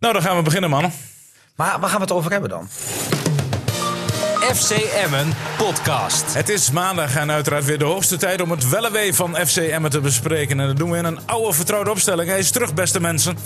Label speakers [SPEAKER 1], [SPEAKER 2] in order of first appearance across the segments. [SPEAKER 1] Nou, dan gaan we beginnen, mannen.
[SPEAKER 2] Maar waar gaan we het over hebben dan?
[SPEAKER 3] FC Emmen podcast.
[SPEAKER 1] Het is maandag en uiteraard weer de hoogste tijd om het wel en wee van FC Emmen te bespreken. En dat doen we in een oude vertrouwde opstelling. Hij is terug, beste mensen.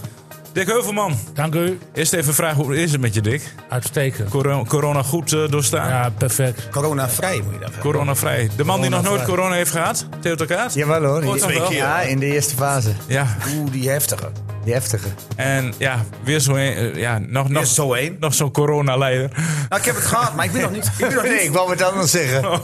[SPEAKER 1] Dick Heuvelman,
[SPEAKER 4] Dank u.
[SPEAKER 1] eerst even vragen hoe is het met je, Dick?
[SPEAKER 4] Uitstekend.
[SPEAKER 1] Coro- corona goed eh, doorstaan?
[SPEAKER 4] Ja, perfect.
[SPEAKER 2] Corona-vrij moet je dat
[SPEAKER 1] Coronavrij. De man die nog nooit
[SPEAKER 2] Coronavrij.
[SPEAKER 1] corona heeft gehad, Theo ter Kaat.
[SPEAKER 5] Jawel hoor.
[SPEAKER 1] Ooit nog wel.
[SPEAKER 5] Ja, in de eerste fase.
[SPEAKER 1] Ja,
[SPEAKER 2] Oeh, die heftige.
[SPEAKER 5] Die heftige.
[SPEAKER 1] en ja, weer zo een, eh, ja, nog, nog,
[SPEAKER 2] Nog zo één.
[SPEAKER 1] nog zo'n coronaleider.
[SPEAKER 2] Nou, ik heb het gehad, maar ik ben nog niet... Ik ben nog
[SPEAKER 5] Nee,
[SPEAKER 2] niet
[SPEAKER 5] ik wou het anders
[SPEAKER 2] Oh.
[SPEAKER 5] zeggen.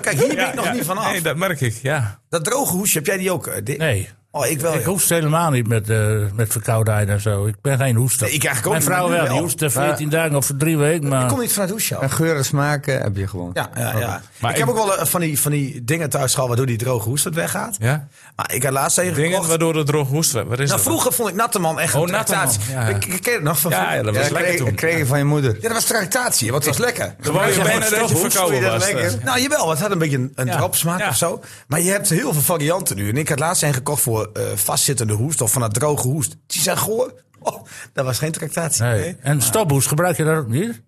[SPEAKER 2] kijk, hier ben
[SPEAKER 1] Ja,
[SPEAKER 2] ik nog
[SPEAKER 1] ja.
[SPEAKER 2] niet van af.
[SPEAKER 1] Nee, dat merk ik, ja.
[SPEAKER 2] Dat droge hoesje, heb jij die ook, eh, Dick?
[SPEAKER 4] Nee.
[SPEAKER 2] Oh, ik wel.
[SPEAKER 4] Ik
[SPEAKER 2] joh.
[SPEAKER 4] hoest helemaal niet met, eh, met verkoudheid en zo. Ik ben geen hoester.
[SPEAKER 2] Nee, ik eigenlijk ook
[SPEAKER 4] Mijn vrouw
[SPEAKER 2] niet, maar nu
[SPEAKER 4] wel. Die
[SPEAKER 2] wel.
[SPEAKER 4] hoestte 14 dagen of drie weken. Maar...
[SPEAKER 2] Ik kom niet vanuit het hoesje af.
[SPEAKER 5] En geur en smaak eh, heb je gewoon.
[SPEAKER 2] Ja, ja, ja.
[SPEAKER 1] Maar
[SPEAKER 2] ik,
[SPEAKER 1] ik-
[SPEAKER 2] heb ook wel eh, van die, van die dingen thuis gehad waardoor die droge hoest wat weggaat.
[SPEAKER 1] ja.
[SPEAKER 2] Maar ik had laatst even
[SPEAKER 1] Dingen
[SPEAKER 2] gekocht.
[SPEAKER 1] waardoor het droog hoest werd. Wat is
[SPEAKER 2] Nou,
[SPEAKER 1] dat?
[SPEAKER 2] vroeger vond ik Natteman echt
[SPEAKER 1] Oh,
[SPEAKER 2] een tractatie.
[SPEAKER 1] Natteman, ja.
[SPEAKER 2] Ik, ik ken het nog van
[SPEAKER 1] Ja,
[SPEAKER 2] vroeger.
[SPEAKER 1] ja, dat was
[SPEAKER 5] Ja,
[SPEAKER 1] lekker
[SPEAKER 5] kreeg,
[SPEAKER 1] toen.
[SPEAKER 5] kreeg je van je moeder.
[SPEAKER 2] Ja, dat was tractatie, want het was lekker.
[SPEAKER 1] Dan wou je
[SPEAKER 4] Ja,
[SPEAKER 1] bijna
[SPEAKER 4] maar
[SPEAKER 1] dat je
[SPEAKER 4] toch,
[SPEAKER 1] verkouden
[SPEAKER 5] hoest,
[SPEAKER 1] was. eh.
[SPEAKER 5] vind je dat lekker?
[SPEAKER 2] Nou, jawel, het had een beetje een, een
[SPEAKER 1] Ja.
[SPEAKER 2] dropsmaak
[SPEAKER 1] Ja.
[SPEAKER 2] of zo. Maar je hebt heel veel varianten nu. En ik had laatst een gekocht voor eh, vastzittende hoest of van dat droge hoest. Die zijn goor. Oh, dat was geen tractatie.
[SPEAKER 4] Nee.
[SPEAKER 2] Nee.
[SPEAKER 4] En stophoes, gebruik je dat ook niet?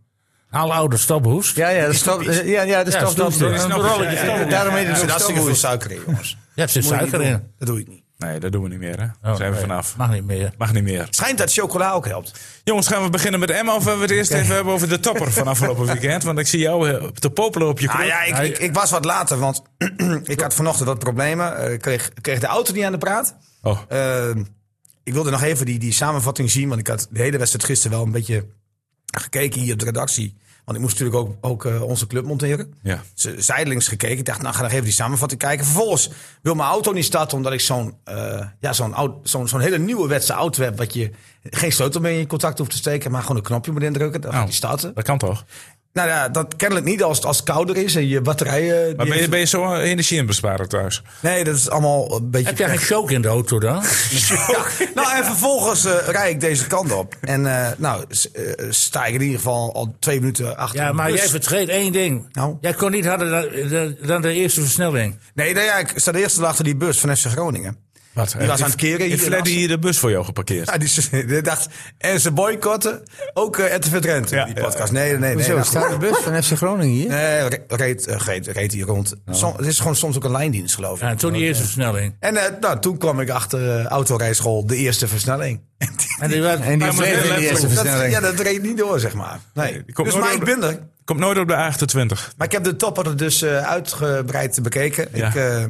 [SPEAKER 4] Alle oude stophoes.
[SPEAKER 5] Ja, ja, de stap. Ja, ja, de
[SPEAKER 4] Ja,
[SPEAKER 5] stap.
[SPEAKER 4] stophoes.
[SPEAKER 5] Ja,
[SPEAKER 4] Een
[SPEAKER 1] snap ik.
[SPEAKER 4] rolletje
[SPEAKER 1] Ja,
[SPEAKER 4] stophoes.
[SPEAKER 5] Daarom heet
[SPEAKER 2] Er
[SPEAKER 5] het
[SPEAKER 2] zit
[SPEAKER 5] ook
[SPEAKER 2] hartstikke
[SPEAKER 5] stophoes.
[SPEAKER 2] veel suiker in, jongens.
[SPEAKER 4] Ja, er zit
[SPEAKER 2] Moet je niet
[SPEAKER 4] suiker
[SPEAKER 2] doen.
[SPEAKER 4] in.
[SPEAKER 2] Dat doe ik niet.
[SPEAKER 1] Nee, dat doen we niet meer, hè.
[SPEAKER 4] Oh,
[SPEAKER 1] zijn we
[SPEAKER 4] nee,
[SPEAKER 1] vanaf.
[SPEAKER 4] Mag niet meer.
[SPEAKER 1] Mag niet meer.
[SPEAKER 2] Schijnt dat chocola ook helpt.
[SPEAKER 1] Jongens, gaan we beginnen met Emma of we het eerst even hebben over de topper van afgelopen weekend? Want ik zie jou eh, te popelen op je
[SPEAKER 2] Ah,
[SPEAKER 1] knop.
[SPEAKER 2] ja, ik, ik, ik was wat later, want ik had vanochtend wat problemen. Eh, Ik kreeg, kreeg de auto niet aan de praat.
[SPEAKER 1] Oh,
[SPEAKER 2] Eh, ik wilde nog even die, die samenvatting zien, want ik had de hele wedstrijd gisteren wel een beetje gekeken hier op de redactie. Want ik moest natuurlijk ook, ook eh, onze club monteren.
[SPEAKER 1] ja.
[SPEAKER 2] Z- Zijdelings gekeken. Ik dacht, nou ga nog even die samenvatting kijken. Vervolgens wil mijn auto niet starten, omdat ik zo'n eh, ja, zo'n oud- zo'n zo'n hele nieuwe wedstrijd auto heb. Wat je geen sleutel meer in je contact hoeft te steken, maar gewoon een knopje moet indrukken. Dan
[SPEAKER 1] Oh.
[SPEAKER 2] gaat die starten.
[SPEAKER 1] Dat kan toch?
[SPEAKER 2] Nou ja, dat kennelijk niet als het, als het kouder is en je batterijen. die
[SPEAKER 1] Maar ben je,
[SPEAKER 2] heeft-
[SPEAKER 1] ben je zo eh, energie in besparen thuis?
[SPEAKER 2] Nee, dat is allemaal een beetje.
[SPEAKER 4] Heb jij geen shock in de auto dan?
[SPEAKER 2] Ja. Nou, en vervolgens eh rij ik deze kant op. En eh, nou, s- eh, sta ik in ieder geval al twee minuten achter.
[SPEAKER 4] Ja,
[SPEAKER 2] de
[SPEAKER 4] maar
[SPEAKER 2] bus.
[SPEAKER 4] jij vergeet één ding.
[SPEAKER 2] Nou?
[SPEAKER 4] Jij kon niet harder dan- dan, dan de eerste versnelling.
[SPEAKER 2] Nee, nee ja, ik sta de eerste dag achter die bus van FC Groningen.
[SPEAKER 1] Wat?
[SPEAKER 2] Die was aan het keren
[SPEAKER 1] Ik
[SPEAKER 2] hier.
[SPEAKER 1] Fleddy hier de bus voor jou geparkeerd.
[SPEAKER 2] Ja, die, die dacht, en ze boycotten. Ook eh RTV Drenthe,
[SPEAKER 1] Ja,
[SPEAKER 2] die podcast. Nee, nee, nee.
[SPEAKER 5] Hoezo,
[SPEAKER 2] nee, nou,
[SPEAKER 5] staat de bus van FC Groningen hier?
[SPEAKER 2] nee, re- reed, eh, reed, reed hier rond.
[SPEAKER 1] Oh.
[SPEAKER 2] Som- het is gewoon soms ook een lijndienst, geloof ik.
[SPEAKER 4] Ja, en
[SPEAKER 5] Oh,
[SPEAKER 4] toen die eerste versnelling.
[SPEAKER 2] En eh, nou, toen kwam ik achter eh, autorijschool, de eerste versnelling.
[SPEAKER 4] En die werd,
[SPEAKER 5] En die
[SPEAKER 1] maar
[SPEAKER 5] bleef in
[SPEAKER 1] letterlijk.
[SPEAKER 5] de eerste
[SPEAKER 2] Dat,
[SPEAKER 5] versnelling.
[SPEAKER 2] ja, dat reed niet door, zeg maar.
[SPEAKER 1] Nee,
[SPEAKER 2] Nee.
[SPEAKER 1] die komt
[SPEAKER 2] dus,
[SPEAKER 1] nooit
[SPEAKER 2] maar
[SPEAKER 1] op
[SPEAKER 2] ik
[SPEAKER 1] de-
[SPEAKER 2] ben er.
[SPEAKER 1] Komt nooit op de A28.
[SPEAKER 2] Maar ik heb de topper dus eh, uitgebreid bekeken.
[SPEAKER 1] Ja.
[SPEAKER 2] Ik, eh,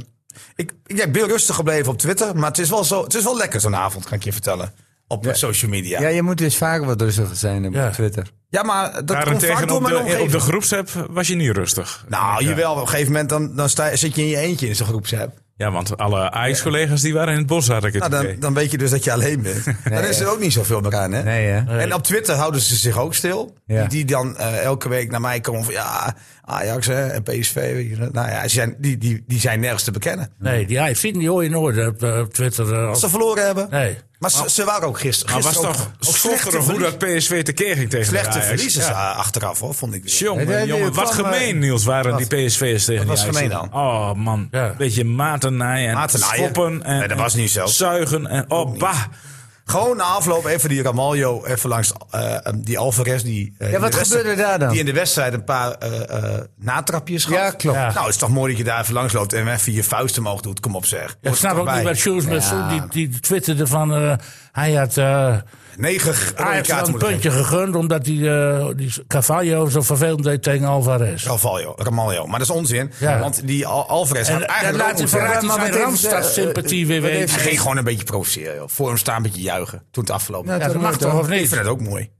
[SPEAKER 2] ik, ja, ik ben rustig gebleven op Twitter. Maar het is wel, zo, het is wel lekker zo'n avond, kan ik je vertellen. Op eh, social media.
[SPEAKER 5] Ja,
[SPEAKER 2] Ja,
[SPEAKER 5] je moet dus vaker wat rustiger zijn op
[SPEAKER 4] Ja.
[SPEAKER 5] Twitter.
[SPEAKER 2] maar dat komt vaak
[SPEAKER 1] Daarentegen
[SPEAKER 2] door
[SPEAKER 1] op
[SPEAKER 2] mijn
[SPEAKER 1] de,
[SPEAKER 2] omgeving.
[SPEAKER 1] op de groepsapp was je niet rustig.
[SPEAKER 2] nou, jawel. Op een gegeven moment dan, dan sta, zit je in je eentje in zo'n groepsapp.
[SPEAKER 1] Ja, want alle Ajax-collega's die waren in het bos, had ik het
[SPEAKER 2] Nou, dan,
[SPEAKER 1] idee.
[SPEAKER 2] dan weet je dus dat je alleen bent. dan is er ook niet zoveel meer aan, hè?
[SPEAKER 5] Nee, hè?
[SPEAKER 2] En op Twitter houden ze zich ook stil.
[SPEAKER 5] Ja.
[SPEAKER 2] Die, die dan eh, elke week naar mij komen van ja, Ajax hè, en PSV. Weet je. wel. Nou ja, ze zijn, die, die, die zijn nergens te bekennen.
[SPEAKER 4] nee, die hij ziet niet hoor je nooit op, eh, op Twitter. eh,
[SPEAKER 2] Als
[SPEAKER 4] als-
[SPEAKER 2] ze verloren hebben.
[SPEAKER 4] nee.
[SPEAKER 2] Maar ze, ze waren ook gisteren.
[SPEAKER 1] Maar was
[SPEAKER 2] gisteren ook,
[SPEAKER 1] toch
[SPEAKER 2] ook slechte,
[SPEAKER 1] schokkerig hoe
[SPEAKER 2] verlie-
[SPEAKER 1] dat PSV tekeer ging tegen de
[SPEAKER 2] slechte
[SPEAKER 1] Ajax.
[SPEAKER 2] verliezers
[SPEAKER 1] Ja.
[SPEAKER 2] eh, achteraf, hoor, vond ik. weer.
[SPEAKER 1] Jongen,
[SPEAKER 5] Nee, nee,
[SPEAKER 1] jongen,
[SPEAKER 5] het
[SPEAKER 1] wat
[SPEAKER 5] kwam,
[SPEAKER 1] gemeen,
[SPEAKER 5] eh,
[SPEAKER 1] Niels, waren die PSV'ers tegen
[SPEAKER 2] Wat
[SPEAKER 1] die
[SPEAKER 2] was
[SPEAKER 1] Ajax.
[SPEAKER 2] gemeen
[SPEAKER 1] Oh man,
[SPEAKER 4] Ja.
[SPEAKER 1] beetje matenij en
[SPEAKER 2] Maternaaien.
[SPEAKER 1] schoppen en,
[SPEAKER 2] Nee, dat was niet zo.
[SPEAKER 1] zuigen en oh bah.
[SPEAKER 2] Gewoon na afloop even die Ramaljo, even langs eh, die Alvarez. Die, eh, in de
[SPEAKER 5] wat
[SPEAKER 2] wedstrijd-
[SPEAKER 5] gebeurde daar dan?
[SPEAKER 2] Die in de wedstrijd een paar eh, eh, natrapjes gaf.
[SPEAKER 5] Ja, klopt.
[SPEAKER 4] Ja.
[SPEAKER 2] Nou, het is toch mooi dat je daar even langs loopt en even je vuisten omhoog doet. Kom op zeg.
[SPEAKER 4] Ik snap ook niet wat Jules met zo'n- die, die twitterde van... eh, hij had eh
[SPEAKER 2] Negen g- rode
[SPEAKER 4] Ajax
[SPEAKER 2] kaarten
[SPEAKER 4] wel een
[SPEAKER 2] moeten
[SPEAKER 4] puntje gegund... omdat die, eh, die Carvalho zo vervelend deed tegen Alvarez.
[SPEAKER 2] Ramaljo, Ramaljo. Maar dat is onzin.
[SPEAKER 4] Ja.
[SPEAKER 2] Want die Al- Alvarez had
[SPEAKER 4] En eh, dat
[SPEAKER 2] eigenlijk ook
[SPEAKER 4] laat je
[SPEAKER 2] moeten
[SPEAKER 4] vooruit
[SPEAKER 2] hebben.
[SPEAKER 4] die
[SPEAKER 5] maar
[SPEAKER 4] van
[SPEAKER 5] wat heeft,
[SPEAKER 4] eh, Randstad-sympathie weer
[SPEAKER 5] wat
[SPEAKER 4] weten.
[SPEAKER 5] heeft-
[SPEAKER 2] Hij ging gewoon een beetje provoceren. joh. Voor hem staan, een beetje juichen. Toen het afgelopen
[SPEAKER 5] Nou,
[SPEAKER 4] Ja, dat
[SPEAKER 5] toch
[SPEAKER 4] mag
[SPEAKER 5] nooit,
[SPEAKER 4] toch,
[SPEAKER 5] hoor.
[SPEAKER 4] of
[SPEAKER 2] Ik
[SPEAKER 4] niet?
[SPEAKER 2] vind het ook mooi.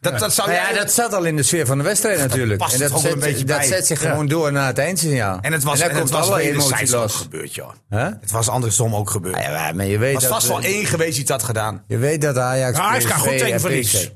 [SPEAKER 2] Dat, dat zou
[SPEAKER 5] Nou
[SPEAKER 2] jij-
[SPEAKER 5] ja, dat zat al in de sfeer van de wedstrijd natuurlijk.
[SPEAKER 2] past
[SPEAKER 5] en
[SPEAKER 2] het
[SPEAKER 5] dat,
[SPEAKER 2] ook wel
[SPEAKER 5] zet,
[SPEAKER 2] een beetje
[SPEAKER 5] dat
[SPEAKER 2] bij.
[SPEAKER 5] zet zich gewoon door naar het eindsignaal.
[SPEAKER 2] En het was,
[SPEAKER 5] daar
[SPEAKER 2] en het
[SPEAKER 5] komt
[SPEAKER 2] was
[SPEAKER 5] alle
[SPEAKER 2] enerzijds
[SPEAKER 5] emotie
[SPEAKER 2] ook
[SPEAKER 5] los.
[SPEAKER 2] gebeurd, joh.
[SPEAKER 5] Hè?
[SPEAKER 2] Het was andersom ook gebeurd.
[SPEAKER 5] Ja,
[SPEAKER 2] Er
[SPEAKER 5] maar- maar je weet
[SPEAKER 2] was
[SPEAKER 5] dat,
[SPEAKER 2] vast wel
[SPEAKER 5] eh,
[SPEAKER 2] één geweest die het had gedaan.
[SPEAKER 5] Je weet dat Ajax.
[SPEAKER 4] Nou, Ajax kan
[SPEAKER 5] PSV
[SPEAKER 4] goed tegen
[SPEAKER 5] en
[SPEAKER 4] verlies.
[SPEAKER 5] PSV.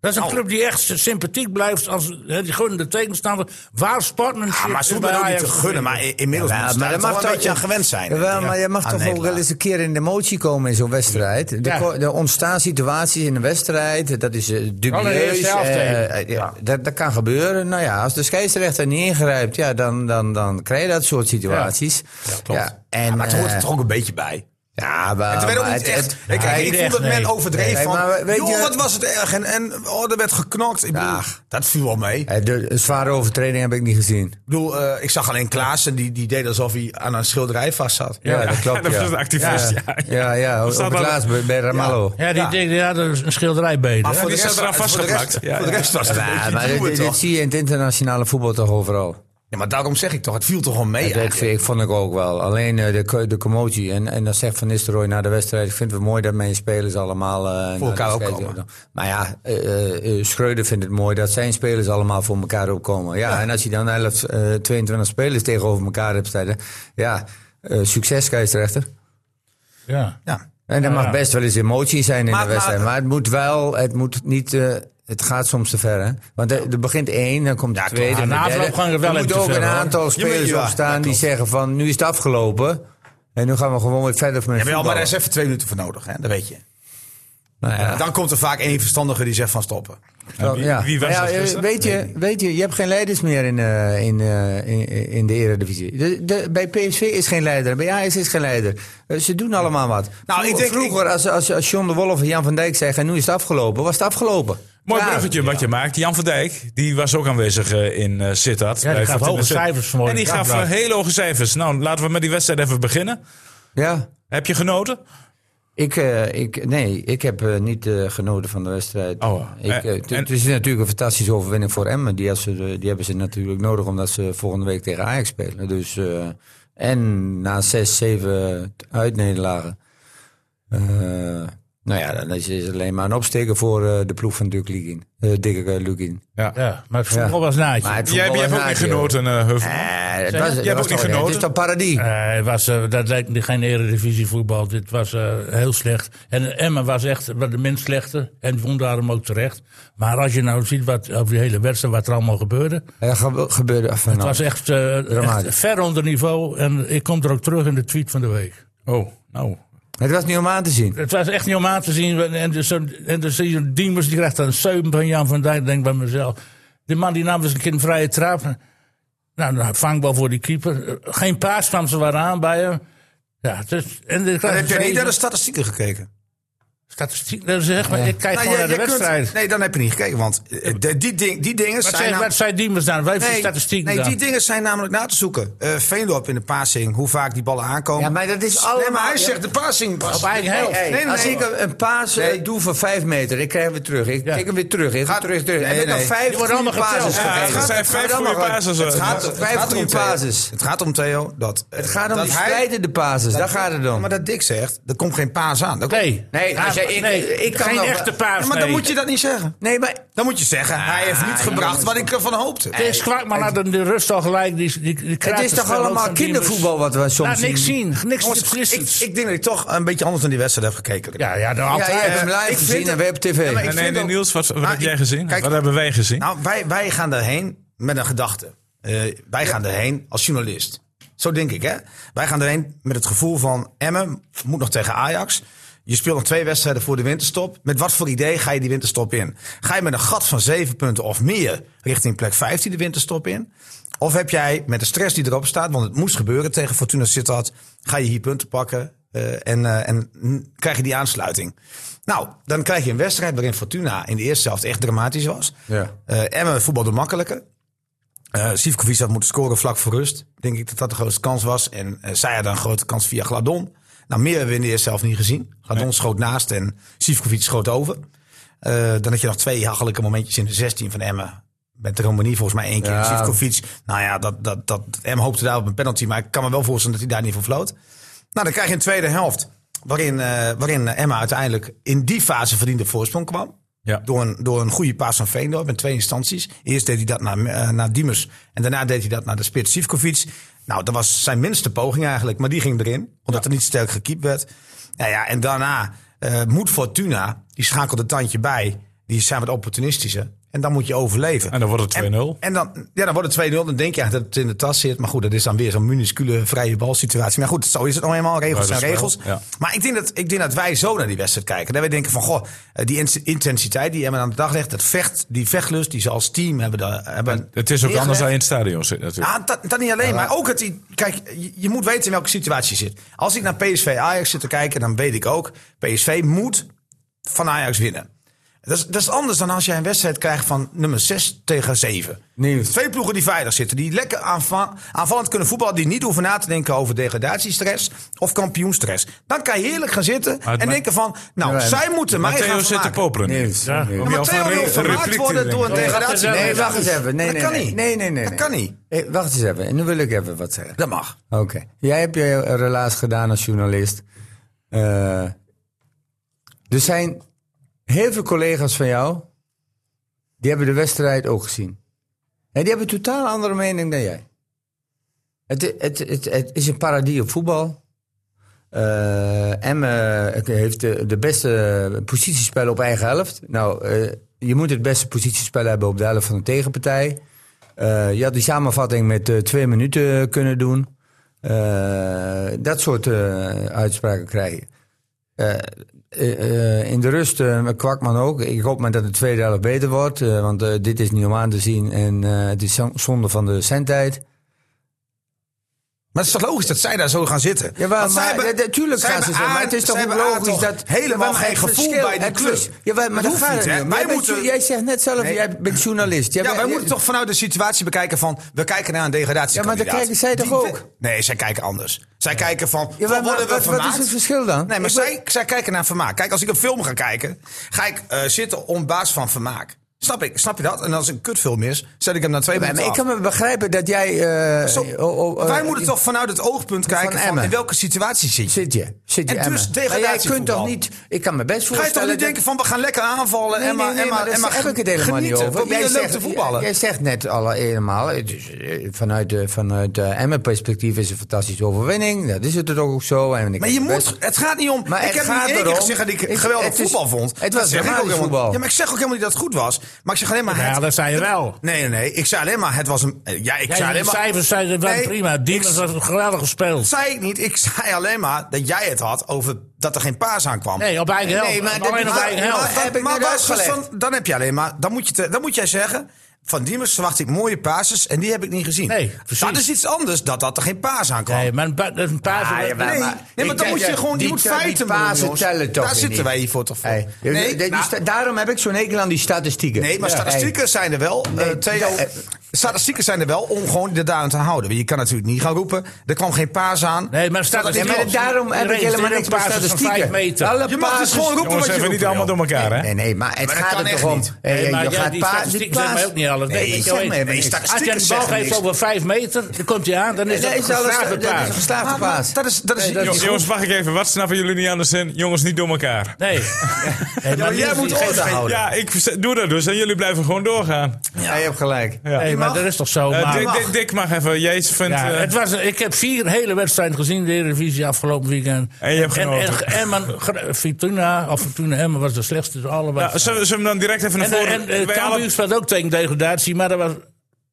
[SPEAKER 4] Dat is een
[SPEAKER 2] Oh.
[SPEAKER 4] club die echt sympathiek blijft als hè, die gunnende tegenstander. Waar sportmanship
[SPEAKER 2] Ah, maar ze
[SPEAKER 4] is
[SPEAKER 2] hoeven
[SPEAKER 4] bij
[SPEAKER 2] het ook niet
[SPEAKER 4] Ajax.
[SPEAKER 2] te gunnen. Maar i- inmiddels
[SPEAKER 5] Ja,
[SPEAKER 2] moet ze
[SPEAKER 5] maar
[SPEAKER 2] daar
[SPEAKER 5] dat
[SPEAKER 2] toch
[SPEAKER 5] mag
[SPEAKER 2] wel een
[SPEAKER 5] toch-
[SPEAKER 2] beetje aan gewend zijn. Ah,
[SPEAKER 5] Jawel, maar je mag
[SPEAKER 2] Aan
[SPEAKER 5] toch ook wel
[SPEAKER 2] Nederland.
[SPEAKER 5] eens een keer in de emotie komen in zo'n wedstrijd. Er
[SPEAKER 4] Ja.
[SPEAKER 5] ko- Er ontstaan situaties in een wedstrijd, dat is eh, dubieus.
[SPEAKER 4] Allereerst de helft
[SPEAKER 5] eh,
[SPEAKER 4] tegen.
[SPEAKER 5] eh, ja, dat, dat kan gebeuren. Nou ja, als de scheidsrechter niet ingrijpt, ja, dan, dan, dan krijg je dat soort situaties. Ja,
[SPEAKER 2] klopt.
[SPEAKER 5] en,
[SPEAKER 2] Maar het hoort
[SPEAKER 5] eh,
[SPEAKER 2] er toch ook een beetje bij.
[SPEAKER 5] Ja, maar,
[SPEAKER 2] Het werd ook
[SPEAKER 5] maar
[SPEAKER 2] niet echt.
[SPEAKER 5] het- nou,
[SPEAKER 2] ik,
[SPEAKER 6] ja,
[SPEAKER 2] ik
[SPEAKER 6] niet
[SPEAKER 2] vond
[SPEAKER 6] echt,
[SPEAKER 2] dat men
[SPEAKER 6] nee.
[SPEAKER 2] overdreven
[SPEAKER 5] Nee,
[SPEAKER 2] van.
[SPEAKER 5] maar weet
[SPEAKER 2] joh,
[SPEAKER 5] je-
[SPEAKER 2] wat was het erg? En, en oh, er werd geknokt. Ik bedoel,
[SPEAKER 5] Ja.
[SPEAKER 2] dat viel wel mee.
[SPEAKER 5] eh, de, een zware overtreding heb ik niet gezien.
[SPEAKER 2] Ik bedoel, eh, ik zag alleen Klaassen die, die deed alsof hij aan een schilderij vast zat.
[SPEAKER 5] Ja,
[SPEAKER 6] Ah,
[SPEAKER 5] dat klopt.
[SPEAKER 1] dat
[SPEAKER 5] ja.
[SPEAKER 1] was een activist, ja.
[SPEAKER 5] Ja, ja, op
[SPEAKER 1] staat
[SPEAKER 5] het
[SPEAKER 1] aan-
[SPEAKER 5] laatst bij, bij Ramallo.
[SPEAKER 6] Ja, die
[SPEAKER 2] Ja.
[SPEAKER 6] denkt, ja, dat is een schilderij beter.
[SPEAKER 2] Maar
[SPEAKER 6] hè?
[SPEAKER 2] voor de
[SPEAKER 1] die
[SPEAKER 2] rest
[SPEAKER 1] zat eraan
[SPEAKER 2] voor de rest-
[SPEAKER 1] vastgeplakt. Ja,
[SPEAKER 2] Voor de
[SPEAKER 1] ja.
[SPEAKER 2] rest was het een
[SPEAKER 5] Ja,
[SPEAKER 2] beetje
[SPEAKER 5] maar dit,
[SPEAKER 2] doe
[SPEAKER 5] dit-
[SPEAKER 2] het
[SPEAKER 5] dit
[SPEAKER 2] toch.
[SPEAKER 5] zie je in het internationale voetbal toch overal.
[SPEAKER 2] Ja, maar daarom zeg ik toch, het viel toch wel mee.
[SPEAKER 5] dat
[SPEAKER 2] eigenlijk.
[SPEAKER 5] vind, ik vond ik ook wel. Alleen eh, de, co- de commotie. En, en dan zegt Van Nistelrooy na de wedstrijd... ik vind het mooi dat mijn spelers allemaal... eh, naar de
[SPEAKER 2] elkaar
[SPEAKER 5] scheids-
[SPEAKER 2] opkomen.
[SPEAKER 5] Maar ja, eh, eh, eh, Schreuder vindt het mooi dat zijn spelers allemaal voor elkaar opkomen. Ja, en als je dan 11, eh, 22 spelers tegenover elkaar hebt staan... ja, eh, succes, scheidsrechter.
[SPEAKER 6] Ja.
[SPEAKER 2] Ja.
[SPEAKER 5] En er mag
[SPEAKER 6] ja.
[SPEAKER 5] best wel eens emotie zijn in
[SPEAKER 2] Maar-
[SPEAKER 5] de wedstrijd.
[SPEAKER 2] maar-
[SPEAKER 5] Maar, het moet wel, het moet niet... eh, het gaat soms te ver, hè? Want eh, er, er begint één, dan komt de tweede,
[SPEAKER 6] klopt.
[SPEAKER 5] dan
[SPEAKER 6] Na
[SPEAKER 5] de derde.
[SPEAKER 6] afloop gaan er wel
[SPEAKER 5] er
[SPEAKER 6] even
[SPEAKER 5] moet
[SPEAKER 6] te
[SPEAKER 5] ook
[SPEAKER 6] ver,
[SPEAKER 5] een
[SPEAKER 6] hoor.
[SPEAKER 5] aantal spelers
[SPEAKER 2] ja, ja,
[SPEAKER 5] opstaan die
[SPEAKER 2] klopt.
[SPEAKER 5] zeggen van... nu is het afgelopen en nu gaan we gewoon weer verder met
[SPEAKER 2] Ja, maar, ja, maar
[SPEAKER 5] voetballen.
[SPEAKER 2] daar is even twee minuten voor nodig, hè? dat weet je.
[SPEAKER 5] Nou ja.
[SPEAKER 2] Dan komt er vaak één verstandige die zegt van stoppen.
[SPEAKER 5] Wel,
[SPEAKER 1] wie-
[SPEAKER 5] ja.
[SPEAKER 1] wie was
[SPEAKER 5] Maar ja,
[SPEAKER 1] dat
[SPEAKER 5] eh,
[SPEAKER 1] gisteren?
[SPEAKER 5] weet, je, weet je, je hebt geen leiders meer in, eh, in, eh, in, in de Eredivisie. De, de, bij PSV is geen leider, bij Ajax is geen leider. Eh, ze doen allemaal wat.
[SPEAKER 2] Nou, ik denk-
[SPEAKER 5] Vroeger, als, als, als John de Wolf en Jan van Dijk zeggen... nu is het afgelopen, was het afgelopen.
[SPEAKER 1] Mooi
[SPEAKER 5] Klaar.
[SPEAKER 1] bruggetje wat je maakt. Jan van Dijk, die was ook aanwezig eh, in eh Sittard.
[SPEAKER 6] Ja, die
[SPEAKER 1] bij
[SPEAKER 6] gaf
[SPEAKER 1] Fortuna
[SPEAKER 6] hoge
[SPEAKER 1] Sittard.
[SPEAKER 6] cijfers vanmorgen.
[SPEAKER 1] En die
[SPEAKER 6] Ja,
[SPEAKER 1] gaf eh,
[SPEAKER 6] braaf.
[SPEAKER 1] hele hoge cijfers. Nou, laten we met die wedstrijd even beginnen.
[SPEAKER 5] Ja.
[SPEAKER 1] Heb je genoten?
[SPEAKER 5] Ik, eh, ik, nee, ik heb eh, niet eh, genoten van de wedstrijd.
[SPEAKER 1] Oh,
[SPEAKER 5] ik, eh,
[SPEAKER 1] eh,
[SPEAKER 5] t-
[SPEAKER 1] en-
[SPEAKER 5] het is natuurlijk een fantastische overwinning voor Emmen. Die, hebben ze, eh, die hebben ze natuurlijk nodig omdat ze volgende week tegen Ajax spelen. Dus, eh, en na zes, zeven uitnederlagen. eh, nou ja, dan is is het alleen maar een opsteken voor eh, de ploeg van Duke Lugin. eh Dick eh, Lugin.
[SPEAKER 6] Ja, maar het voetbal
[SPEAKER 5] Ja.
[SPEAKER 6] was naadje.
[SPEAKER 5] Maar het
[SPEAKER 1] Jij, jij
[SPEAKER 5] voetbal
[SPEAKER 1] hebt
[SPEAKER 5] is
[SPEAKER 1] ook niet
[SPEAKER 5] naadje, hoor.
[SPEAKER 1] genoten, eh Heuvel.
[SPEAKER 5] Eh, het
[SPEAKER 6] Jij
[SPEAKER 5] was,
[SPEAKER 6] hebt
[SPEAKER 5] het was
[SPEAKER 1] ook niet
[SPEAKER 5] toch- Het
[SPEAKER 1] genoten?
[SPEAKER 5] is toch paradie?
[SPEAKER 6] Eh, het was, eh, dat lijkt me geen eredivisie voetbal. Dit was eh, heel slecht. En Emmen was echt wat de minst slechte. En won daarom ook terecht. Maar als je nou ziet wat, over die hele wedstrijd wat er allemaal gebeurde.
[SPEAKER 5] Er gebe- gebeurde nou, af en
[SPEAKER 6] Het
[SPEAKER 5] aan.
[SPEAKER 6] was echt, eh,
[SPEAKER 5] Dramatisch.
[SPEAKER 6] echt ver onder niveau. En ik kom er ook terug in de tweet van de week.
[SPEAKER 1] Oh, nou.
[SPEAKER 5] Het was niet om aan te zien.
[SPEAKER 6] Het was echt niet om aan te zien. En dus, zo'n- en dus zie je een Diemers die krijgt dan een zeum van Jan van Dijk. Denk bij mezelf. De man die nam dus een keer een vrije trap. Nou, een vangbal voor die keeper. Geen paas kwam ze waar aan bij hem. Ja, het is- en dan
[SPEAKER 2] Dan
[SPEAKER 6] krijg
[SPEAKER 2] heb je niet
[SPEAKER 6] zeven.
[SPEAKER 2] naar de statistieken gekeken.
[SPEAKER 6] Statistiek, dat is echt, maar ik kijk
[SPEAKER 2] Nou,
[SPEAKER 6] gewoon
[SPEAKER 2] jij-
[SPEAKER 6] naar de
[SPEAKER 2] jij kunt-
[SPEAKER 6] wedstrijd.
[SPEAKER 2] nee, dan heb je niet gekeken, want eh, de- die, ding, die dingen
[SPEAKER 6] wat,
[SPEAKER 2] zijn...
[SPEAKER 6] zei,
[SPEAKER 2] nou-
[SPEAKER 6] wat zei Diemers dan? Wij hebben statistiek
[SPEAKER 2] nee,
[SPEAKER 6] dan.
[SPEAKER 2] die dingen zijn namelijk na te zoeken. Eh Veendorp in de passing, hoe vaak die ballen aankomen.
[SPEAKER 5] Ja, maar dat is
[SPEAKER 2] Nee, maar
[SPEAKER 5] allemaal-
[SPEAKER 2] hij
[SPEAKER 5] ja.
[SPEAKER 2] zegt de passing was.
[SPEAKER 6] Op eigen helft.
[SPEAKER 5] Hey,
[SPEAKER 2] Nee, nee,
[SPEAKER 5] als
[SPEAKER 2] nee.
[SPEAKER 5] ik een- een paas eh, doe van 5 meter, ik krijg hem weer terug. Ik
[SPEAKER 6] Ja.
[SPEAKER 5] tik hem weer terug. Ik
[SPEAKER 2] Gaat-
[SPEAKER 5] terug, terug.
[SPEAKER 2] Nee,
[SPEAKER 5] en ik
[SPEAKER 2] nee.
[SPEAKER 5] heb vijf
[SPEAKER 6] Die worden
[SPEAKER 5] goede
[SPEAKER 6] allemaal geteld.
[SPEAKER 5] basis
[SPEAKER 6] Ja,
[SPEAKER 1] Ja,
[SPEAKER 5] gegeven.
[SPEAKER 1] het zijn vijf goede basis.
[SPEAKER 5] Het
[SPEAKER 1] eh.
[SPEAKER 5] gaat,
[SPEAKER 2] Het
[SPEAKER 5] vijf
[SPEAKER 2] gaat om
[SPEAKER 5] goede
[SPEAKER 2] Theo.
[SPEAKER 5] basis.
[SPEAKER 2] Het gaat om Theo. Dat,
[SPEAKER 5] Het gaat om
[SPEAKER 2] dat
[SPEAKER 5] die
[SPEAKER 2] hij-
[SPEAKER 5] strijdende basis. Daar
[SPEAKER 2] dat-
[SPEAKER 5] gaat het om.
[SPEAKER 2] Maar dat Dick zegt, er komt geen paas aan. Dat-
[SPEAKER 6] Nee,
[SPEAKER 5] Nee, als jij- ik- ik kan
[SPEAKER 6] geen
[SPEAKER 5] nog-
[SPEAKER 6] echte
[SPEAKER 2] Ja,
[SPEAKER 6] paas.
[SPEAKER 2] maar dan
[SPEAKER 6] nee.
[SPEAKER 2] moet je dat niet zeggen.
[SPEAKER 5] Nee, maar
[SPEAKER 2] Dan moet je zeggen, hij heeft niet
[SPEAKER 5] Ah,
[SPEAKER 2] gebracht
[SPEAKER 5] jongens.
[SPEAKER 2] wat ik ervan hoopte.
[SPEAKER 6] Het is kwak, maar laat hem de rust al gelijk. Die, die, die
[SPEAKER 5] het is toch allemaal kindervoetbal wat we soms
[SPEAKER 6] Laat niks
[SPEAKER 5] zien.
[SPEAKER 6] zien. Niks
[SPEAKER 2] Jongens, ik,
[SPEAKER 6] beslissends.
[SPEAKER 2] ik denk dat ik toch een beetje anders naar die wedstrijd heb gekeken.
[SPEAKER 6] Ja, ja, nou, dan
[SPEAKER 5] Ja,
[SPEAKER 6] altijd.
[SPEAKER 5] jij hebt hem
[SPEAKER 2] eh,
[SPEAKER 5] live
[SPEAKER 2] ik vind
[SPEAKER 5] gezien
[SPEAKER 2] het-
[SPEAKER 5] en we hebben tv.
[SPEAKER 2] Ja, maar ik-
[SPEAKER 1] Nee, nee,
[SPEAKER 2] vind
[SPEAKER 1] nee,
[SPEAKER 2] ook-
[SPEAKER 1] Niels, wat, wat
[SPEAKER 2] Maar
[SPEAKER 1] heb
[SPEAKER 2] ik-
[SPEAKER 1] jij gezien?
[SPEAKER 2] kijk-
[SPEAKER 1] wat hebben wij gezien?
[SPEAKER 2] Nou, wij, wij gaan daarheen met een gedachte. Eh, wij gaan daarheen als journalist. Zo denk ik, hè? Wij gaan daarheen met het gevoel van... Emmen moet nog tegen Ajax. Je speelt nog twee wedstrijden voor de winterstop. Met wat voor idee ga je die winterstop in? Ga je met een gat van zeven punten of meer... richting plek 15 de winterstop in? Of heb jij met de stress die erop staat... want het moest gebeuren tegen Fortuna Sittard... ga je hier punten pakken eh, en, eh, en mm, krijg je die aansluiting? Nou, dan krijg je een wedstrijd waarin Fortuna in de eerste helft echt dramatisch was.
[SPEAKER 5] Ja.
[SPEAKER 2] Eh, Emmen voetbalde makkelijker. Eh Sivkovic had moeten scoren vlak voor rust. Denk ik dat dat de grootste kans was. En eh zij had een grote kans via Gladon. Nou, meer hebben we in de eerste helft niet gezien. Gladon schoot naast en Sivkovic schoot over. Eh, dan had je nog twee hachelijke momentjes in de 16 van Emmen. Met Romani volgens mij één keer.
[SPEAKER 5] Ja.
[SPEAKER 2] Sivkovic, nou ja, dat, dat, dat, Emmen hoopte daar op een penalty. Maar ik kan me wel voorstellen dat hij daar niet voor floot. Nou, dan krijg je een tweede helft. Waarin, eh waarin Emma uiteindelijk in die fase verdiende voorsprong kwam.
[SPEAKER 1] Ja.
[SPEAKER 2] Door, een, door een goede paas van Veendorp in twee instanties. Eerst deed hij dat naar, eh, naar Diemers. En daarna deed hij dat naar de spits Sivkovic. Nou, dat was zijn minste poging eigenlijk. Maar die ging erin. Omdat er niet sterk gekiept werd. Nou ja, en daarna eh, moet Fortuna. Die schakelde het tandje bij. Die zijn wat opportunistischer. En En dan moet je overleven.
[SPEAKER 1] En dan wordt het 2-0.
[SPEAKER 2] En dan, ja, dan wordt het 2-0. Dan denk je eigenlijk dat het in de tas zit. Maar goed, dat is dan weer zo'n minuscule vrije balsituatie. Maar goed, zo is het nou eenmaal. Regels
[SPEAKER 1] Ja, dat
[SPEAKER 2] zijn
[SPEAKER 1] is wel,
[SPEAKER 2] regels.
[SPEAKER 1] ja.
[SPEAKER 2] Maar ik denk, dat, ik denk dat wij zo naar die wedstrijd kijken. Dat wij denken van, goh, eh, die ins- intensiteit die Emmen aan de dag legt. Dat vecht, die vechtlust die ze als team hebben. daar- hebben
[SPEAKER 1] Het is ook
[SPEAKER 2] neergelegd.
[SPEAKER 1] anders dan je in het stadion zit natuurlijk.
[SPEAKER 2] Ja, dat, dat niet alleen, maar ook het... Kijk, je, je moet weten in welke situatie je zit. Als ik naar PSV Ajax zit te kijken, dan weet ik ook... PSV moet van Ajax winnen. Dat is, dat is anders dan als jij een wedstrijd krijgt van nummer 6 tegen 7.
[SPEAKER 5] Nieuws.
[SPEAKER 2] Twee ploegen die veilig zitten, die lekker aanva- aanvallend kunnen voetballen... die niet hoeven na te denken over degradatiestress of kampioenstress. Dan kan je heerlijk gaan zitten
[SPEAKER 1] het
[SPEAKER 2] en
[SPEAKER 1] ma-
[SPEAKER 2] denken van... nou,
[SPEAKER 5] Ja,
[SPEAKER 2] zij moeten mij
[SPEAKER 1] Matteo
[SPEAKER 2] gaan
[SPEAKER 1] zit te
[SPEAKER 2] vermaken.
[SPEAKER 1] popelen. nu.
[SPEAKER 5] Nieuws.
[SPEAKER 6] Ja.
[SPEAKER 5] Nieuws.
[SPEAKER 2] Ja, maar
[SPEAKER 1] Om jou van
[SPEAKER 2] Matteo
[SPEAKER 1] een
[SPEAKER 2] wil
[SPEAKER 1] re-
[SPEAKER 2] vermaakt
[SPEAKER 1] repliek te
[SPEAKER 2] worden door een
[SPEAKER 1] brengen.
[SPEAKER 2] degradatie.
[SPEAKER 5] Nee, wacht eens even. Nee,
[SPEAKER 2] dat
[SPEAKER 5] nee,
[SPEAKER 2] kan
[SPEAKER 5] nee.
[SPEAKER 2] niet.
[SPEAKER 5] Nee, nee, nee.
[SPEAKER 2] Dat
[SPEAKER 5] nee.
[SPEAKER 2] kan niet.
[SPEAKER 5] Hey, wacht eens even. En nu wil ik even wat zeggen.
[SPEAKER 2] Dat mag.
[SPEAKER 5] Oké. Jij hebt je relaas gedaan als journalist. Eh, er zijn heel veel collega's van jou. Die hebben de wedstrijd ook gezien. En die hebben een totaal andere mening dan jij. Het, i- het, het, het is een paradie op voetbal. Eh Emmen heeft de, de beste positiespel op eigen helft. Nou, eh, je moet het beste positiespel hebben op de helft van de tegenpartij. Eh, je had die samenvatting met eh, twee minuten kunnen doen. Eh, dat soort eh, uitspraken krijg je. Eh, eh, eh, in de rust, eh, met Kwakman ook. Ik hoop maar dat de tweede helft beter wordt. eh, want eh, dit is niet om aan te zien. En eh, het is zo- zonde van de zendtijd.
[SPEAKER 2] Maar het is toch logisch dat zij daar zo gaan zitten?
[SPEAKER 5] Ja, maar,
[SPEAKER 2] Want zij
[SPEAKER 5] maar,
[SPEAKER 2] hebben-
[SPEAKER 5] ja, natuurlijk
[SPEAKER 2] zij
[SPEAKER 5] gaan ze
[SPEAKER 2] hebben
[SPEAKER 5] zo. Maar
[SPEAKER 2] aan-
[SPEAKER 5] het is toch
[SPEAKER 2] zij
[SPEAKER 5] ook
[SPEAKER 2] hebben aan
[SPEAKER 5] logisch
[SPEAKER 2] toch
[SPEAKER 5] dat...
[SPEAKER 2] helemaal
[SPEAKER 5] maar
[SPEAKER 2] geen
[SPEAKER 5] het
[SPEAKER 2] gevoel
[SPEAKER 5] verschil-
[SPEAKER 2] bij die
[SPEAKER 5] het
[SPEAKER 2] club.
[SPEAKER 5] vers- Ja, maar, maar
[SPEAKER 2] Dat
[SPEAKER 5] dat
[SPEAKER 2] hoeft
[SPEAKER 5] gaat
[SPEAKER 2] niet,
[SPEAKER 5] het
[SPEAKER 2] hè?
[SPEAKER 5] niet om. Jij,
[SPEAKER 2] Wij
[SPEAKER 5] bent-
[SPEAKER 2] moeten-
[SPEAKER 5] jij zegt net zelf,
[SPEAKER 2] Nee.
[SPEAKER 5] jij bent journalist. Jij
[SPEAKER 2] Ja, wij
[SPEAKER 5] bent-
[SPEAKER 2] moeten toch vanuit de situatie bekijken van... we kijken naar een degradatie.
[SPEAKER 5] eh, Ja, maar dan kijken zij toch ook?
[SPEAKER 2] Nee, zij kijken anders. Zij kijken van,
[SPEAKER 5] Ja, maar-
[SPEAKER 2] worden we
[SPEAKER 5] maar wat- wat
[SPEAKER 2] vermaakt?
[SPEAKER 5] is het verschil dan?
[SPEAKER 2] Nee, maar
[SPEAKER 5] Ik
[SPEAKER 2] zij, zij kijken naar vermaak. Kijk, als ik een film ga kijken, ga ik eh, zitten op basis van vermaak. Snap, ik, snap je dat? En als het een kutfilm is, zet ik hem naar twee
[SPEAKER 5] Ja,
[SPEAKER 2] minuten
[SPEAKER 5] maar ik
[SPEAKER 2] af.
[SPEAKER 5] kan me begrijpen dat jij... eh,
[SPEAKER 2] Zo,
[SPEAKER 5] oh, oh, eh,
[SPEAKER 2] wij moeten toch vanuit het oogpunt kijken van,
[SPEAKER 5] Emmen.
[SPEAKER 2] in welke situatie zit je.
[SPEAKER 5] Zit je, zit je
[SPEAKER 2] En dus
[SPEAKER 5] Emmen. Maar jij kunt
[SPEAKER 2] degradatievoetbal.
[SPEAKER 5] toch niet... Ik kan me best
[SPEAKER 2] Ga je
[SPEAKER 5] voorstellen...
[SPEAKER 2] toch niet
[SPEAKER 5] dat-
[SPEAKER 2] denken van we gaan lekker aanvallen
[SPEAKER 5] Nee,
[SPEAKER 2] en maar,
[SPEAKER 5] nee, nee,
[SPEAKER 2] en maar,
[SPEAKER 5] maar daar
[SPEAKER 2] en maar
[SPEAKER 5] heb ik het helemaal niet
[SPEAKER 2] genieten.
[SPEAKER 5] over.
[SPEAKER 2] Probeer leuk te voetballen.
[SPEAKER 5] jij zegt net al eenmaal, het is, eh, vanuit, eh, vanuit eh, Emmen perspectief is het een fantastische overwinning. Dat is het er ook zo. En ik
[SPEAKER 2] Maar je
[SPEAKER 5] heb
[SPEAKER 2] moet,
[SPEAKER 5] best-
[SPEAKER 2] het gaat niet om.
[SPEAKER 5] Maar
[SPEAKER 2] ik
[SPEAKER 5] het
[SPEAKER 2] heb niet
[SPEAKER 5] gaat
[SPEAKER 2] één keer
[SPEAKER 5] erom-
[SPEAKER 2] gezegd dat ik
[SPEAKER 5] Ik-
[SPEAKER 2] geweldig
[SPEAKER 5] het is-
[SPEAKER 2] voetball vond.
[SPEAKER 5] het
[SPEAKER 2] Dat zeg
[SPEAKER 5] was
[SPEAKER 2] ik ook
[SPEAKER 5] dramatisch
[SPEAKER 2] helemaal-
[SPEAKER 5] voetbal.
[SPEAKER 2] Ja, maar ik zeg ook helemaal niet dat het goed was. Maar ik zeg alleen maar.
[SPEAKER 6] Ja,
[SPEAKER 2] het-
[SPEAKER 6] dat zei je wel.
[SPEAKER 2] Nee, nee, nee. Ik zei alleen maar, het was een. eh, Ja, ik zei
[SPEAKER 6] Ja, de
[SPEAKER 2] alleen maar.
[SPEAKER 6] cijfers zijn wel
[SPEAKER 2] Nee,
[SPEAKER 6] prima.
[SPEAKER 2] ik-
[SPEAKER 6] Diemers heeft geweldig gespeeld.
[SPEAKER 2] zei ik niet. Ik zei alleen maar dat jij het had over dat er geen paas aankwam.
[SPEAKER 6] Nee, op eigen helft.
[SPEAKER 5] Nee, maar dat-
[SPEAKER 6] Alleen op
[SPEAKER 5] maar-
[SPEAKER 6] eigen
[SPEAKER 5] maar-
[SPEAKER 6] helft.
[SPEAKER 5] heb ik
[SPEAKER 2] dan,
[SPEAKER 5] net
[SPEAKER 2] maar waar-
[SPEAKER 5] uitgelegd.
[SPEAKER 2] dan, dan heb je alleen maar. Dan moet, je te- dan moet jij zeggen. Van Diemers verwacht ik mooie pases en die heb ik niet gezien.
[SPEAKER 6] Nee, precies.
[SPEAKER 2] dat is iets anders dan dat er geen paas aankwam.
[SPEAKER 6] Nee, maar een pa- een paar...
[SPEAKER 5] Ah, jawel,
[SPEAKER 2] Nee,
[SPEAKER 5] maar-
[SPEAKER 2] nee, maar
[SPEAKER 5] Ik
[SPEAKER 2] dan
[SPEAKER 5] denk
[SPEAKER 2] moet je
[SPEAKER 5] dat
[SPEAKER 2] gewoon, je
[SPEAKER 5] die
[SPEAKER 2] moet
[SPEAKER 5] te- die
[SPEAKER 2] feiten benoemen,
[SPEAKER 5] pasen
[SPEAKER 2] jongens.
[SPEAKER 5] tellen toch
[SPEAKER 2] Daar
[SPEAKER 5] weer
[SPEAKER 2] zitten
[SPEAKER 5] niet.
[SPEAKER 2] wij hier voor toch voor.
[SPEAKER 5] Hey, je-
[SPEAKER 2] nee,
[SPEAKER 5] de- die
[SPEAKER 2] nou,
[SPEAKER 5] sta- daarom heb ik zo'n hekel aan die statistieken.
[SPEAKER 2] nee, maar
[SPEAKER 5] Ja.
[SPEAKER 2] statistieken zijn er wel, eh,
[SPEAKER 5] Nee,
[SPEAKER 2] Theo.
[SPEAKER 5] eh,
[SPEAKER 2] statistieken zijn er wel om gewoon de daaraan te houden. Je kan natuurlijk niet gaan roepen, er kwam geen paas aan.
[SPEAKER 6] Nee, maar
[SPEAKER 5] Hey,
[SPEAKER 6] statistieken...
[SPEAKER 5] nee, maar daarom heb ik helemaal niks met statistieken.
[SPEAKER 6] meter.
[SPEAKER 5] Alle
[SPEAKER 2] Je mag dus
[SPEAKER 5] passes-
[SPEAKER 2] gewoon roepen
[SPEAKER 1] Jongens,
[SPEAKER 2] wat je
[SPEAKER 1] even
[SPEAKER 2] roept,
[SPEAKER 1] niet allemaal
[SPEAKER 2] joh.
[SPEAKER 1] door elkaar, hè?
[SPEAKER 5] Nee, nee, maar het
[SPEAKER 2] Maar dat
[SPEAKER 5] gaat
[SPEAKER 2] kan
[SPEAKER 5] er
[SPEAKER 2] echt
[SPEAKER 5] toch om.
[SPEAKER 2] niet.
[SPEAKER 5] Hey,
[SPEAKER 6] Nee,
[SPEAKER 5] je
[SPEAKER 6] maar ja,
[SPEAKER 5] gaat
[SPEAKER 6] die
[SPEAKER 5] pa-
[SPEAKER 6] statistieken
[SPEAKER 5] die
[SPEAKER 6] zijn mij
[SPEAKER 5] paas-
[SPEAKER 6] ook niet alles.
[SPEAKER 2] Nee,
[SPEAKER 6] Nee, ik
[SPEAKER 2] zeg
[SPEAKER 6] weet-
[SPEAKER 2] maar, maar die
[SPEAKER 6] Als je
[SPEAKER 2] statistieken
[SPEAKER 6] een bal
[SPEAKER 2] zeggen
[SPEAKER 6] geeft
[SPEAKER 2] niks.
[SPEAKER 6] over vijf meter, dan komt hij aan, dan is
[SPEAKER 5] Nee,
[SPEAKER 6] dat een
[SPEAKER 5] is alles-
[SPEAKER 6] geslaagde
[SPEAKER 5] dat is een
[SPEAKER 6] paas.
[SPEAKER 5] geslaagde
[SPEAKER 2] Maar- maar
[SPEAKER 5] paas.
[SPEAKER 2] Dat is, dat is,
[SPEAKER 5] Nee, dat is
[SPEAKER 2] joh,
[SPEAKER 5] goed.
[SPEAKER 1] Jongens, mag ik even? Wat snappen jullie niet aan de zin? Jongens, niet door elkaar.
[SPEAKER 6] Nee. Nee, maar
[SPEAKER 2] jij
[SPEAKER 6] die-
[SPEAKER 2] moet
[SPEAKER 6] die-
[SPEAKER 2] orde
[SPEAKER 6] geen-
[SPEAKER 2] houden.
[SPEAKER 1] Ja, ik versta- doe dat dus en jullie blijven gewoon doorgaan.
[SPEAKER 5] Ja, je hebt gelijk.
[SPEAKER 1] Ja.
[SPEAKER 6] Nee, maar
[SPEAKER 2] mag.
[SPEAKER 6] dat is toch zo.
[SPEAKER 1] Eh,
[SPEAKER 6] maar-
[SPEAKER 1] Dick, Dick, Dick mag even. Jij vindt...
[SPEAKER 6] Ja,
[SPEAKER 1] eh,
[SPEAKER 6] het was, ik heb vier hele wedstrijden gezien in de Eredivisie afgelopen weekend.
[SPEAKER 1] En je hebt
[SPEAKER 6] en,
[SPEAKER 1] genoten.
[SPEAKER 6] en, Emmen, Gr- Fortuna, of Fortuna Emmen was de slechtste van alle
[SPEAKER 1] nou,
[SPEAKER 6] wedstrijden.
[SPEAKER 1] zullen, zullen we hem dan direct even naar
[SPEAKER 6] en
[SPEAKER 1] voren...
[SPEAKER 6] en, en eh,
[SPEAKER 1] bij alle-
[SPEAKER 6] Cambuur speelt ook tegen degradatie, maar dat was,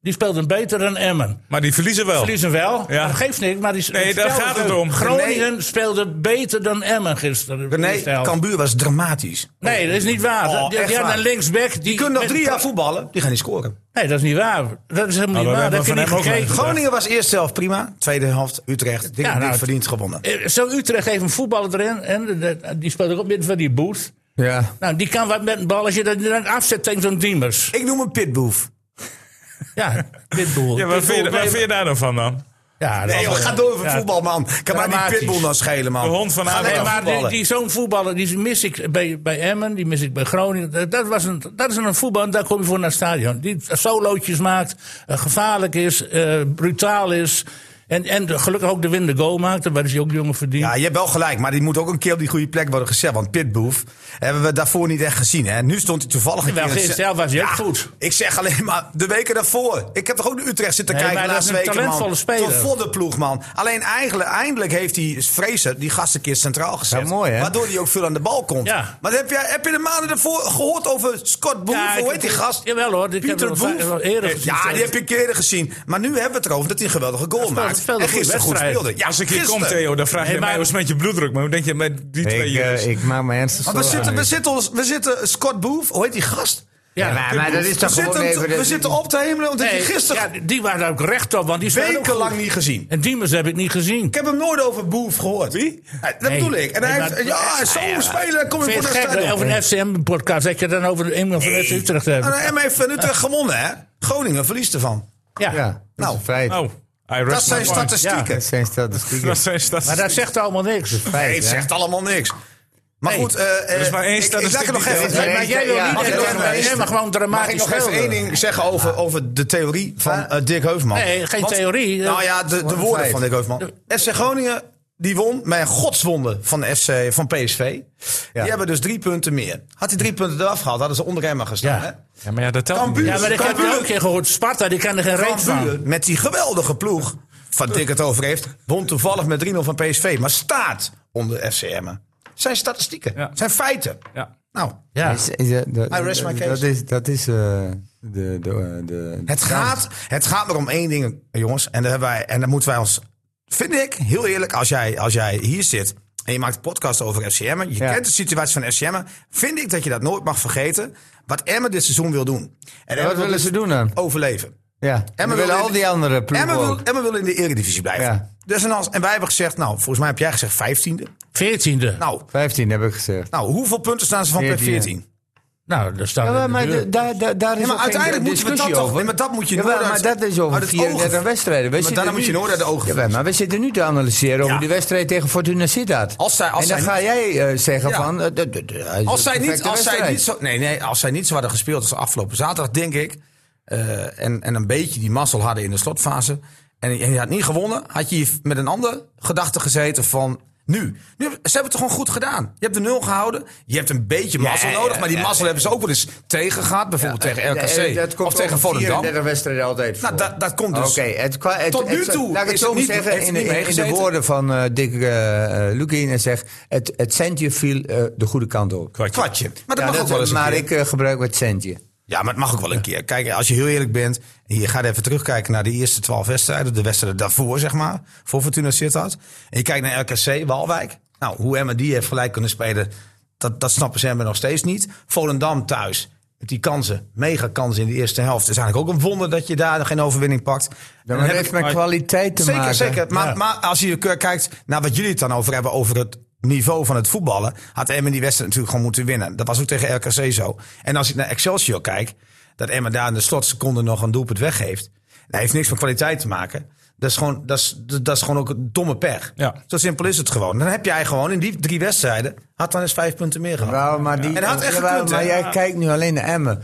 [SPEAKER 6] die speelden beter dan Emmen.
[SPEAKER 1] Maar die verliezen wel.
[SPEAKER 6] Verliezen wel,
[SPEAKER 1] Oh. Ja.
[SPEAKER 6] maar dat geeft niks. Maar die,
[SPEAKER 1] Nee, daar
[SPEAKER 6] stel-
[SPEAKER 1] gaat het om.
[SPEAKER 6] Groningen speelde beter dan Emmen gisteren.
[SPEAKER 2] nee,
[SPEAKER 6] eerste helft.
[SPEAKER 2] Cambuur was dramatisch.
[SPEAKER 6] nee, dat is niet waar.
[SPEAKER 2] Oh,
[SPEAKER 6] die,
[SPEAKER 2] echt
[SPEAKER 6] die hadden
[SPEAKER 2] waar.
[SPEAKER 6] een linksback. Die,
[SPEAKER 2] Die kunnen nog
[SPEAKER 6] met-
[SPEAKER 2] drie jaar voetballen, die gaan niet scoren.
[SPEAKER 6] Nee, dat is niet waar. Dat is helemaal
[SPEAKER 1] Nou,
[SPEAKER 6] niet
[SPEAKER 1] dat
[SPEAKER 6] waar.
[SPEAKER 1] hebben
[SPEAKER 6] Dat
[SPEAKER 1] we
[SPEAKER 6] heb je niet
[SPEAKER 1] van hem ook
[SPEAKER 6] gekeken.
[SPEAKER 2] Groningen was eerst zelf prima, tweede helft Utrecht. Dik
[SPEAKER 6] Ja,
[SPEAKER 2] en dik
[SPEAKER 6] nou,
[SPEAKER 2] verdiend gewonnen.
[SPEAKER 6] Eh, Zo Utrecht heeft een voetballer erin. En de- de- die speelt ook op midden van die boot.
[SPEAKER 5] Ja.
[SPEAKER 6] Nou, die kan wat met een bal als je dat dan afzet tegen zo'n Diemers.
[SPEAKER 2] Ik noem hem Pitboef.
[SPEAKER 6] Ja, dit doel.
[SPEAKER 1] Ja, waar vind, je, waar vind je daar nou van dan?
[SPEAKER 6] Ja, dat
[SPEAKER 2] Nee,
[SPEAKER 6] is-
[SPEAKER 2] joh, ga door met
[SPEAKER 6] Ja.
[SPEAKER 2] voetbal, man. Kan maar die
[SPEAKER 6] Dramatisch.
[SPEAKER 2] Pitbull dan nou schelen, man.
[SPEAKER 1] De hond van
[SPEAKER 2] Ga
[SPEAKER 1] Abraham.
[SPEAKER 2] lekker
[SPEAKER 6] Nee, maar die,
[SPEAKER 2] voetballen.
[SPEAKER 6] die, zo'n voetballer die mis ik bij, bij Emmen, die mis ik bij Groningen. Dat, dat was een, dat is een voetballer, daar kom je voor naar het stadion. Die solootjes maakt, eh, gevaarlijk is, eh, brutaal is.
[SPEAKER 4] En, en de- gelukkig ook de win de goal maakte, waar is hij ook jongen verdiend.
[SPEAKER 2] Ja, je hebt wel gelijk, maar die moet ook een keer op die goede plek worden gezet. Want Pitboef hebben we daarvoor niet echt gezien. Hè? Nu stond hij toevallig een
[SPEAKER 4] Wel,
[SPEAKER 2] keer... in het
[SPEAKER 4] gisteren
[SPEAKER 2] cent-
[SPEAKER 4] was hij echt goed.
[SPEAKER 2] Ik zeg alleen maar, de weken daarvoor. Ik heb toch ook naar Utrecht zitten
[SPEAKER 4] Nee,
[SPEAKER 2] kijken
[SPEAKER 4] maar dat is
[SPEAKER 2] laatste
[SPEAKER 4] een
[SPEAKER 2] weken, man.
[SPEAKER 4] talentvolle speler.
[SPEAKER 2] Tot voor de ploeg, man. Alleen eigenlijk, eindelijk heeft die Fraser die gast een keer centraal gezet.
[SPEAKER 5] Ja, mooi, hè?
[SPEAKER 2] Waardoor hij ook veel aan de bal komt.
[SPEAKER 4] Ja.
[SPEAKER 2] Maar heb, jij, heb je de maanden daarvoor gehoord over Scott Boef?
[SPEAKER 4] Ja, ik-
[SPEAKER 2] Hoe heet die gast?
[SPEAKER 4] Jawel hoor, ik heb
[SPEAKER 2] Pieter
[SPEAKER 4] hem wel-
[SPEAKER 2] Boef.
[SPEAKER 4] wel eerder gezien.
[SPEAKER 2] Ja, die heb ik eerder gezien. Maar nu hebben we het erover dat hij een geweldige goal
[SPEAKER 4] speelde-
[SPEAKER 2] maakt.
[SPEAKER 4] speelde
[SPEAKER 2] en
[SPEAKER 4] een goede
[SPEAKER 2] gisteren goed
[SPEAKER 4] wedstrijd.
[SPEAKER 2] speelde. Ja,
[SPEAKER 1] Als ik hier
[SPEAKER 2] gisteren.
[SPEAKER 1] kom, Theo, dan vraag je
[SPEAKER 4] Nee,
[SPEAKER 1] mij
[SPEAKER 4] maar-
[SPEAKER 1] hoe is het met je bloeddruk? Maar hoe denk je met die twee
[SPEAKER 5] Ik, eh,
[SPEAKER 1] jongens?
[SPEAKER 5] ik maak mijn ernstig
[SPEAKER 2] Maar we zitten, we, zitten ons, we zitten Scott Boef, hoe heet die gast?
[SPEAKER 4] Ja,
[SPEAKER 5] maar- maar dat is
[SPEAKER 2] we
[SPEAKER 5] toch
[SPEAKER 2] zitten,
[SPEAKER 5] gewoon even...
[SPEAKER 2] we
[SPEAKER 5] dat-
[SPEAKER 2] zitten op te hemelen, want ik heb
[SPEAKER 4] Nee,
[SPEAKER 2] je gisteren
[SPEAKER 4] ja, die waren daar ook recht op, want die speelde ook
[SPEAKER 2] wekenlang
[SPEAKER 4] goed.
[SPEAKER 2] niet gezien.
[SPEAKER 4] En Diemers heb ik niet gezien.
[SPEAKER 2] Ik heb hem nooit over Boef gehoord. Wie? dat
[SPEAKER 4] Nee.
[SPEAKER 2] bedoel ik. En hij
[SPEAKER 4] Nee,
[SPEAKER 2] heeft,
[SPEAKER 4] maar-
[SPEAKER 2] ja, zo'n
[SPEAKER 4] Ja, ja.
[SPEAKER 2] speler, kom je
[SPEAKER 4] Vind je
[SPEAKER 2] voor
[SPEAKER 4] het
[SPEAKER 2] de
[SPEAKER 4] gek dat je
[SPEAKER 2] stadion.
[SPEAKER 4] over een FCM-podcast dat je dan over een van FC Utrecht hebt?
[SPEAKER 2] En hem heeft Utrecht gewonnen, hè? Groningen verliest ervan.
[SPEAKER 4] Ja.
[SPEAKER 5] Ja, dat is
[SPEAKER 2] Nou,
[SPEAKER 5] een feit.
[SPEAKER 1] Oh, I rest my
[SPEAKER 2] Dat zijn
[SPEAKER 1] point.
[SPEAKER 5] Dat
[SPEAKER 2] statistieken.
[SPEAKER 5] zijn statistieken.
[SPEAKER 1] Dat zijn
[SPEAKER 4] maar
[SPEAKER 1] statistieken.
[SPEAKER 4] dat zegt allemaal niks.
[SPEAKER 5] Feit,
[SPEAKER 2] Nee, het
[SPEAKER 5] hè?
[SPEAKER 2] zegt allemaal niks. Maar
[SPEAKER 4] Nee,
[SPEAKER 2] goed, eh, eh,
[SPEAKER 1] is maar één
[SPEAKER 2] ik- ik laat
[SPEAKER 1] statistiek
[SPEAKER 2] het nog
[SPEAKER 1] die
[SPEAKER 2] even.
[SPEAKER 1] telt.
[SPEAKER 5] Nee,
[SPEAKER 4] maar jij wil
[SPEAKER 5] Ja,
[SPEAKER 4] niet
[SPEAKER 5] mag
[SPEAKER 2] ik
[SPEAKER 4] dat-
[SPEAKER 2] even-
[SPEAKER 4] nee, maar gewoon
[SPEAKER 2] Mag ik
[SPEAKER 4] dramatisch
[SPEAKER 2] nog even
[SPEAKER 4] schilderen.
[SPEAKER 2] één ding zeggen over, over de theorie van eh, Dirk Heufman?
[SPEAKER 4] Nee, geen theorie.
[SPEAKER 2] Nou ja, de,
[SPEAKER 5] Wat
[SPEAKER 2] de
[SPEAKER 5] een
[SPEAKER 2] woorden
[SPEAKER 5] feit.
[SPEAKER 2] van Dirk Heufman. FC Groningen, die won met een godswonde van, de FC, van PSV. Die hebben dus drie punten meer. Had hij drie punten eraf gehaald, hadden ze onder Emma gestaan.
[SPEAKER 4] Ja.
[SPEAKER 2] Hè?
[SPEAKER 1] Ja, maar ja, dat telt
[SPEAKER 2] Cambuur.
[SPEAKER 1] niet.
[SPEAKER 4] Ja, maar ik
[SPEAKER 2] dus
[SPEAKER 4] heb
[SPEAKER 2] Cambuur.
[SPEAKER 4] het ook een keer gehoord. Sparta, die kan er geen reet
[SPEAKER 2] Cambuur,
[SPEAKER 4] van.
[SPEAKER 2] met die geweldige ploeg van Dirk het over heeft... won toevallig met 3-0 van PSV, maar staat onder FC Emmen. Zijn statistieken,
[SPEAKER 1] Ja.
[SPEAKER 2] zijn feiten.
[SPEAKER 1] Ja.
[SPEAKER 2] Nou,
[SPEAKER 4] Ja.
[SPEAKER 5] Is- is- eh, dat-
[SPEAKER 2] I rest my case.
[SPEAKER 5] Dat is, dat is eh, de, de, eh, de...
[SPEAKER 2] Het gaat, het gaat maar om één ding, jongens. En daar, hebben wij, en daar moeten wij ons. Vind ik heel eerlijk, als jij, als jij hier zit. en je maakt een podcast over FC Emmen. je
[SPEAKER 5] Ja.
[SPEAKER 2] kent de situatie van FC Emmen. vind ik dat je dat nooit mag vergeten. wat Emmen dit seizoen wil doen. En
[SPEAKER 5] wat willen ze doen dan?
[SPEAKER 2] Overleven.
[SPEAKER 5] Ja, en
[SPEAKER 2] Emmen
[SPEAKER 5] willen
[SPEAKER 2] wil in-
[SPEAKER 5] al die andere ploegen
[SPEAKER 2] Emmen wil,
[SPEAKER 5] ook.
[SPEAKER 2] Emmen wil in de Eredivisie blijven.
[SPEAKER 5] Ja.
[SPEAKER 2] Dus en, als, en wij hebben gezegd, nou, volgens mij heb jij gezegd 15e.
[SPEAKER 4] Veertiende.
[SPEAKER 2] Nou,
[SPEAKER 5] 15 heb ik gezegd.
[SPEAKER 2] nou hoeveel punten staan ze van plek
[SPEAKER 5] 14e?
[SPEAKER 2] 14?
[SPEAKER 4] Nou, daar staan we
[SPEAKER 5] Ja,
[SPEAKER 4] in de
[SPEAKER 5] maar
[SPEAKER 4] buurt.
[SPEAKER 5] de- daar, daar, daar is
[SPEAKER 2] Ja, maar
[SPEAKER 5] ook geen
[SPEAKER 2] uiteindelijk moeten we
[SPEAKER 5] discussie
[SPEAKER 2] dat toch-
[SPEAKER 5] over.
[SPEAKER 2] nee, maar dat moet je
[SPEAKER 5] Ja,
[SPEAKER 2] nooit
[SPEAKER 5] maar
[SPEAKER 2] uit-
[SPEAKER 5] dat is over
[SPEAKER 2] uit het oog
[SPEAKER 5] 34 wedstrijden. We
[SPEAKER 2] Maar
[SPEAKER 5] zitten
[SPEAKER 2] daarna moet je
[SPEAKER 5] nu-
[SPEAKER 2] nooit uit de ogen
[SPEAKER 5] Jawel, maar we zitten nu te analyseren over
[SPEAKER 2] Ja.
[SPEAKER 5] die wedstrijd tegen Fortuna Sittard.
[SPEAKER 2] Als zij- als
[SPEAKER 5] en dan
[SPEAKER 2] zij
[SPEAKER 5] ga
[SPEAKER 2] niet-
[SPEAKER 5] jij eh, zeggen
[SPEAKER 2] Ja.
[SPEAKER 5] van... eh, dat- dat- dat- hij is
[SPEAKER 2] Als
[SPEAKER 5] een
[SPEAKER 2] zij, niet,
[SPEAKER 5] perfecte
[SPEAKER 2] als, zij
[SPEAKER 5] wedstrijd.
[SPEAKER 2] niet zo, nee, nee, als zij niet zo hadden gespeeld als afgelopen zaterdag, denk ik. eh, en, en een beetje die mazzel hadden in de slotfase. En, en je had niet gewonnen. Had je hier met een ander gedachte gezeten van nu. nu hebben- ze hebben het gewoon goed gedaan. Je hebt de nul gehouden. Je hebt een beetje mazzel
[SPEAKER 5] ja,
[SPEAKER 2] nodig. maar die
[SPEAKER 5] ja,
[SPEAKER 2] mazzel hebben ze ook wel eens tegen gehad. Bijvoorbeeld tegen
[SPEAKER 5] Eh,
[SPEAKER 2] RKC.
[SPEAKER 5] dat komt
[SPEAKER 2] of tegen
[SPEAKER 5] over
[SPEAKER 2] Volendam.
[SPEAKER 5] 34 wedstrijden altijd
[SPEAKER 2] Nou,
[SPEAKER 5] voor.
[SPEAKER 2] dat, dat komt dus.
[SPEAKER 5] Oké, het, kwa- het,
[SPEAKER 2] Tot nu
[SPEAKER 5] het-
[SPEAKER 2] toe
[SPEAKER 5] Laat ik
[SPEAKER 2] is
[SPEAKER 5] het zo
[SPEAKER 2] het niet-
[SPEAKER 5] zeggen,
[SPEAKER 2] heeft het
[SPEAKER 5] in,
[SPEAKER 2] niet
[SPEAKER 5] in- in de
[SPEAKER 2] meegezeten.
[SPEAKER 5] woorden van eh Dick eh eh, Lukien. en zegt, het, het centje viel eh, de goede kant op.
[SPEAKER 1] Kwartje.
[SPEAKER 2] Kwartje. Maar dat
[SPEAKER 5] Ja,
[SPEAKER 2] mag ook wel eens een
[SPEAKER 5] maar
[SPEAKER 2] keer.
[SPEAKER 5] ik eh, gebruik het centje.
[SPEAKER 2] Ja, maar het mag ook wel een keer. Kijk, als je heel eerlijk bent. en Je gaat even terugkijken naar de eerste twaalf wedstrijden. De wedstrijden daarvoor, zeg maar. Voor Fortuna Sittard. En je kijkt naar RKC, Walwijk. Nou, hoe Emma die heeft gelijk kunnen spelen. Dat, dat snappen ze Emma nog steeds niet. Volendam thuis. Met die kansen. Mega kansen in de eerste helft. Het is eigenlijk ook een wonder dat je daar geen overwinning pakt.
[SPEAKER 5] Ja,
[SPEAKER 2] En dan
[SPEAKER 5] maar dat
[SPEAKER 2] heb
[SPEAKER 5] heeft
[SPEAKER 2] ik-
[SPEAKER 5] met
[SPEAKER 1] maar-
[SPEAKER 5] kwaliteit te
[SPEAKER 2] zeker,
[SPEAKER 5] maken.
[SPEAKER 2] zeker. Maar, maar als je k- kijkt naar wat jullie het dan over hebben, over het niveau van het voetballen, had Emmen die wedstrijd natuurlijk gewoon moeten winnen. Dat was ook tegen RKC zo. En als ik naar Excelsior kijk, dat Emmen daar in de slotseconde nog een doelpunt weggeeft, dat heeft niks met kwaliteit te maken. Dat is gewoon, dat is, dat is gewoon ook een domme pech.
[SPEAKER 1] Ja.
[SPEAKER 2] Zo simpel is het gewoon. Dan heb jij gewoon in die drie wedstrijden, had dan eens vijf punten meer gehad.
[SPEAKER 5] Wauw, maar die,
[SPEAKER 2] En hij had echt
[SPEAKER 5] Jawel,
[SPEAKER 2] gekund, hè?
[SPEAKER 5] maar jij kijkt nu alleen naar Emmen.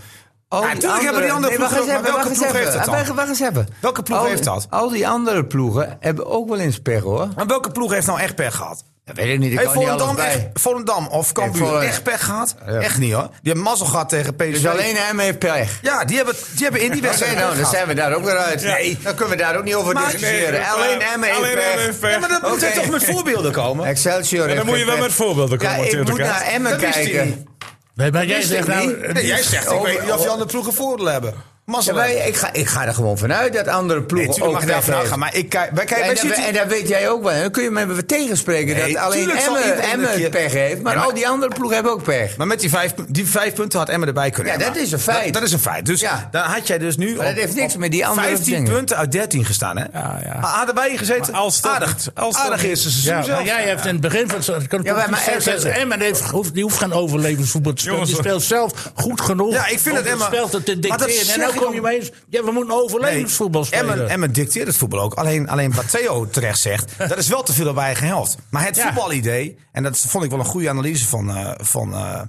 [SPEAKER 5] Al
[SPEAKER 2] Ja,
[SPEAKER 5] die
[SPEAKER 2] tuurlijk hebben die andere
[SPEAKER 5] wacht
[SPEAKER 2] ploegen
[SPEAKER 5] eens
[SPEAKER 2] ook, maar
[SPEAKER 5] even,
[SPEAKER 2] welke
[SPEAKER 5] wacht
[SPEAKER 2] ploeg
[SPEAKER 5] eens
[SPEAKER 2] heeft dat
[SPEAKER 5] even. Wacht eens even.
[SPEAKER 2] Welke ploeg
[SPEAKER 5] Al-
[SPEAKER 2] heeft dat?
[SPEAKER 5] Al die andere ploegen hebben ook wel eens pech, hoor.
[SPEAKER 2] Maar welke ploeg heeft nou echt pech gehad?
[SPEAKER 5] Dat weet ik niet, ik
[SPEAKER 2] Heeft
[SPEAKER 5] kan niet
[SPEAKER 2] Volendam,
[SPEAKER 5] alles
[SPEAKER 2] echt,
[SPEAKER 5] bij.
[SPEAKER 2] Volendam of Cambuur
[SPEAKER 5] Nee, Vol-
[SPEAKER 2] echt pech gehad? Echt niet hoor. Die hebben mazzel gehad tegen PSV.
[SPEAKER 5] Dus alleen Emmen heeft pech.
[SPEAKER 2] Ja, die hebben, die hebben in die
[SPEAKER 5] Oké,
[SPEAKER 2] wedstrijd.
[SPEAKER 5] nou, dan zijn we daar ook weer uit.
[SPEAKER 1] Ja.
[SPEAKER 5] Nee, dan kunnen we daar ook niet over
[SPEAKER 2] Maar-
[SPEAKER 5] discussiëren.
[SPEAKER 1] Nee,
[SPEAKER 5] alleen
[SPEAKER 1] maar-
[SPEAKER 5] Emmen heeft
[SPEAKER 1] alleen
[SPEAKER 5] pech.
[SPEAKER 1] Emmen heeft pech. Ja,
[SPEAKER 2] maar dan moet
[SPEAKER 5] Oké.
[SPEAKER 2] hij toch met voorbeelden komen?
[SPEAKER 5] Excelsior
[SPEAKER 1] En
[SPEAKER 5] heeft
[SPEAKER 1] dan moet je wel
[SPEAKER 5] pech.
[SPEAKER 1] met voorbeelden
[SPEAKER 5] Ja,
[SPEAKER 1] komen.
[SPEAKER 5] ik
[SPEAKER 1] Theo de
[SPEAKER 5] moet
[SPEAKER 1] Kaat.
[SPEAKER 5] naar Emmen
[SPEAKER 2] Dat wist hij niet.
[SPEAKER 5] kijken.
[SPEAKER 4] Nee, maar jij
[SPEAKER 5] wist ik
[SPEAKER 4] zegt nou...
[SPEAKER 5] niet.
[SPEAKER 4] eh,
[SPEAKER 2] Nee,
[SPEAKER 4] die-
[SPEAKER 2] jij zegt, ik
[SPEAKER 5] Oh,
[SPEAKER 2] weet niet of je
[SPEAKER 5] oh.
[SPEAKER 2] andere ploegen voordeel hebben.
[SPEAKER 5] Ja,
[SPEAKER 2] Mazzel
[SPEAKER 5] maar
[SPEAKER 2] hebben.
[SPEAKER 5] ik ga, ik ga er gewoon vanuit dat andere
[SPEAKER 2] Nee,
[SPEAKER 5] ploegen
[SPEAKER 2] natuurlijk
[SPEAKER 5] ook
[SPEAKER 2] mag je daar
[SPEAKER 5] pech
[SPEAKER 2] vanaf
[SPEAKER 5] hebben.
[SPEAKER 2] gaan, maar ik kijk, wij
[SPEAKER 5] Ja,
[SPEAKER 2] kijken,
[SPEAKER 5] en,
[SPEAKER 2] wij
[SPEAKER 5] dat, we-
[SPEAKER 2] zitten
[SPEAKER 5] en dat weet jij ook wel. Dan kun je me even tegenspreken
[SPEAKER 2] Nee,
[SPEAKER 5] dat alleen
[SPEAKER 2] tuurlijk zal
[SPEAKER 5] Emmen,
[SPEAKER 2] iedereen een
[SPEAKER 5] Emmen
[SPEAKER 2] keer-
[SPEAKER 5] pech heeft. Maar
[SPEAKER 2] Ja, maar-
[SPEAKER 5] al die andere ploegen hebben ook pech.
[SPEAKER 2] Maar met die vijf, die vijf punten had Emmen erbij kunnen
[SPEAKER 5] Ja,
[SPEAKER 2] hebben.
[SPEAKER 5] dat is een feit.
[SPEAKER 2] Dat, dat is een feit. Dus
[SPEAKER 5] Ja.
[SPEAKER 2] dan had jij dus nu
[SPEAKER 5] Maar dat
[SPEAKER 2] op-
[SPEAKER 5] heeft niks
[SPEAKER 2] op
[SPEAKER 5] met die andere
[SPEAKER 2] 15
[SPEAKER 5] dingen.
[SPEAKER 2] punten uit 13 gestaan, hè?
[SPEAKER 1] Ja, ja.
[SPEAKER 2] Maar hadden wij hier gezeten?
[SPEAKER 1] Maar als dat
[SPEAKER 2] aardig.
[SPEAKER 1] niet. Als dat
[SPEAKER 2] aardig
[SPEAKER 1] niet.
[SPEAKER 2] eerste
[SPEAKER 4] Ja,
[SPEAKER 2] seizoen
[SPEAKER 4] maar
[SPEAKER 2] zelf.
[SPEAKER 4] jij hebt in het begin van het
[SPEAKER 5] Ja, maar- maar
[SPEAKER 4] competitie...
[SPEAKER 5] Emmen-
[SPEAKER 4] Emmen heeft- hoeft- die hoeft geen overlevingsvoetbal te spelen. Die
[SPEAKER 1] Jongens,
[SPEAKER 4] speelt zelf goed genoeg
[SPEAKER 2] Ja, ik vind
[SPEAKER 4] om
[SPEAKER 2] dat
[SPEAKER 4] het
[SPEAKER 2] Emmen-
[SPEAKER 4] spel te te
[SPEAKER 2] Maar dat
[SPEAKER 4] dicteren. En
[SPEAKER 2] zeg
[SPEAKER 4] dan
[SPEAKER 2] ik
[SPEAKER 4] kom
[SPEAKER 2] ook.
[SPEAKER 4] je mee eens... Ja, we moeten overlevingsvoetbal
[SPEAKER 2] Nee, Emmen,
[SPEAKER 4] spelen.
[SPEAKER 2] Emmen dicteert het voetbal ook. Alleen, alleen wat Theo terecht zegt, dat is wel te veel op eigen helft. Maar het
[SPEAKER 4] Ja.
[SPEAKER 2] voetbalidee, en dat vond ik wel een goede analyse van, eh, van eh,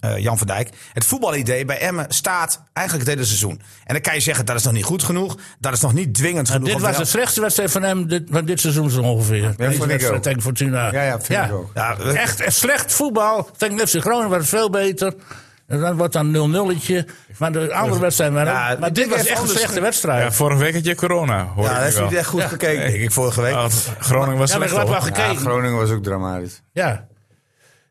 [SPEAKER 2] eh, Jan van Dijk. Het voetbalidee bij Emmen staat eigenlijk het hele seizoen. En dan kan je zeggen, dat is nog niet goed genoeg. Dat is nog niet dwingend genoeg.
[SPEAKER 4] Dit
[SPEAKER 2] om
[SPEAKER 4] was
[SPEAKER 2] wel-
[SPEAKER 4] de slechtste wedstrijd van hem dit, van dit seizoen zo ongeveer. Deze
[SPEAKER 5] vond ik
[SPEAKER 4] wedstrijd
[SPEAKER 5] ook.
[SPEAKER 4] tegen Fortuna.
[SPEAKER 5] Ja, ja, vind ik ook.
[SPEAKER 2] Ja, we-
[SPEAKER 4] echt, echt slecht voetbal. Tegen FC Groningen was het veel beter. En dan wordt dan 0-0'tje. Maar de andere wedstrijd waren
[SPEAKER 2] Ja,
[SPEAKER 4] ook- Maar dit
[SPEAKER 2] dit
[SPEAKER 4] was
[SPEAKER 2] was
[SPEAKER 4] echt een
[SPEAKER 2] anders.
[SPEAKER 4] slechte wedstrijd.
[SPEAKER 1] Ja, vorige week had je corona, hoor
[SPEAKER 2] Ja, dat
[SPEAKER 1] ik
[SPEAKER 2] is
[SPEAKER 1] nu wel.
[SPEAKER 2] niet echt goed gekeken, denk ik, vorige week.
[SPEAKER 1] Ah, Groningen was
[SPEAKER 4] Ja, maar
[SPEAKER 1] slecht,
[SPEAKER 4] ik heb wel
[SPEAKER 1] hoor.
[SPEAKER 5] Ja,
[SPEAKER 4] gekeken. Ja.
[SPEAKER 5] Groningen was ook dramatisch.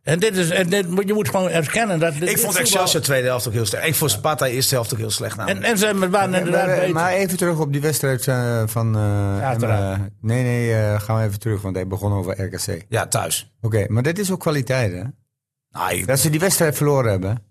[SPEAKER 4] En, dit is, en dit, moet- je moet gewoon erkennen dat. dit-
[SPEAKER 2] ik vond
[SPEAKER 4] dit
[SPEAKER 2] Excelsior tweede helft ook heel slecht. Ik vond Sparta eerste helft ook heel slecht.
[SPEAKER 4] voetbal-
[SPEAKER 2] namelijk.
[SPEAKER 4] En, en ze hebben- waren inderdaad
[SPEAKER 5] maar, eh,
[SPEAKER 4] beter.
[SPEAKER 5] maar even terug op die wedstrijd eh, van... eh,
[SPEAKER 4] Zaterdag.
[SPEAKER 5] Emmen. nee, nee, eh, gaan we even terug, want hij begon over RKC. Oké,
[SPEAKER 2] ja, thuis.
[SPEAKER 5] maar dit is ook kwaliteit, hè?
[SPEAKER 2] Nou, ik-
[SPEAKER 5] Dat ze die wedstrijd verloren hebben.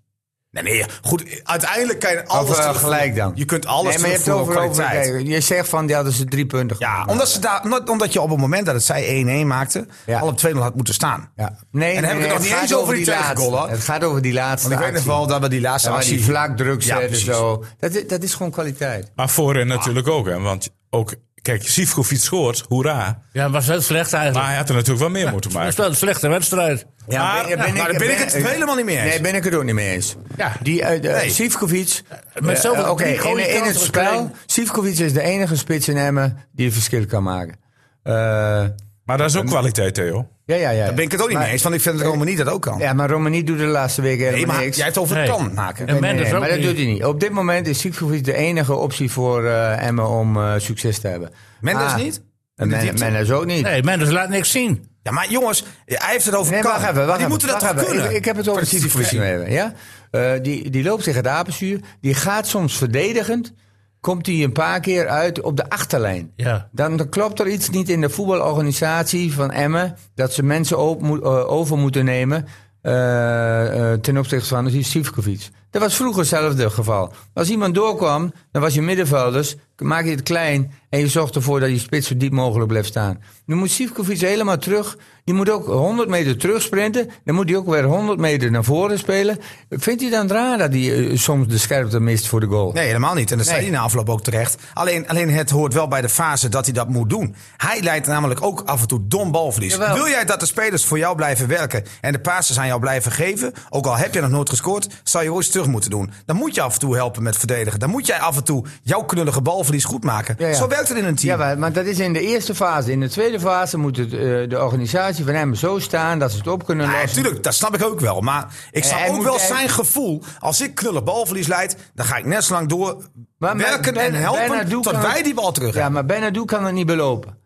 [SPEAKER 2] nee, nee, goed. Uiteindelijk kan je alles
[SPEAKER 5] of eh,
[SPEAKER 2] terugvoeren.
[SPEAKER 5] gelijk dan.
[SPEAKER 2] Je kunt alles
[SPEAKER 5] nee, maar je hebt het
[SPEAKER 2] terugvoeren
[SPEAKER 5] over,
[SPEAKER 2] op
[SPEAKER 5] over
[SPEAKER 2] kwaliteit.
[SPEAKER 5] kijk, Je zegt van, ja, dat ze drie punten.
[SPEAKER 2] Ja,
[SPEAKER 5] gewonnen
[SPEAKER 2] omdat, ze daar, omdat, omdat je op het moment dat het zij 1-1 maakte,
[SPEAKER 5] Ja.
[SPEAKER 2] al op 2-0 had moeten staan.
[SPEAKER 5] Ja. Nee,
[SPEAKER 2] En dan heb ik het nog niet
[SPEAKER 5] gaat
[SPEAKER 2] eens over die
[SPEAKER 5] laatste.
[SPEAKER 2] tegengoal, hoor.
[SPEAKER 5] Het gaat over die laatste
[SPEAKER 2] Want ik weet nog
[SPEAKER 5] actie.
[SPEAKER 2] wel dat we die laatste
[SPEAKER 5] Ja, waar
[SPEAKER 2] actie...
[SPEAKER 5] die vlak druk
[SPEAKER 2] Ja,
[SPEAKER 5] zetten
[SPEAKER 2] precies.
[SPEAKER 5] zo. Dat is, dat is gewoon kwaliteit.
[SPEAKER 1] Maar voorin natuurlijk ook, hè. Want ook, kijk, Sivkovic scoort, hoera.
[SPEAKER 4] Ja, het was heel slecht
[SPEAKER 1] Maar
[SPEAKER 4] eigenlijk.
[SPEAKER 1] hij had er natuurlijk wel meer moeten
[SPEAKER 4] Het was
[SPEAKER 1] maken.
[SPEAKER 4] wel een slechte wedstrijd.
[SPEAKER 5] maar,
[SPEAKER 2] ja, maar daar ben ik het helemaal niet mee eens.
[SPEAKER 5] Nee, ben ik het ook niet mee eens.
[SPEAKER 4] Ja.
[SPEAKER 5] Die, eh, de-
[SPEAKER 2] Nee.
[SPEAKER 5] Sivkovic...
[SPEAKER 4] Met
[SPEAKER 5] eh,
[SPEAKER 4] zoveel-
[SPEAKER 5] oké,
[SPEAKER 4] die
[SPEAKER 5] in,
[SPEAKER 4] gooien
[SPEAKER 5] in het
[SPEAKER 4] kansen
[SPEAKER 5] spel,
[SPEAKER 4] gekregen.
[SPEAKER 5] Sivkovic is de enige spits in Emmen die een verschil kan maken. Eh,
[SPEAKER 1] Maar dat is ook kwaliteit, Theo.
[SPEAKER 5] ja, ja, ja.
[SPEAKER 2] Daar ben ik het ook niet
[SPEAKER 5] Maar-
[SPEAKER 2] mee eens, want ik vind dat Romani dat ook kan.
[SPEAKER 5] Ja, maar Romani doet de laatste weken
[SPEAKER 2] nee,
[SPEAKER 5] helemaal
[SPEAKER 2] maar
[SPEAKER 5] niks.
[SPEAKER 2] jij hebt over
[SPEAKER 4] Nee.
[SPEAKER 2] kan maken.
[SPEAKER 4] En Mendes ook
[SPEAKER 5] maar dat
[SPEAKER 4] niet.
[SPEAKER 5] doet hij niet. Op dit moment is Sivkovic de enige optie voor eh, Emmen om eh, succes te hebben.
[SPEAKER 2] Mendes
[SPEAKER 5] Ah,
[SPEAKER 2] niet?
[SPEAKER 5] En
[SPEAKER 2] de
[SPEAKER 5] Men-
[SPEAKER 2] diepte?
[SPEAKER 5] Mendes ook niet.
[SPEAKER 4] Nee, Mendes laat niks zien.
[SPEAKER 2] Ja, maar jongens, hij heeft het over
[SPEAKER 5] Nee,
[SPEAKER 2] kan.
[SPEAKER 5] wacht even. Wacht
[SPEAKER 2] Maar die
[SPEAKER 5] even,
[SPEAKER 2] moeten dat
[SPEAKER 5] wacht
[SPEAKER 2] toch
[SPEAKER 5] even.
[SPEAKER 2] kunnen?
[SPEAKER 5] Ik, ik heb het over Sivkovic nu even. Ja? Eh, die, die loopt tegen het apenzuur. Die gaat soms verdedigend. Komt hij een paar keer uit op de achterlijn.
[SPEAKER 4] Ja.
[SPEAKER 5] Dan, dan klopt er iets niet in de voetbalorganisatie van Emmen. Dat ze mensen op moet- eh, over moeten nemen. eh, eh, ten opzichte van Sivkovic. Dat was vroeger hetzelfde geval. Als iemand doorkwam, dan was je middenvelders. Maak je het klein. En je zorgt ervoor dat je spits zo diep mogelijk blijft staan. Nu moet Sivkovic helemaal terug. Die moet ook 100 meter terug sprinten. Dan moet hij ook weer 100 meter naar voren spelen. Vindt hij dan raar dat hij eh, soms de scherpte mist voor de goal?
[SPEAKER 2] Nee, helemaal niet. En dat zei
[SPEAKER 5] Nee.
[SPEAKER 2] hij na afloop ook terecht. Alleen, alleen het hoort wel bij de fase dat hij dat moet doen. Hij leidt namelijk ook af en toe dom balverlies.
[SPEAKER 5] Jawel.
[SPEAKER 2] Wil jij dat de spelers voor jou blijven werken en de passes aan jou blijven geven? Ook al heb je nog nooit gescoord, zou je ooit terug moeten doen. Dan moet je af en toe helpen met verdedigen. Dan moet jij af en toe jouw knullige balverlies goed maken.
[SPEAKER 5] Ja, ja.
[SPEAKER 2] Zo werkt het in een team.
[SPEAKER 5] Ja, maar, maar dat is in de eerste fase. In de tweede fase moet het, eh, de organisatie van hem zo staan dat ze het op kunnen
[SPEAKER 2] Ja,
[SPEAKER 5] lossen.
[SPEAKER 2] natuurlijk, dat snap ik ook wel. Maar ik snap
[SPEAKER 5] hij
[SPEAKER 2] ook
[SPEAKER 5] moet-
[SPEAKER 2] wel
[SPEAKER 5] hij-
[SPEAKER 2] zijn gevoel. Als ik knullig balverlies leid, dan ga ik net zo lang door
[SPEAKER 5] Maar- maar
[SPEAKER 2] werken
[SPEAKER 5] Ben-
[SPEAKER 2] en helpen
[SPEAKER 5] Bernardo
[SPEAKER 2] tot
[SPEAKER 5] kan-
[SPEAKER 2] wij die bal terug
[SPEAKER 5] Ja,
[SPEAKER 2] hebben.
[SPEAKER 5] maar Benadou kan het niet belopen.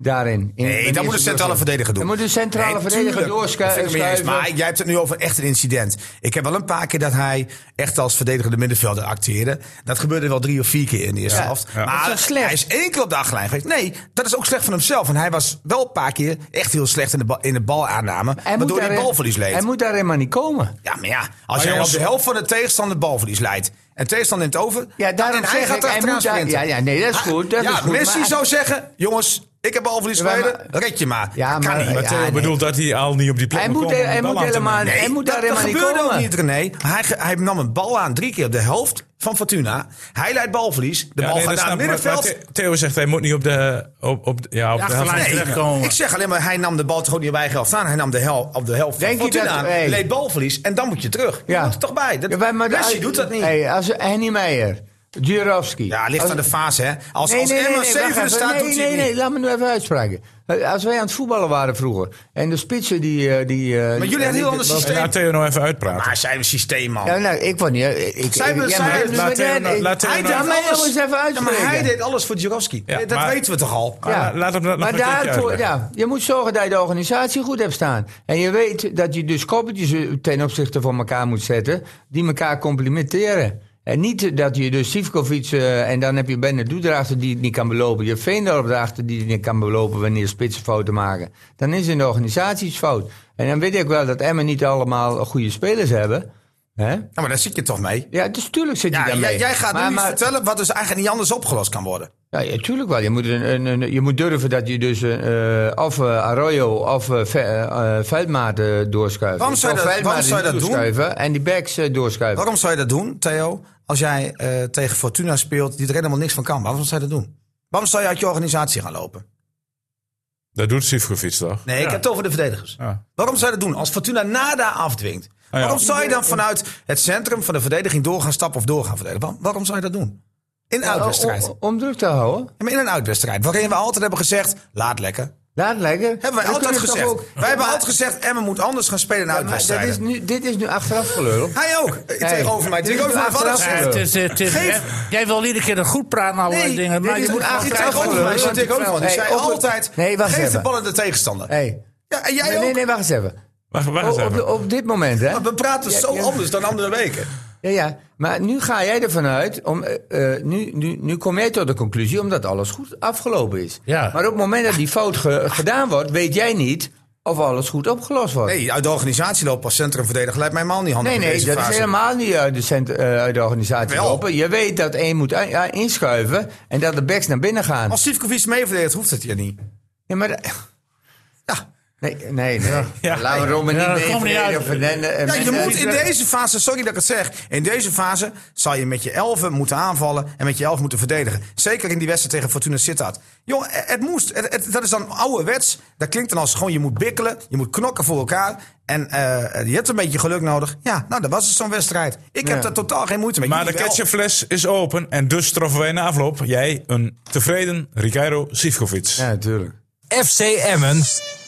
[SPEAKER 5] Daarin. In-
[SPEAKER 2] Nee, dat
[SPEAKER 5] in
[SPEAKER 2] moet
[SPEAKER 5] eerste
[SPEAKER 2] de centrale
[SPEAKER 5] doelgroep.
[SPEAKER 2] verdediger doen.
[SPEAKER 5] Dat moet de centrale
[SPEAKER 2] Nee,
[SPEAKER 5] verdediger
[SPEAKER 2] tuurlijk. Dat vind ik mee eens.
[SPEAKER 5] doorschuiven.
[SPEAKER 2] Maar jij hebt het nu over echt een incident. Ik heb wel een paar keer dat hij echt als verdedigende middenvelder acteerde. Dat gebeurde wel drie of vier keer in de eerste
[SPEAKER 5] Ja.
[SPEAKER 2] helft.
[SPEAKER 5] Ja.
[SPEAKER 2] Maar
[SPEAKER 5] Dat is toch slecht?
[SPEAKER 2] hij is één keer op de achterlijn geweest. Nee, dat is ook slecht van hemzelf. En hij was wel een paar keer echt heel slecht in de, bal, in de balaanname.
[SPEAKER 5] Hij moet
[SPEAKER 2] Waardoor hij
[SPEAKER 5] daarin-
[SPEAKER 2] balverlies leed.
[SPEAKER 5] Hij moet daar helemaal niet komen.
[SPEAKER 2] Ja, maar ja, als
[SPEAKER 1] Maar
[SPEAKER 2] jij
[SPEAKER 1] jongens-
[SPEAKER 2] op de helft van de tegenstander balverlies leidt. En de tegenstander neemt over. nou,
[SPEAKER 5] Ja, daarom
[SPEAKER 2] Ah, en hij
[SPEAKER 5] zeg
[SPEAKER 2] gaat
[SPEAKER 5] ik,
[SPEAKER 2] er
[SPEAKER 5] hij
[SPEAKER 2] achteraan
[SPEAKER 5] moet daar-
[SPEAKER 2] sprinten.
[SPEAKER 5] ja, ja, nee, dat is
[SPEAKER 2] Ah,
[SPEAKER 5] goed, dat
[SPEAKER 2] ja,
[SPEAKER 5] is goed,
[SPEAKER 2] Messi
[SPEAKER 5] maar-
[SPEAKER 2] zou zeggen, jongens, ik heb balverlies
[SPEAKER 5] maar-
[SPEAKER 2] geleden, red je maar.
[SPEAKER 5] Ja,
[SPEAKER 2] dat kan
[SPEAKER 5] maar-
[SPEAKER 2] niet.
[SPEAKER 1] Maar
[SPEAKER 5] Ja,
[SPEAKER 1] Theo
[SPEAKER 5] nee.
[SPEAKER 1] bedoelt dat hij al niet op die plek
[SPEAKER 5] Hij
[SPEAKER 1] moet
[SPEAKER 5] moet,
[SPEAKER 1] komen om
[SPEAKER 5] hij
[SPEAKER 1] die bal
[SPEAKER 5] moet,
[SPEAKER 1] aan te
[SPEAKER 5] helemaal,
[SPEAKER 1] nemen.
[SPEAKER 5] hij moet daar helemaal
[SPEAKER 2] dat
[SPEAKER 5] niet
[SPEAKER 2] gebeurde
[SPEAKER 5] komen.
[SPEAKER 2] ook niet, René. Hij, ge- hij nam een bal aan, drie keer op de helft van Fortuna. Hij leidt balverlies, de
[SPEAKER 1] Ja,
[SPEAKER 2] bal
[SPEAKER 1] nee, dat
[SPEAKER 2] gaat naar het
[SPEAKER 1] snap ik. Maar-
[SPEAKER 2] middenveld.
[SPEAKER 1] maar Theo zegt hij moet niet op de, op, op, ja, op de helft van
[SPEAKER 4] achterlijn
[SPEAKER 1] de-
[SPEAKER 4] terechtkomen.
[SPEAKER 2] ik zeg alleen maar, hij nam de bal toch gewoon niet op eigen helft aan. Hij nam de hel op de helft
[SPEAKER 5] Denk je
[SPEAKER 2] van Fortuna aan,
[SPEAKER 5] dat- hey.
[SPEAKER 2] leed balverlies en dan moet je terug. Je
[SPEAKER 5] Ja.
[SPEAKER 2] moet er toch bij. Dat,
[SPEAKER 5] Ja, maar- maar-
[SPEAKER 2] Messi
[SPEAKER 5] als-
[SPEAKER 2] doet dat niet.
[SPEAKER 5] Hey, als Henny Meijer, Djurovski.
[SPEAKER 2] Ja, het ligt
[SPEAKER 5] Als-
[SPEAKER 2] aan de fase, hè. Als,
[SPEAKER 5] Nee,
[SPEAKER 2] als
[SPEAKER 5] nee, nee,
[SPEAKER 2] Emma
[SPEAKER 5] nee, wacht
[SPEAKER 2] zevende
[SPEAKER 5] even.
[SPEAKER 2] staat,
[SPEAKER 5] nee,
[SPEAKER 2] doet hij
[SPEAKER 5] nee,
[SPEAKER 2] het
[SPEAKER 5] nee,
[SPEAKER 2] niet.
[SPEAKER 5] laat me nu even uitspreken. Eh, Als wij aan het voetballen waren vroeger en de spitsen die... eh, die maar
[SPEAKER 2] jullie hadden een heel ander systeem.
[SPEAKER 1] En laat Theo nou even uitpraten.
[SPEAKER 2] Maar zijn we systeem, man.
[SPEAKER 5] Ja, nou, ik was niet... eh, Ik,
[SPEAKER 2] Zij
[SPEAKER 5] ik,
[SPEAKER 2] hebben-
[SPEAKER 5] ja, maar
[SPEAKER 2] zij-
[SPEAKER 5] dat is
[SPEAKER 1] laat
[SPEAKER 5] meteen-
[SPEAKER 1] hem-
[SPEAKER 5] ik-
[SPEAKER 1] dus laat hem-
[SPEAKER 5] Hij laat mij jongens even
[SPEAKER 2] Ja, maar
[SPEAKER 5] uitspreken.
[SPEAKER 2] hij deed alles voor Djorovski.
[SPEAKER 1] Ja,
[SPEAKER 2] dat
[SPEAKER 1] maar-
[SPEAKER 2] weten we toch al?
[SPEAKER 1] Maar la- Ah, laat hem dat nog
[SPEAKER 5] maar
[SPEAKER 1] een keertje
[SPEAKER 5] daarvoor,
[SPEAKER 1] uitleggen.
[SPEAKER 5] ja, je moet zorgen dat je de organisatie goed hebt staan. En je weet dat je dus koppeltjes eh, ten opzichte van elkaar moet zetten, die elkaar complimenteren. En niet eh, dat je dus Sivkovic eh, en dan heb je Benedou erachter die het niet kan belopen. Je hebt Veendorp erachter die het niet kan belopen wanneer spitsen fouten maken. Dan is het in de organisatie iets fout. En dan weet ik wel dat Emmen niet allemaal goede spelers hebben. Hè?
[SPEAKER 2] Ja, maar daar zit je toch mee?
[SPEAKER 5] Ja, dus tuurlijk zit je
[SPEAKER 2] Ja,
[SPEAKER 5] daarmee.
[SPEAKER 2] jij, jij gaat
[SPEAKER 5] Maar-
[SPEAKER 2] nu iets
[SPEAKER 5] maar-
[SPEAKER 2] vertellen wat dus eigenlijk niet anders opgelost kan worden.
[SPEAKER 5] ja, ja, tuurlijk wel. Je moet, een, een, een- je moet durven dat je dus eh, eh, of eh, Arroyo of eh, Ve- eh, eh, Veldmaat eh, doorschuift.
[SPEAKER 2] Waarom zou je
[SPEAKER 5] Of
[SPEAKER 2] dat-
[SPEAKER 5] Veldmaat
[SPEAKER 2] waarom zou je dat doen?
[SPEAKER 5] doorschuiven En die backs eh, doorschuiven.
[SPEAKER 2] Waarom zou je dat doen, Theo? Als jij eh, tegen Fortuna speelt die er helemaal niks van kan. Waarom zou je dat doen? Waarom zou je uit je organisatie gaan lopen?
[SPEAKER 1] Dat doet Sivkovic toch?
[SPEAKER 2] Nee, ik heb het over de verdedigers.
[SPEAKER 1] Ja.
[SPEAKER 2] Waarom zou je dat doen? Als Fortuna nada afdwingt.
[SPEAKER 1] ja.
[SPEAKER 2] Waarom zou je dan vanuit het centrum van de verdediging door gaan stappen of door gaan verdedigen? Waar- waarom zou je dat doen? In een uitwedstrijd.
[SPEAKER 5] Om, Oh, om druk te houden.
[SPEAKER 2] Ja, maar in een uitwedstrijd. Waarin we altijd hebben gezegd, laat lekker.
[SPEAKER 5] Laat lekker.
[SPEAKER 2] Hebben wij
[SPEAKER 5] Dan
[SPEAKER 2] altijd
[SPEAKER 5] kun je toch
[SPEAKER 2] gezegd.
[SPEAKER 5] ook-
[SPEAKER 2] Wij hebben altijd gezegd, Emmen moet anders gaan spelen in
[SPEAKER 5] Ja, maar dat
[SPEAKER 2] uitwedstrijden.
[SPEAKER 5] is nu, dit is nu achteraf gelul.
[SPEAKER 2] Hij ook. Eh,
[SPEAKER 5] Nee.
[SPEAKER 2] Tegenover mij.
[SPEAKER 5] Dit
[SPEAKER 2] Ik ook
[SPEAKER 5] is
[SPEAKER 2] van, wat
[SPEAKER 5] achteraf
[SPEAKER 2] is-
[SPEAKER 4] Ja, het is, het is-
[SPEAKER 2] Geef-
[SPEAKER 4] eh, jij wil iedere keer een goed praten naar allerlei
[SPEAKER 2] Nee,
[SPEAKER 4] dingen. Maar
[SPEAKER 5] dit
[SPEAKER 4] je
[SPEAKER 5] is
[SPEAKER 4] moet
[SPEAKER 5] een
[SPEAKER 4] gewoon
[SPEAKER 5] aardig-
[SPEAKER 2] Die
[SPEAKER 4] kijken
[SPEAKER 2] tegenover mij
[SPEAKER 4] wat-
[SPEAKER 2] zat ik ook van. Die
[SPEAKER 5] Hey,
[SPEAKER 2] zei
[SPEAKER 5] op het-
[SPEAKER 2] altijd,
[SPEAKER 5] Nee, wacht
[SPEAKER 2] geef de
[SPEAKER 5] even.
[SPEAKER 2] bal aan de tegenstander.
[SPEAKER 5] Hey.
[SPEAKER 2] Ja, en jij
[SPEAKER 5] Nee, nee,
[SPEAKER 2] ook.
[SPEAKER 5] nee, wacht eens even.
[SPEAKER 1] Wacht, wacht eens
[SPEAKER 5] O- Oh, op,
[SPEAKER 1] even.
[SPEAKER 5] de- op dit moment, hè?
[SPEAKER 2] Maar we praten zo
[SPEAKER 5] ja.
[SPEAKER 2] anders dan andere weken.
[SPEAKER 5] Ja, ja. Maar nu ga jij ervan uit, om, eh, eh, nu, nu, nu kom jij tot de conclusie omdat alles goed afgelopen is.
[SPEAKER 4] Ja.
[SPEAKER 5] Maar op het moment dat die fout ge- gedaan wordt, weet jij niet of alles goed opgelost wordt.
[SPEAKER 2] Nee, uit de organisatie lopen als centrumverdediger lijkt mij helemaal niet handig
[SPEAKER 5] Nee,
[SPEAKER 2] in
[SPEAKER 5] nee,
[SPEAKER 2] deze
[SPEAKER 5] dat
[SPEAKER 2] fase.
[SPEAKER 5] is helemaal niet uit de, cent- eh, uit de organisatie
[SPEAKER 2] Wel.
[SPEAKER 5] lopen. Je weet dat één moet i- ja, inschuiven en dat de backs naar binnen gaan.
[SPEAKER 2] Als Sivkovic mee verdedigt, hoeft het hier niet.
[SPEAKER 5] Ja, maar... da- Ja. Nee, nee, nee.
[SPEAKER 1] Ja.
[SPEAKER 5] Laten we Robben
[SPEAKER 4] Ja, dat
[SPEAKER 5] niet mee
[SPEAKER 4] komt niet uit.
[SPEAKER 5] verdedigen, Fernandes- eh,
[SPEAKER 2] Ja, je
[SPEAKER 5] Mendes.
[SPEAKER 2] moet in deze fase, sorry dat ik het zeg, in deze fase zal je met je elfen moeten aanvallen en met je elf moeten verdedigen. Zeker in die wedstrijd tegen Fortuna Sittard. Jong, eh, het moest. Het- het- dat is dan ouderwets. Dat klinkt dan als gewoon je moet bikkelen, je moet knokken voor elkaar. En eh, je hebt een beetje geluk nodig. Ja, nou, dat was het zo'n wedstrijd. Ik
[SPEAKER 5] Ja.
[SPEAKER 2] heb daar totaal geen moeite mee.
[SPEAKER 1] Maar de
[SPEAKER 2] Jullie wel.
[SPEAKER 1] ketchupfles is open en dus troffen wij na afloop jij een tevreden Ricardo Sivkovic.
[SPEAKER 5] Ja, natuurlijk.
[SPEAKER 3] FC Emmen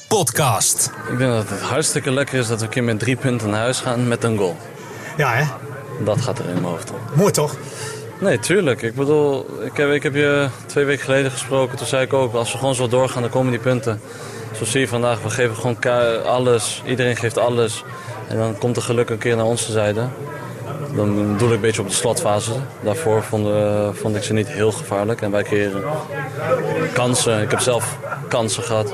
[SPEAKER 3] podcast.
[SPEAKER 7] Ik denk dat het hartstikke lekker is dat we een keer met drie punten naar huis gaan met een goal.
[SPEAKER 8] Ja, hè?
[SPEAKER 7] Dat gaat er in mijn hoofd om.
[SPEAKER 8] Mooi toch?
[SPEAKER 7] Nee, tuurlijk. Ik bedoel, ik heb, ik heb je twee weken geleden gesproken. Toen zei ik ook, als we gewoon zo doorgaan, dan komen die punten. Zo zie je vandaag, we geven gewoon ka- alles. Iedereen geeft alles. En dan komt er geluk een keer naar onze zijde. Dan doe ik een beetje op de slotfase. Daarvoor vond, eh, vond ik ze niet heel gevaarlijk. En wij keren kansen. Ik heb zelf kansen gehad.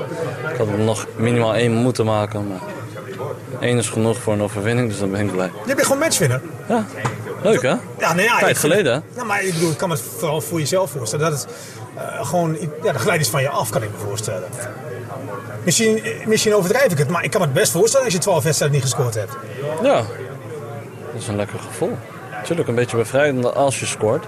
[SPEAKER 7] Ik had er nog minimaal één moeten maken. Maar één is genoeg voor een overwinning, dus dan ben ik blij.
[SPEAKER 8] Je bent gewoon matchwinner.
[SPEAKER 7] Ja, leuk hè?
[SPEAKER 8] Ja, nou ja. ik
[SPEAKER 7] Tijd
[SPEAKER 8] vind-
[SPEAKER 7] geleden hè?
[SPEAKER 8] Nou, maar ik bedoel, ik kan het vooral voor jezelf voorstellen. Dat het eh, gewoon, ja, de geleid is van je af, kan ik me voorstellen. Misschien, eh, misschien overdrijf ik het, maar ik kan me het best voorstellen als je 12 wedstrijden niet gescoord hebt.
[SPEAKER 7] Ja, dat is een lekker gevoel. Natuurlijk een beetje bevrijdend als je scoort.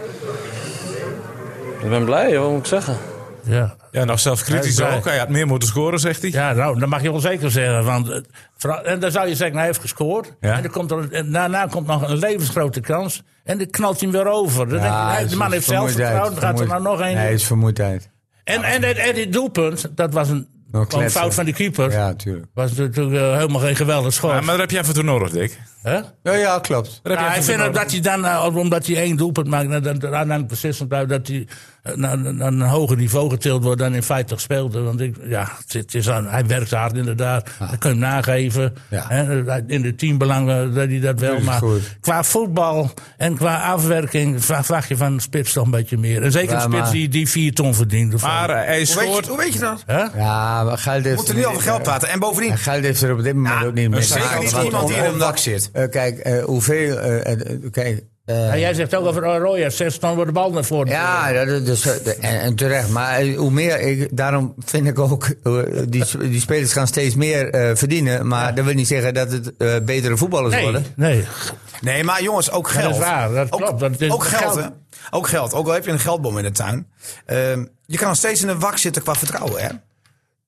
[SPEAKER 7] Ik ben blij, wat moet ik zeggen?
[SPEAKER 4] Ja.
[SPEAKER 1] Ja, nou zelfkritisch
[SPEAKER 4] Hij is blij.
[SPEAKER 1] ook. Hij had meer moeten scoren, zegt hij.
[SPEAKER 4] Ja, nou, dat mag je wel zeker zeggen. Want, eh, vooral- en dan zou je zeggen, hij heeft gescoord.
[SPEAKER 1] Ja.
[SPEAKER 4] En, dan komt er, en daarna komt nog een levensgrote kans. En dan knalt hij hem weer over. Dan denk je,
[SPEAKER 5] Ja,
[SPEAKER 4] hij-
[SPEAKER 5] het
[SPEAKER 4] de
[SPEAKER 5] is
[SPEAKER 4] man heeft zelfvertrouwen, dan gaat er nou
[SPEAKER 5] vermoeidheid.
[SPEAKER 4] nog één.
[SPEAKER 5] Nee, het is vermoeidheid.
[SPEAKER 4] en, en, en, en dit doelpunt, dat was een,
[SPEAKER 5] Nog
[SPEAKER 4] kwam een
[SPEAKER 5] kletsen.
[SPEAKER 4] fout van de keeper.
[SPEAKER 5] Ja, natuurlijk.
[SPEAKER 4] Was natuurlijk eh, helemaal geen geweldig schot.
[SPEAKER 1] Ja, maar daar heb je even toe nodig, Dick.
[SPEAKER 4] Hè?
[SPEAKER 5] Ja, ja, klopt.
[SPEAKER 1] Daar heb
[SPEAKER 4] Ja,
[SPEAKER 1] je
[SPEAKER 4] ik
[SPEAKER 1] even
[SPEAKER 4] vind
[SPEAKER 1] toe
[SPEAKER 4] ook
[SPEAKER 1] nodig.
[SPEAKER 4] dat hij dan, eh, omdat hij één doelpunt maakt, dat- dat- dat dan precies blijft dat hij eh, naar, naar een hoger niveau getild wordt dan in feite speelde. Want ik, ja, het, het is aan, hij werkt hard inderdaad. Dat kun je hem nageven.
[SPEAKER 5] Ja.
[SPEAKER 4] Hè, in de teambelang eh, dat hij dat wel.
[SPEAKER 5] Dat is
[SPEAKER 4] maar
[SPEAKER 5] goed.
[SPEAKER 4] qua voetbal en qua afwerking vra- vraag je van een spits toch een beetje meer. En zeker
[SPEAKER 5] Ja,
[SPEAKER 4] een spits
[SPEAKER 5] maar-
[SPEAKER 4] die, die vier ton verdient. of zo.
[SPEAKER 1] Maar eh, hij
[SPEAKER 2] Hoe weet,
[SPEAKER 1] scoort.
[SPEAKER 2] je, hoe weet je dat?
[SPEAKER 4] Hè?
[SPEAKER 5] Ja, maar Geld heeft...
[SPEAKER 2] We moeten niet over geld praten. En bovendien,
[SPEAKER 5] En Geld heeft er op dit moment ook niet meer.
[SPEAKER 2] zeker niet
[SPEAKER 5] Want-
[SPEAKER 2] iemand die in
[SPEAKER 5] om-
[SPEAKER 2] een dak zit.
[SPEAKER 5] Eh, kijk, eh, hoeveel... eh, eh, kijk, eh,
[SPEAKER 4] Ja, jij zegt ook over Arroyo, zes ton wordt de bal naar voren.
[SPEAKER 5] ja, dat is dus, eh, de- en, en terecht. Maar eh, hoe meer... Ik, daarom vind ik ook... eh, die, die spelers gaan steeds meer eh, verdienen. Maar dat wil niet zeggen dat het eh, betere voetballers
[SPEAKER 4] Nee,
[SPEAKER 5] worden.
[SPEAKER 4] nee.
[SPEAKER 2] Nee, maar jongens, ook
[SPEAKER 4] is
[SPEAKER 2] geld.
[SPEAKER 4] waar, dat
[SPEAKER 2] ook,
[SPEAKER 4] klopt, dat is-
[SPEAKER 2] ook geld,
[SPEAKER 4] geld-
[SPEAKER 2] hè? Ook geld. Ook al heb je een geldbom in de tuin. Ehm, je kan nog steeds in een wak zitten qua vertrouwen, hè?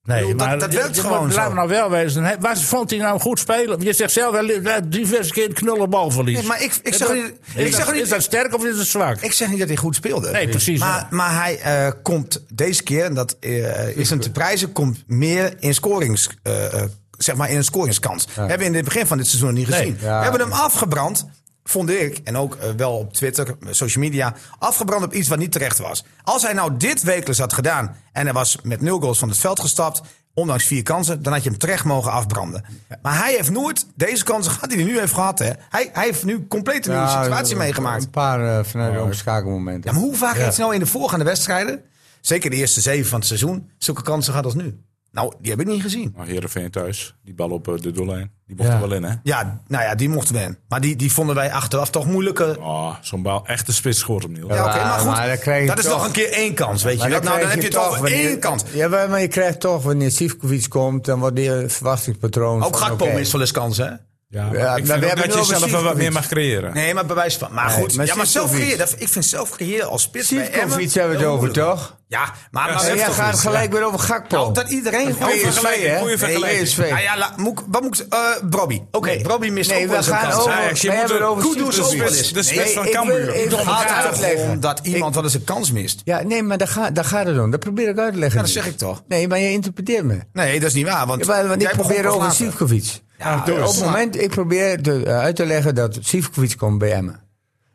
[SPEAKER 4] Nee,
[SPEAKER 2] bedoel, dat-
[SPEAKER 4] maar
[SPEAKER 2] dat werkt
[SPEAKER 4] je- je
[SPEAKER 2] gewoon
[SPEAKER 4] moet- Laat
[SPEAKER 2] zo.
[SPEAKER 4] me nou wel wezen. Hè, Waar vond hij nou goed spelen? Je zegt zelf wel eh, diverse keer knullen balverlies.
[SPEAKER 2] Nee, maar ik, ik
[SPEAKER 4] Is
[SPEAKER 2] zeg
[SPEAKER 4] dat-
[SPEAKER 2] niet...
[SPEAKER 4] is,
[SPEAKER 2] Ik
[SPEAKER 4] dat,
[SPEAKER 2] zeg
[SPEAKER 4] is
[SPEAKER 2] niet
[SPEAKER 4] dat sterk of is dat zwak?
[SPEAKER 2] ik zeg niet dat hij goed speelde.
[SPEAKER 4] Nee, precies,
[SPEAKER 2] Maar,
[SPEAKER 4] ja.
[SPEAKER 2] maar hij eh, komt deze keer, en dat eh, is hem te prijzen, komt meer in scorings, eh, eh, zeg maar in een scoringskans. Hebben we in het begin van dit seizoen niet gezien.
[SPEAKER 5] Ja.
[SPEAKER 2] We hebben hem afgebrand, vond ik, en ook eh, wel op Twitter, eh, social media, afgebrand op iets wat niet terecht was. Als hij nou dit wekelijks had gedaan en hij was met nul goals van het veld gestapt, ondanks vier kansen, dan had je hem terecht mogen afbranden. Maar hij heeft nooit deze kansen gehad die hij nu heeft gehad. Hè. Hij, hij heeft nu compleet een nieuwe
[SPEAKER 5] Ja,
[SPEAKER 2] situatie meegemaakt.
[SPEAKER 5] Een paar eh, vanuit de omschakelmomenten.
[SPEAKER 2] Ja, maar hoe vaak heeft hij nou in de voorgaande wedstrijden, zeker de eerste zeven van het seizoen, zulke kansen gehad als nu? Nou, die heb ik niet gezien.
[SPEAKER 1] Nou, Heerenveen thuis. Die bal op eh, de doellijn. Die mocht er wel in, hè?
[SPEAKER 2] Ja, nou ja, die mochten we hem. Maar die, die vonden wij achteraf toch moeilijker.
[SPEAKER 1] Oh, zo'n bal. Echte spits scoort hem niet. hoor.
[SPEAKER 2] Ja, oké,
[SPEAKER 5] maar-
[SPEAKER 2] maar goed,
[SPEAKER 5] maar dan krijg je
[SPEAKER 2] dat is
[SPEAKER 5] toch-
[SPEAKER 2] nog een keer één kans, weet je. wel. nou, dan heb je het over één kans.
[SPEAKER 6] Oh,
[SPEAKER 5] Ja, maar maar je krijgt toch, wanneer Sivkovic komt, dan wordt die eh, verwachtingspatroon...
[SPEAKER 2] Ook
[SPEAKER 5] van,
[SPEAKER 2] Gakpo
[SPEAKER 5] oké.
[SPEAKER 2] mist wel eens kansen, hè?
[SPEAKER 1] Ja, maar
[SPEAKER 2] Ja, maar
[SPEAKER 1] ik
[SPEAKER 2] we
[SPEAKER 1] vind ook dat
[SPEAKER 2] hebben nu
[SPEAKER 1] je
[SPEAKER 2] ook een
[SPEAKER 1] zelf wel wat
[SPEAKER 2] Sivkovic.
[SPEAKER 1] meer mag creëren.
[SPEAKER 2] Nee, maar bewijs van. Maar goed,
[SPEAKER 6] maar
[SPEAKER 2] ja, maar zelf
[SPEAKER 6] Sivkovic.
[SPEAKER 2] creëren. dat- Ik vind zelf creëren als spits bij
[SPEAKER 6] Sivkovic
[SPEAKER 2] Emmen
[SPEAKER 6] hebben we het
[SPEAKER 2] heel
[SPEAKER 6] over,
[SPEAKER 2] moeilijk.
[SPEAKER 6] toch?
[SPEAKER 2] Ja, maar, maar
[SPEAKER 6] Maar jij
[SPEAKER 2] Sivkovic,
[SPEAKER 6] gaat gelijk weer over Gakpo.
[SPEAKER 2] ja. Nou, Dat iedereen
[SPEAKER 1] Goeie
[SPEAKER 2] over-
[SPEAKER 1] vergelijking,
[SPEAKER 6] hè? E
[SPEAKER 1] goeie
[SPEAKER 6] Nee,
[SPEAKER 1] vergelijking.
[SPEAKER 6] PSV.
[SPEAKER 2] Nou ja, la, moet, ik- wat moet ik... eh Brobby. Oké, Brobby mist
[SPEAKER 6] nee,
[SPEAKER 2] ook
[SPEAKER 6] we
[SPEAKER 2] wel zo'n
[SPEAKER 6] gaan
[SPEAKER 2] kans.
[SPEAKER 6] over,
[SPEAKER 1] Ajax, je
[SPEAKER 6] we
[SPEAKER 1] moet
[SPEAKER 6] hebben
[SPEAKER 1] de-
[SPEAKER 6] het over
[SPEAKER 1] Kudus
[SPEAKER 6] Sivkovic.
[SPEAKER 1] op de spits- de spits van
[SPEAKER 6] ik wil
[SPEAKER 1] Cambuur.
[SPEAKER 6] even
[SPEAKER 2] Het gaat
[SPEAKER 6] uitleggen.
[SPEAKER 2] er toch om dat iemand wel eens een kans mist.
[SPEAKER 6] Ja, nee, maar daar, ga, daar gaat het om. Dat probeer ik uit te leggen.
[SPEAKER 2] Ja, dat
[SPEAKER 6] nu.
[SPEAKER 2] zeg ik toch.
[SPEAKER 6] Nee, maar je interpreteert me.
[SPEAKER 2] Nee, dat is niet waar. Want,
[SPEAKER 6] Ja, maar- want ik
[SPEAKER 2] jij begon
[SPEAKER 6] probeer
[SPEAKER 2] pas
[SPEAKER 6] over
[SPEAKER 2] later.
[SPEAKER 6] Sivkovic.
[SPEAKER 2] Ja,
[SPEAKER 6] op
[SPEAKER 2] doe eens.
[SPEAKER 6] het moment, ik probeer te, eh, uit te leggen dat Sivkovic komt bij Emmen.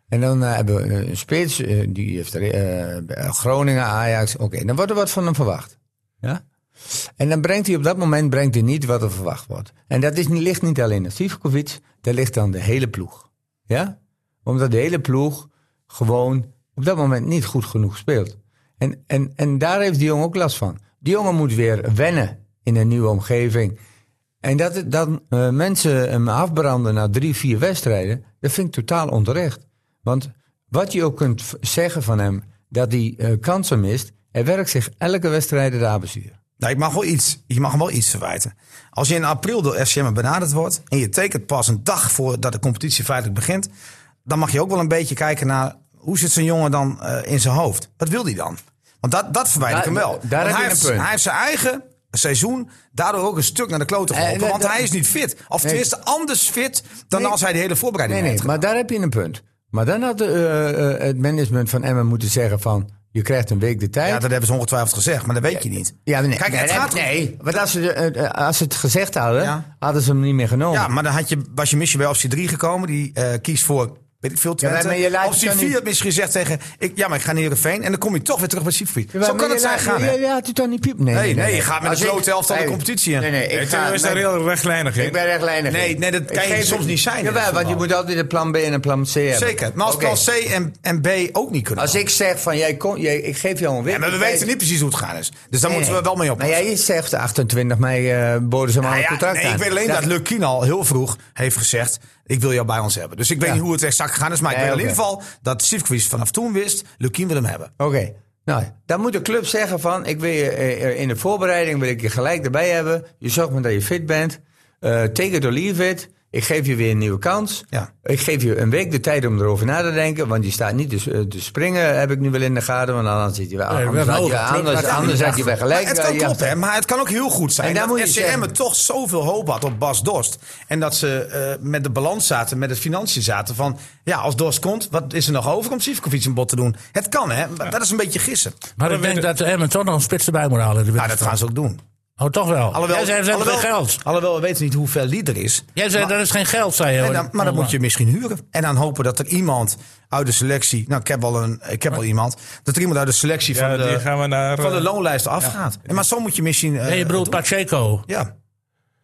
[SPEAKER 6] En dan eh, hebben we een spits, eh, die heeft er, eh, bij Groningen, Ajax. Oké, dan wordt er wat van hem verwacht. Ja? En dan brengt hij op dat moment brengt hij niet wat er verwacht wordt. En dat is, niet- ligt niet alleen aan Sivkovic, daar ligt aan de hele ploeg. Ja? Omdat de hele ploeg gewoon op dat moment niet goed genoeg speelt. En, en, en daar heeft die jongen ook last van. Die jongen moet weer wennen in een nieuwe omgeving. En dat het dan eh, mensen hem afbranden na drie, vier wedstrijden, dat vind ik totaal onterecht. Want wat je ook kunt v- zeggen van hem, dat hij eh, kansen mist, hij werkt zich elke wedstrijd het apenzuur.
[SPEAKER 2] Nou, ik mag wel iets, je mag hem wel iets verwijten. Als je in april door FCM benaderd wordt en je tekent pas een dag voordat de competitie feitelijk begint, dan mag je ook wel een beetje kijken naar hoe zit zo'n jongen dan eh, in zijn hoofd. Wat wil hij dan? Want dat, dat verwijt ik
[SPEAKER 6] Daar-
[SPEAKER 2] hem wel.
[SPEAKER 6] daar
[SPEAKER 2] Want
[SPEAKER 6] heb je
[SPEAKER 2] hij,
[SPEAKER 6] een
[SPEAKER 2] heeft,
[SPEAKER 6] punt.
[SPEAKER 2] hij heeft zijn eigen seizoen daardoor ook een stuk naar de klote
[SPEAKER 6] Eh,
[SPEAKER 2] geholpen.
[SPEAKER 6] dat-
[SPEAKER 2] want
[SPEAKER 6] dat-
[SPEAKER 2] hij is niet fit. Of
[SPEAKER 6] Nee.
[SPEAKER 2] tenminste anders fit dan
[SPEAKER 6] Nee.
[SPEAKER 2] als hij de hele voorbereiding
[SPEAKER 6] Nee, nee,
[SPEAKER 2] heeft
[SPEAKER 6] maar daar heb je een punt. Maar dan had de, eh, eh, het management van Emmen moeten zeggen van, je krijgt een week de tijd.
[SPEAKER 2] Ja, dat hebben ze ongetwijfeld gezegd, maar dat weet je niet.
[SPEAKER 6] Ja, nee.
[SPEAKER 2] Kijk,
[SPEAKER 6] nee,
[SPEAKER 2] het
[SPEAKER 6] nee,
[SPEAKER 2] gaat-
[SPEAKER 6] nee, want als ze, de- eh, eh, als ze het gezegd hadden,
[SPEAKER 2] Ja.
[SPEAKER 6] hadden ze hem niet meer genomen.
[SPEAKER 2] Ja, maar dan had je, was je misschien bij optie 3 gekomen. Die eh, kiest voor, weet ik veel, Twente.
[SPEAKER 6] maar je laat
[SPEAKER 2] optie
[SPEAKER 6] het dan
[SPEAKER 2] 4
[SPEAKER 6] niet-
[SPEAKER 2] had misschien gezegd tegen... Ik, ja, maar ik ga naar Heerenveen. En dan kom je toch weer terug bij Siegfried.
[SPEAKER 6] Ja, maar
[SPEAKER 2] Zo kan
[SPEAKER 6] je
[SPEAKER 2] het zijn
[SPEAKER 6] laat-
[SPEAKER 2] gaan,
[SPEAKER 6] Ja,
[SPEAKER 2] hè?
[SPEAKER 6] ja, het is dan niet piep. Nee,
[SPEAKER 2] Nee, nee, je gaat met
[SPEAKER 6] Als
[SPEAKER 2] een
[SPEAKER 6] ik-
[SPEAKER 2] grote helft van de
[SPEAKER 6] nee.
[SPEAKER 2] competitie in.
[SPEAKER 6] Nee, nee,
[SPEAKER 1] Nee,
[SPEAKER 6] ik
[SPEAKER 1] Theo
[SPEAKER 6] ga-
[SPEAKER 1] is daar
[SPEAKER 6] nee,
[SPEAKER 1] heel rechtlijnig in.
[SPEAKER 6] Ik ben rechtlijnig.
[SPEAKER 2] Nee,
[SPEAKER 6] in.
[SPEAKER 2] nee, dat kan
[SPEAKER 6] Ik
[SPEAKER 2] je
[SPEAKER 6] geef
[SPEAKER 2] soms
[SPEAKER 6] het.
[SPEAKER 2] niet zijn in
[SPEAKER 6] Jawel,
[SPEAKER 2] het
[SPEAKER 6] want je
[SPEAKER 2] voetbal.
[SPEAKER 6] moet altijd een plan B en een plan C hebben.
[SPEAKER 2] Zeker. Maar als
[SPEAKER 6] Oké.
[SPEAKER 2] plan C en, en B ook niet kunnen.
[SPEAKER 6] Als ik zeg van, jij kon, jij, ik geef jou een week.
[SPEAKER 2] ja, maar we
[SPEAKER 6] Jij-
[SPEAKER 2] weten niet precies hoe het gaan is. Dus daar
[SPEAKER 6] Nee,
[SPEAKER 2] moeten we
[SPEAKER 6] nee.
[SPEAKER 2] wel mee op. Nou
[SPEAKER 6] Maar jij zegt 28 mei eh boden ze maar een contract
[SPEAKER 2] nee,
[SPEAKER 6] aan.
[SPEAKER 2] ik weet alleen dat, Luc Kien al heel vroeg heeft gezegd... ik wil jou bij ons hebben. Dus ik weet
[SPEAKER 6] Ja.
[SPEAKER 2] niet hoe het exact gegaan is. Maar ik
[SPEAKER 6] Nee,
[SPEAKER 2] weet in
[SPEAKER 6] oké.
[SPEAKER 2] ieder geval dat Sivkovic vanaf toen wist... Luc Kien wil hem hebben.
[SPEAKER 6] Oké. Nou, dan moet de club zeggen van, ik wil je eh, in de voorbereiding wil ik je gelijk erbij hebben. Je zorgt maar dat je fit bent. Eh take it or leave it. Ik geef je weer een nieuwe kans.
[SPEAKER 2] Ja.
[SPEAKER 6] Ik geef je een week de tijd om erover na te denken. Want je staat niet te, s- eh, te springen, heb ik nu wel in de gaten. Want anders zit je wel.
[SPEAKER 4] we
[SPEAKER 6] Anders
[SPEAKER 4] hebben
[SPEAKER 6] had je-
[SPEAKER 4] hoge club.
[SPEAKER 6] anders-
[SPEAKER 4] Dat kan
[SPEAKER 6] anders had je bij gelijk.
[SPEAKER 2] Maar het kan
[SPEAKER 6] eh, ja.
[SPEAKER 2] kloppen, hè, maar het kan ook heel goed zijn.
[SPEAKER 6] En daar
[SPEAKER 2] dat
[SPEAKER 6] moet je
[SPEAKER 2] FCM
[SPEAKER 6] zeggen.
[SPEAKER 2] er toch zoveel hoop had op Bas Dorst. En dat ze eh, met de balans zaten, met het financiën zaten. Van ja, als Dorst komt, wat is er nog over om Sivkovic een bod te doen? Het kan, hè? Maar Dat is een beetje gissen.
[SPEAKER 4] Maar ik denk dat de Emmen toch nog een spits erbij moet halen. in de
[SPEAKER 2] Nou, dat
[SPEAKER 4] winterstop.
[SPEAKER 2] gaan ze ook doen.
[SPEAKER 4] Oh, toch wel.
[SPEAKER 2] Alhoewel,
[SPEAKER 4] Jij zei, er is
[SPEAKER 2] alhoewel,
[SPEAKER 4] geen geld.
[SPEAKER 2] alhoewel, we weten niet hoe ver die er is.
[SPEAKER 4] Jij zei, er is geen geld, zei je.
[SPEAKER 2] En dan, maar dan moet je misschien huren. En dan hopen dat er iemand uit de selectie... Nou, ik heb wel, een, ik heb wel iemand. Dat er iemand uit de selectie
[SPEAKER 1] Ja,
[SPEAKER 2] van,
[SPEAKER 1] die
[SPEAKER 2] de,
[SPEAKER 1] gaan we naar...
[SPEAKER 2] van de
[SPEAKER 1] eh,
[SPEAKER 2] loonlijst afgaat. En Maar zo moet je misschien... eh,
[SPEAKER 4] Nee, je bedoelt Pacheco.
[SPEAKER 2] Ja,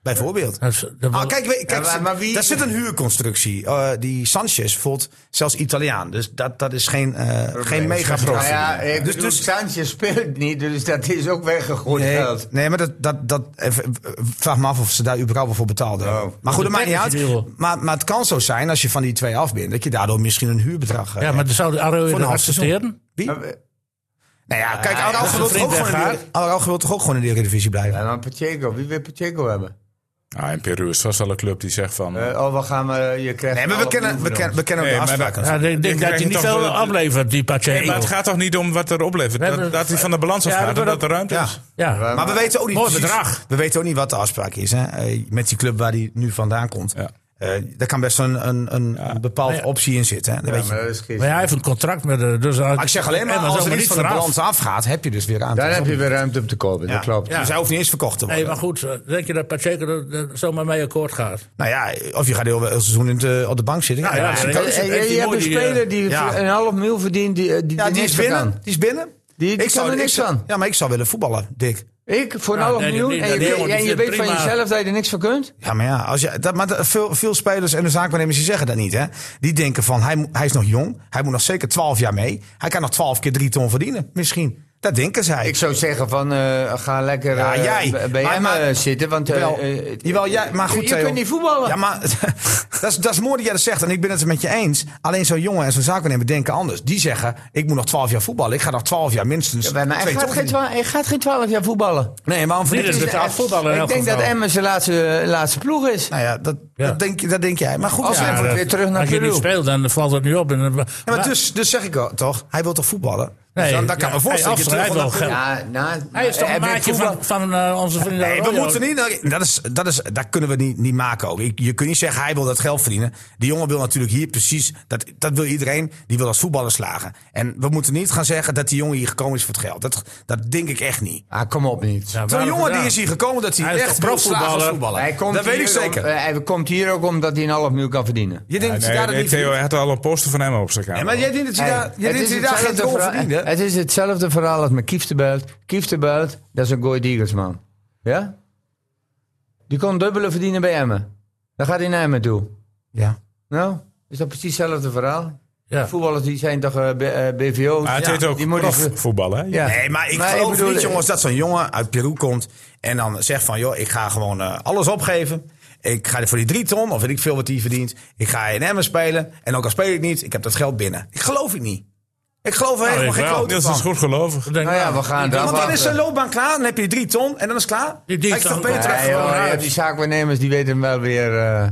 [SPEAKER 2] bijvoorbeeld.
[SPEAKER 4] Dat is- dat
[SPEAKER 2] Ah,
[SPEAKER 4] wil-
[SPEAKER 2] kijk, we- kijk
[SPEAKER 6] maar- maar wie-
[SPEAKER 2] daar zit een huurconstructie. Eh, die Sanchez voelt zelfs Italiaan. Dus dat, dat is geen, eh, geen mega
[SPEAKER 6] Nou ja,
[SPEAKER 2] probleem.
[SPEAKER 6] ik
[SPEAKER 2] dus,
[SPEAKER 6] bedoel,
[SPEAKER 2] dus,
[SPEAKER 6] Sanchez speelt niet, dus dat is ook weggegooid
[SPEAKER 2] nee,
[SPEAKER 6] geld.
[SPEAKER 2] nee, maar dat, dat, dat, even, eh, vraag me af of ze daar überhaupt wel voor betaalden.
[SPEAKER 6] Oh.
[SPEAKER 2] hebben. maar goed, dat
[SPEAKER 4] een
[SPEAKER 2] maakt niet uit.
[SPEAKER 4] technische deal.
[SPEAKER 2] Maar, maar het kan zo zijn, als je van die twee af bent, dat je daardoor misschien een huurbedrag... eh,
[SPEAKER 4] Ja, maar zou de Arroyo
[SPEAKER 2] Voor een
[SPEAKER 4] dat
[SPEAKER 2] half seizoen.
[SPEAKER 4] accepteren?
[SPEAKER 2] Wie? nou ja, kijk,
[SPEAKER 6] Ja,
[SPEAKER 2] Araujo
[SPEAKER 6] als
[SPEAKER 2] wil
[SPEAKER 4] een
[SPEAKER 2] toch ook
[SPEAKER 4] vriend
[SPEAKER 2] gewoon in de-
[SPEAKER 4] weggaat.
[SPEAKER 2] Araujo wil toch ook gewoon in de Eredivisie blijven?
[SPEAKER 6] En dan Pacheco, wie wil Pacheco hebben?
[SPEAKER 1] Ah, in Peru is vast wel een club die zegt van...
[SPEAKER 6] Eh, oh, we gaan, eh, je krijgt...
[SPEAKER 2] Nee, maar we
[SPEAKER 6] alle
[SPEAKER 2] kennen, we
[SPEAKER 6] ploegen
[SPEAKER 2] kennen, we kennen ook
[SPEAKER 1] Nee,
[SPEAKER 2] de
[SPEAKER 1] maar dat-
[SPEAKER 2] afspraken.
[SPEAKER 4] Ja,
[SPEAKER 1] krijg
[SPEAKER 4] ik denk dat
[SPEAKER 1] je
[SPEAKER 4] hij niet
[SPEAKER 1] toch
[SPEAKER 4] veel
[SPEAKER 1] wel-
[SPEAKER 4] aflevert, die
[SPEAKER 1] Nee, maar
[SPEAKER 4] Pacheco.
[SPEAKER 1] het gaat toch niet om wat er oplevert.
[SPEAKER 4] We hebben-
[SPEAKER 1] Dat, dat hij van de balans afgaat
[SPEAKER 4] Ja,
[SPEAKER 1] en
[SPEAKER 4] we
[SPEAKER 1] dat
[SPEAKER 4] hebben-
[SPEAKER 1] er ruimte is.
[SPEAKER 4] Ja,
[SPEAKER 2] Maar we weten ook niet
[SPEAKER 4] Mooi
[SPEAKER 2] precies-
[SPEAKER 4] bedrag.
[SPEAKER 2] We weten ook niet wat de afspraak is hè? eh, met die club waar die nu vandaan komt.
[SPEAKER 1] Ja.
[SPEAKER 2] Eh, daar kan best een, een, een, een bepaalde
[SPEAKER 4] Ja.
[SPEAKER 2] optie in zitten. Hè? Dat weet
[SPEAKER 6] Ja,
[SPEAKER 2] je.
[SPEAKER 6] maar
[SPEAKER 2] maar,
[SPEAKER 6] dat is gisteren.
[SPEAKER 4] Maar hij heeft een contract met de... Dus maar
[SPEAKER 2] ik zeg alleen maar, als er iets van de balans afgaat, heb je dus weer aan.
[SPEAKER 6] Daar
[SPEAKER 2] te
[SPEAKER 6] heb je
[SPEAKER 2] doen.
[SPEAKER 6] weer ruimte om te kopen,
[SPEAKER 2] Ja.
[SPEAKER 6] dat klopt.
[SPEAKER 2] Dus hij hoeft niet eens verkocht te worden.
[SPEAKER 4] Nee, maar goed, eh, denk je dat Pacheco er, er zomaar mee akkoord gaat?
[SPEAKER 2] Nou ja, of je gaat heel, heel seizoen in de, op de bank zitten.
[SPEAKER 4] Nou ja,
[SPEAKER 2] dat is een
[SPEAKER 4] dat
[SPEAKER 2] kans.
[SPEAKER 4] is-
[SPEAKER 6] Eh,
[SPEAKER 4] heeft
[SPEAKER 6] je
[SPEAKER 4] die
[SPEAKER 6] je hebt
[SPEAKER 4] mooi
[SPEAKER 6] een
[SPEAKER 4] die, eh,
[SPEAKER 6] speler die
[SPEAKER 2] ja.
[SPEAKER 6] een half mil verdient, die, eh, die,
[SPEAKER 2] ja, die
[SPEAKER 6] niks
[SPEAKER 2] is
[SPEAKER 6] meer
[SPEAKER 2] binnen.
[SPEAKER 6] kan.
[SPEAKER 2] Die is binnen.
[SPEAKER 6] Die- die kan er niks
[SPEAKER 2] ik,
[SPEAKER 6] van.
[SPEAKER 2] Ja, maar ik zou willen voetballen, Dick.
[SPEAKER 6] Ik, voor nou een
[SPEAKER 2] Nou,
[SPEAKER 4] Ja,
[SPEAKER 6] half
[SPEAKER 4] nee,
[SPEAKER 6] miljoen,
[SPEAKER 4] die-
[SPEAKER 6] en je,
[SPEAKER 4] die
[SPEAKER 6] weet-
[SPEAKER 4] jongen, die
[SPEAKER 6] en je
[SPEAKER 4] vindt
[SPEAKER 6] weet van
[SPEAKER 4] prima.
[SPEAKER 6] jezelf dat je er niks van kunt?
[SPEAKER 2] Ja, maar ja, als je, dat, maar dat- veel, veel spelers en de zaakwaarnemers die zeggen dat niet. Hè? Die denken van, hij, mo- hij is nog jong. Hij moet nog zeker 12 jaar mee. Hij kan nog 12 keer 3 ton verdienen, misschien. Dat denken zij.
[SPEAKER 5] Ik zou zeggen van, eh, ga lekker
[SPEAKER 2] Ja,
[SPEAKER 5] eh,
[SPEAKER 2] jij.
[SPEAKER 5] b- bij
[SPEAKER 2] Maar-
[SPEAKER 5] hem
[SPEAKER 2] maar-
[SPEAKER 5] eh, zitten. Want, eh,
[SPEAKER 2] Wel,
[SPEAKER 5] eh,
[SPEAKER 2] jawel, ja, maar goed,
[SPEAKER 5] je,
[SPEAKER 2] Theo.
[SPEAKER 5] kunt niet voetballen.
[SPEAKER 2] Ja, maar dat, is, dat is mooi dat jij dat zegt. En ik ben het er met je eens. Alleen zo'n jongen en zo'n zakennemer denken anders. Die zeggen, ik moet nog 12 jaar voetballen. Ik ga nog 12 jaar minstens.
[SPEAKER 5] Ja, maar hij,
[SPEAKER 2] twee
[SPEAKER 5] gaat
[SPEAKER 2] ton
[SPEAKER 5] geen
[SPEAKER 2] verdienen.
[SPEAKER 5] twa- hij gaat geen 12 jaar voetballen.
[SPEAKER 2] Nee, waarom
[SPEAKER 4] Dit
[SPEAKER 2] verdient
[SPEAKER 4] is
[SPEAKER 2] hij-
[SPEAKER 4] betaald voetballen.
[SPEAKER 5] ik denk dat Emmen zijn
[SPEAKER 6] eh,
[SPEAKER 5] laatste, laatste ploeg is.
[SPEAKER 2] Nou ja, dat,
[SPEAKER 4] Ja.
[SPEAKER 2] Dat, denk, dat denk jij. Maar goed,
[SPEAKER 5] Als
[SPEAKER 2] ja,
[SPEAKER 5] hij-
[SPEAKER 2] ja,
[SPEAKER 5] wordt weer terug naar
[SPEAKER 4] Als je niet
[SPEAKER 5] Peru.
[SPEAKER 4] speelt, dan valt het nu op. En, dan-
[SPEAKER 2] maar dus, dus zeg ik al, toch, hij wil toch voetballen?
[SPEAKER 4] Nee,
[SPEAKER 2] dus dan, dan kan
[SPEAKER 4] ja,
[SPEAKER 2] me voorstellen
[SPEAKER 4] hij
[SPEAKER 2] dat je terug
[SPEAKER 4] afschrijft
[SPEAKER 2] wil naar
[SPEAKER 4] wel geld.
[SPEAKER 5] Ja, nou,
[SPEAKER 4] Hij is toch
[SPEAKER 5] hij
[SPEAKER 4] een
[SPEAKER 5] weet
[SPEAKER 4] maatje
[SPEAKER 5] voetbal-
[SPEAKER 4] van, van eh, onze vrienden.
[SPEAKER 2] eh, Nee, we
[SPEAKER 4] Arroyo.
[SPEAKER 2] moeten niet. Dat, is, dat, is, dat kunnen we niet, niet maken ook. Je, je kunt niet zeggen, hij wil dat geld verdienen. Die jongen wil natuurlijk hier precies. Dat, dat wil iedereen. Die wil als voetballer slagen. En we moeten niet gaan zeggen dat die jongen hier gekomen is voor het geld. Dat, dat denk ik echt niet.
[SPEAKER 5] Ah, kom op niet.
[SPEAKER 4] Ja,
[SPEAKER 2] Zo'n
[SPEAKER 4] waarom
[SPEAKER 2] jongen die
[SPEAKER 4] gedaan?
[SPEAKER 2] is hier gekomen dat hij,
[SPEAKER 4] Hij is
[SPEAKER 2] echt
[SPEAKER 4] toch
[SPEAKER 2] wil slagen als
[SPEAKER 4] profvoetballer?
[SPEAKER 2] voetballer.
[SPEAKER 5] Hij komt
[SPEAKER 2] dat weet ik
[SPEAKER 5] hier Om,
[SPEAKER 2] zeker.
[SPEAKER 5] eh, hij komt hier ook omdat hij een half miljoen kan verdienen.
[SPEAKER 2] je denkt
[SPEAKER 1] Nee,
[SPEAKER 2] dat hij
[SPEAKER 1] nee,
[SPEAKER 2] dat niet
[SPEAKER 1] Theo
[SPEAKER 2] verdient.
[SPEAKER 1] had al een poster van hem op zijn kamer.
[SPEAKER 2] Nee, maar jij denkt dat hij
[SPEAKER 5] Hey,
[SPEAKER 2] daar, jij
[SPEAKER 5] het
[SPEAKER 2] denkt dat hij
[SPEAKER 5] is
[SPEAKER 2] daar geen
[SPEAKER 5] hetzelfde
[SPEAKER 2] goal
[SPEAKER 5] verhaal-
[SPEAKER 2] verdient, hè?
[SPEAKER 5] Het is hetzelfde verhaal als met Kieftebuit. Kieftebuit, dat is een Goy Eaglesman. Ja? Die kon dubbele verdienen bij Emmen. Dan gaat hij naar Emmen toe.
[SPEAKER 2] Ja.
[SPEAKER 5] Nou, is dat precies hetzelfde verhaal?
[SPEAKER 4] Ja.
[SPEAKER 5] Voetballers die zijn toch eh, B- eh, BVO's?
[SPEAKER 1] Maar het heet ook
[SPEAKER 5] die moeten
[SPEAKER 1] prof-
[SPEAKER 5] ver-
[SPEAKER 1] voetballen. hè?
[SPEAKER 5] Ja.
[SPEAKER 2] Nee, maar ik
[SPEAKER 5] Maar ik
[SPEAKER 2] geloof
[SPEAKER 5] bedoel-
[SPEAKER 2] niet, jongens, dat zo'n jongen uit Peru komt en dan zegt van, joh, ik ga gewoon eh, alles opgeven. Ik ga er voor die drie ton, of weet ik veel wat hij verdient. Ik ga in Emmen spelen. En ook al speel ik niet, ik heb dat geld binnen. Ik geloof het niet. Ik geloof
[SPEAKER 4] Nou,
[SPEAKER 2] er helemaal
[SPEAKER 1] Ik
[SPEAKER 2] geen
[SPEAKER 1] wel.
[SPEAKER 2] klote
[SPEAKER 1] Niels is dus
[SPEAKER 4] dus
[SPEAKER 2] van.
[SPEAKER 1] goed gelovig.
[SPEAKER 4] Ik denk,
[SPEAKER 5] Nou ja,
[SPEAKER 4] nou,
[SPEAKER 5] we gaan daar
[SPEAKER 2] Want dan
[SPEAKER 5] wachten.
[SPEAKER 2] is zijn loopbaan klaar, dan heb je die drie ton en dan is het klaar.
[SPEAKER 4] Die drie
[SPEAKER 2] Hij is toch
[SPEAKER 4] ton.
[SPEAKER 2] beter
[SPEAKER 5] Nee,
[SPEAKER 2] weg gewoon
[SPEAKER 5] joh,
[SPEAKER 2] uit.
[SPEAKER 5] die zaakwaarnemers die weten hem wel weer... eh,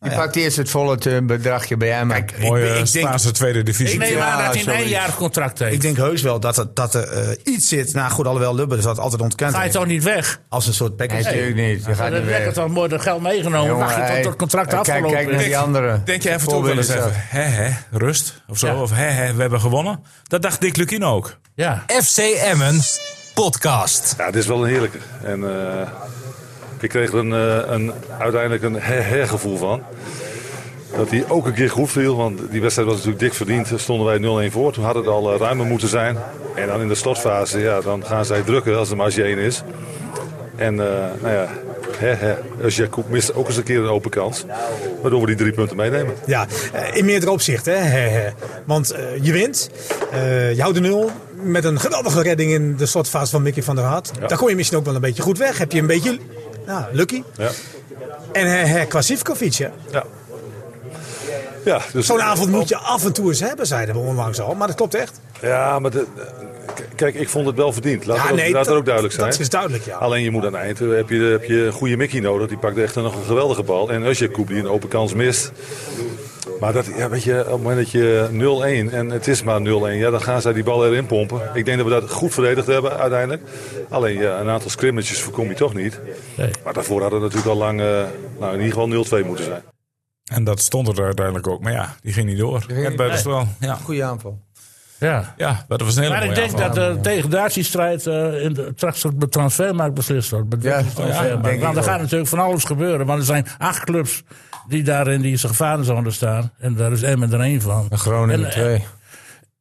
[SPEAKER 5] die pakt eerst het volle eh, bedragje bij Emmen.
[SPEAKER 2] Ik-
[SPEAKER 1] Mooie
[SPEAKER 2] ik denk-
[SPEAKER 1] Spaanse tweede divisie.
[SPEAKER 4] Ik neem
[SPEAKER 5] Ja,
[SPEAKER 4] aan dat hij een
[SPEAKER 5] ah, zoiets.
[SPEAKER 4] éénjarig contract heeft.
[SPEAKER 2] Ik denk heus wel dat er, dat er eh, iets zit. Nou goed, alhoewel Lubbe dat altijd ontkent.
[SPEAKER 4] Ga je
[SPEAKER 2] heeft.
[SPEAKER 4] toch niet weg?
[SPEAKER 2] Als een soort package.
[SPEAKER 5] Nee, natuurlijk niet. Je
[SPEAKER 4] Ja,
[SPEAKER 5] gaat
[SPEAKER 4] dan
[SPEAKER 5] niet
[SPEAKER 4] werd
[SPEAKER 5] weg.
[SPEAKER 4] het al mooi dat geld meegenomen.
[SPEAKER 5] Jongen,
[SPEAKER 4] Wacht je
[SPEAKER 5] hey,
[SPEAKER 4] tot het contract
[SPEAKER 5] kijk-
[SPEAKER 4] afgelopen
[SPEAKER 5] kijk naar
[SPEAKER 4] is.
[SPEAKER 5] die andere.
[SPEAKER 1] Denk je even toe wel
[SPEAKER 5] Voorbeelden
[SPEAKER 1] eens even,
[SPEAKER 5] zelf.
[SPEAKER 1] hè, hè, rust of zo.
[SPEAKER 4] Ja.
[SPEAKER 1] Of hè, hè, we hebben gewonnen. Dat dacht Dick Lukien ook.
[SPEAKER 4] Ja.
[SPEAKER 3] FC Emmen podcast.
[SPEAKER 9] Ja, dit is wel een heerlijke. En eh, ik kreeg er een, eh, een, uiteindelijk een hergevoel van. Dat hij ook een keer goed viel, want die wedstrijd was natuurlijk dik verdiend. Stonden wij 0-1 voor, toen had het al eh, ruimer moeten zijn. En dan in de slotfase, ja, dan gaan zij drukken als er marge 1 is. En eh nou ja, hè, hè, als Jacob mist ook eens een keer een open kans. Waardoor we die drie punten meenemen.
[SPEAKER 8] Ja, eh, in meerdere opzichten. Hè. hè, hè. Want eh, je wint, eh, je houdt de nul. Met een geweldige redding in de slotfase van Mickey van der Haat. Daar kom je misschien ook wel een beetje goed weg. Heb je een beetje ja, lucky.
[SPEAKER 9] Ja.
[SPEAKER 8] En hè, hè, qua Sivkovic, hè.
[SPEAKER 9] Ja. Ja, dus
[SPEAKER 8] Zo'n avond moet je af en toe eens hebben, zeiden we onlangs al. Maar dat klopt echt.
[SPEAKER 9] Ja, maar de- k- kijk, ik vond het wel verdiend. Laat,
[SPEAKER 8] Ja,
[SPEAKER 9] dat,
[SPEAKER 8] nee,
[SPEAKER 9] laat dat,
[SPEAKER 8] dat-
[SPEAKER 9] ook duidelijk zijn.
[SPEAKER 8] dat is duidelijk, ja.
[SPEAKER 9] Alleen je moet aan het eind, eh, heb je, heb je een goede Mickey nodig. Die pakt echt nog een geweldige bal. En als je Koep die een open kans mist. Maar dat, ja, weet je, op het moment dat je 0-1 en het is maar 0-1, ja, dan gaan zij die bal erin pompen. Ik denk dat we dat goed verdedigd hebben uiteindelijk. Alleen ja, een aantal scrimmages voorkom je toch niet. Maar daarvoor hadden we natuurlijk al lang eh, nou, in ieder geval 0-2 moeten zijn.
[SPEAKER 1] En dat stond er uiteindelijk ook. Maar ja, die ging niet door. Net bij de spel. Ja.
[SPEAKER 5] Goeie aanval.
[SPEAKER 4] ja.
[SPEAKER 1] ja, dat was een hele
[SPEAKER 4] Maar ik
[SPEAKER 1] mooie
[SPEAKER 4] denk
[SPEAKER 1] aanval.
[SPEAKER 4] dat de tegendatiestrijd eh in de, straks op de transfermarkt beslist wordt. Met
[SPEAKER 5] Ja,
[SPEAKER 4] de
[SPEAKER 5] ja,
[SPEAKER 4] transfermarkt.
[SPEAKER 5] denk ik
[SPEAKER 4] want er
[SPEAKER 5] ook.
[SPEAKER 4] gaat natuurlijk van alles gebeuren. Want er zijn acht clubs die daar in die gevarenzone staan. En daar is Emmen er één van.
[SPEAKER 5] Groningen
[SPEAKER 4] En, eh,
[SPEAKER 5] 2.